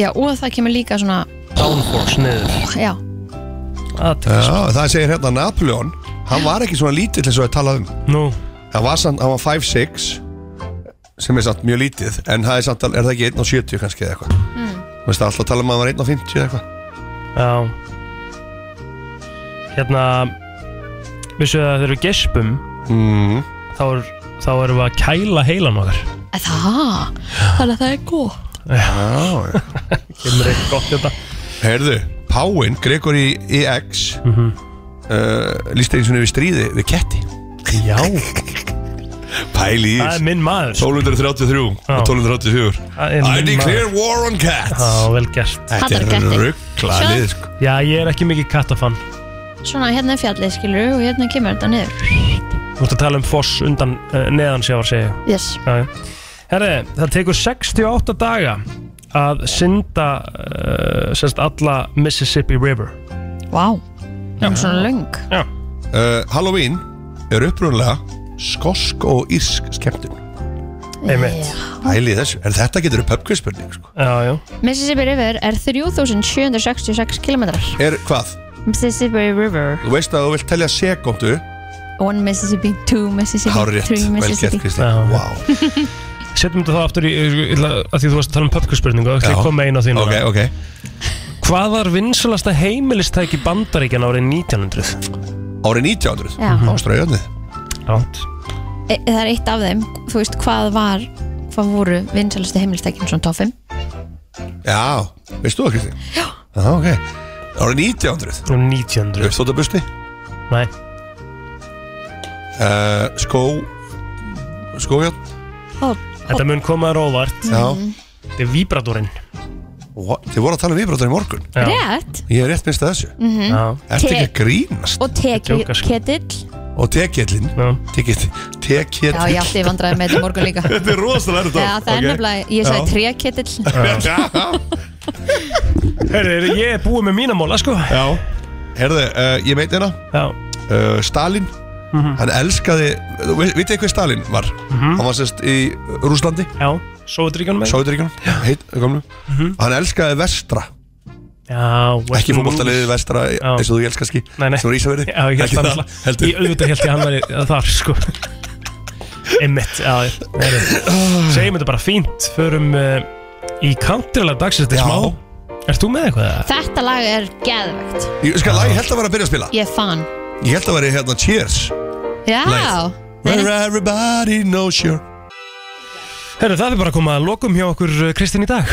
já, og það kemur líka svona
Downfors niður
Já,
Aðtekst
Já, það segir hérna Napoleon Hann var ekki svona lítill eins og um. við talaðum
Nú
Hann var, samt, hann var 5'6 sem er samt mjög lítið en það er samt, al- er það ekki 1,70 kannski eða eitthvað mm. Veist alltaf tala um að hann var 1,50 eða eitthvað
Já Hérna Vissu það að þegar við gespum
mm.
þá, er, þá erum við að kæla heilan okkar
að það Þannig að það er góð
Já, já
Kemur eitt gott í þetta
Herðu, Páin, Gregory EX mm
Mhm.
-hmm. uh, líst eins og við stríði við ketti
Já
Pæli í
Það er minn maður
1233 og 1234
Það
I
er minn
declare
maður
war on cats
Já, vel gert
Þetta
Hattar
er
ketti.
ruggla
Sjá.
lið sko.
Já, ég er ekki mikið kattafann
Svona hérna er fjallið skilur og hérna kemur þetta niður
Þú ert að tala um foss undan uh, neðan sjávar segi ég.
Yes
Já, já. Herri, það tekur 68 daga að synda uh, semst alla Mississippi River
Vá Það er svona löng
Já
uh, Halloween er upprunlega skosk og írsk skemmtun
Einmitt.
Pæli í þessu, en þetta getur upp pubquizspurning sko.
Já, já
Mississippi River er 3766 km
Er hvað?
Mississippi River
Þú veist að þú vilt telja sekundu
1 Mississippi, 2 Mississippi,
Hárið
3
rétt, vel gert
Mississippi
Já.
Kristján wow.
Setjum þetta þá aftur í, ég ætla- að því þú varst að tala um pöpkurspurningu, þá ætla ég
Já.
að koma með eina þínu
Ok, ok
Hvað var vinsalasta heimilistæki bandaríkjan árið 1900?
Árið 1900,
Já.
ástraugarnið
Ránt.
e, Það er eitt af þeim Þú veist hvað var Hvað voru vinsalastu heimilstækjum svona toffum
Já, veist þú það Kristján? Já ah, okay. Árið 1900,
1900.
uppstóttabusti
Nei.
uh, Skó Skójón
Þetta mun koma þér óvart.
Já,
Mhm.
Þetta er víbradorinn.
What? þið voru að tala um viðbrotar í morgun
Já.
Rétt
Ég er rétt minnst að þessu mm.
Já.
Ertu ekki
Te-
að grínast
Og teki-
Jóka, sko.
ketill
Og tekjallinn
Já.
Tekjallinn
Já, ég átti ég vandræði með þetta morgun líka
Þetta er rosalega erfitt
Já, það er nefnilega, ég sagði
Já.
treketill
nefnilega
Herri, ég er búið með mínamóla, sko.
Já Herðu, uh, ég meit hérna
Já.
uh, Stalin
Mhm.
Hann elskaði Þú ve- vitið hver Stalin var Hann var sérst í Rúslandi
Já. Sovjetríkjanum með.
Sáðuríkjum Heit, gömlu
Mhm.
Hann elskaði vestra
Já.
Ekki
Western
fókbaltaliðið vestra
Já.
eins og þú elskar skí
Nei, nei.
Sem er Ísafjörði
Já, ég held
Ekki
það
það
náttúrulega-
heldur.
Ég auðvitað held ég að hann væri að þar, sko. Einmitt, já. Herri. Segjum þetta bara fínt. Förum uh, í countrylag dagsins,
Já.
þetta er smá. Ert þú með eitthvað? eða?
Þetta lag er geðvegt
Ég skal lagi, ég held að vera að byrja að spila
Ég fann
Ég held að vera hérna Cheers
Já
Lagið. Where everybody knows you're
Herru, það er bara að koma að lokum hjá okkur uh, Kristín í dag.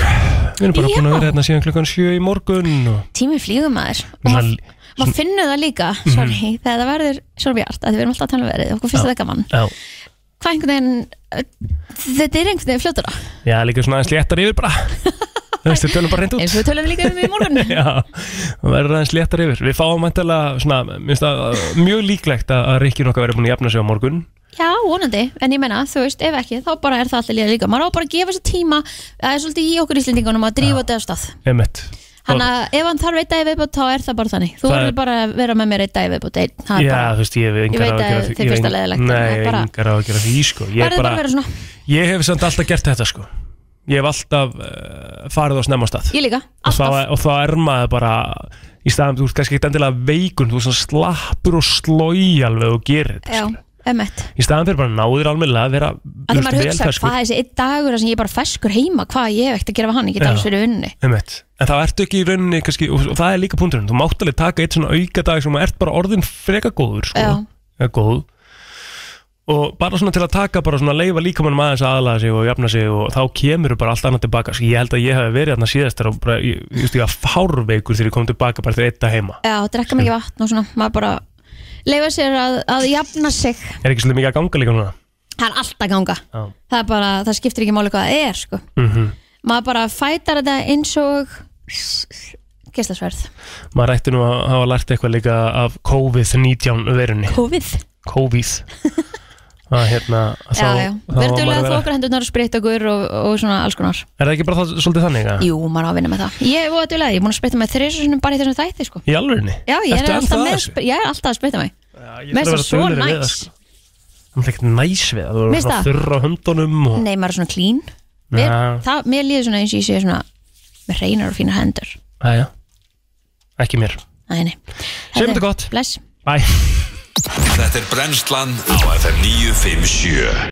Við erum bara
Já.
búin að vera hérna síðan klukkan sjö í morgun og...
tími flýgum maður og
Svona- Mhm.
maður mað finnur það líka sorry, þegar það verður svo bjart að við erum alltaf að tala um verið okkur finnst þetta gaman
Já.
hvað einhvern veginn, uh, þetta er einhvern veginn fljótara
Já, líka svona aðeins léttar yfir bara Þú veist, við tölum bara reynd
eins
út
og við tölum líka um í morgun
Já, það verður aðeins léttar yfir Við fáum mæntilega, svona, minnst að mjög líklegt að að Rikki nokkað verður búin að jafna sig á morgun
já, vonandi, en ég menna, þú veist, ef ekki þá bara er það alltaf líka líka, maður á bara að gefa sér tíma það er svolítið í okkur íslendingunum að drífa þetta af stað
Emmett
hann að ef hann þarf einn dag í viðbútt þá er það bara þannig, þú
Það er-
verður bara að vera með mér einn dag í viðbútt einn, það er
Já,
bara
þú veist, ég hef
Ég
engar
veit
á að gera
að
því ég
þér
hef
finnst
engar-
það leiðilegt, en
Nei,
það er
ég hef
bara-
engar á að gera því, sko Ég, er
verður bara að vera svona,
ég hef samt alltaf gert þetta, sko Ég hef alltaf uh, farið á snemma stað
ég líka,
og þá,
alltaf
og þá er maður bara í staðum, þú ert kannski ekkert endilega veikun þú ert svona slappur og slói alveg og gerir þetta sko.
já, emmett
í staðan fyrir bara náðir almennilega að vera
að maður
vel
hugsa
ferskur.
hvað er þessi einn dagur þar sem ég er bara ferskur heima, hvað ég hef ekkert að gera við hann, ég get
Já.
alls verið unni
Einmitt. En það ertu ekki í rauninni kannski, og og það er líka punkturinn, þú mátt alveg taka eitt svona auka dag sem að ert bara orðin freka góður sko,
Já.
eða góð og bara svona til að taka bara svona leifa líkamannum aðeins að aðlaða sig og jafna sig og þá kemur bara allt annað tilbaka sko, ég held að ég hef verið þarna síðast þegar og bara, ég, ég veist ég að fárveikur þegar ég kom tilbaka bara þegar eitt að heima
Já, drekka mikið vatn og svona, maður bara leifa sér að, að jafna sig
er ekki svolítið mikið að ganga líka núna
það er allt að ganga
Já.
það er bara, það skiptir ekki máli hvað það er sko.
mm
maður bara fætar þetta eins og geislasverð
maður ætti nú að hafa lært eitthvað líka af COVID-19 verunni
COVID
COVID að hérna að
Já, já,
þá var
verður
maður
duðlega
að
að
vera-
þókra hendurnar og spritta okkur og, og svona alls konar
er það ekki bara það svolítið þannig að
Jú, maður á að vinna með það Ég er voða duðlega, ég er búin að spritta mig þrisu sinum bara í þessum þætti sko.
Í alvegni?
Já, ég er,
Ertu
alltaf
ennþá
með,
að þessu?
sp- ég er alltaf að spritta mig
ég
Mér
þarf að
finnst
vera
það svo
duglegri við
næs
það, sko. Það er ekkert næs við það, þú
Mér
erum
finnst
svona
það.
þurra á höndunum og...
Nei, maður er svona clean Mér,
Já.
það, mér líður svona eins og ég sé svona með reynar og fínar hendur
Æja, ekki mér
Nei, nei.
Segjum
Herðu,
þetta gott.
Bless
Bye
Þetta er brennslan á FM 957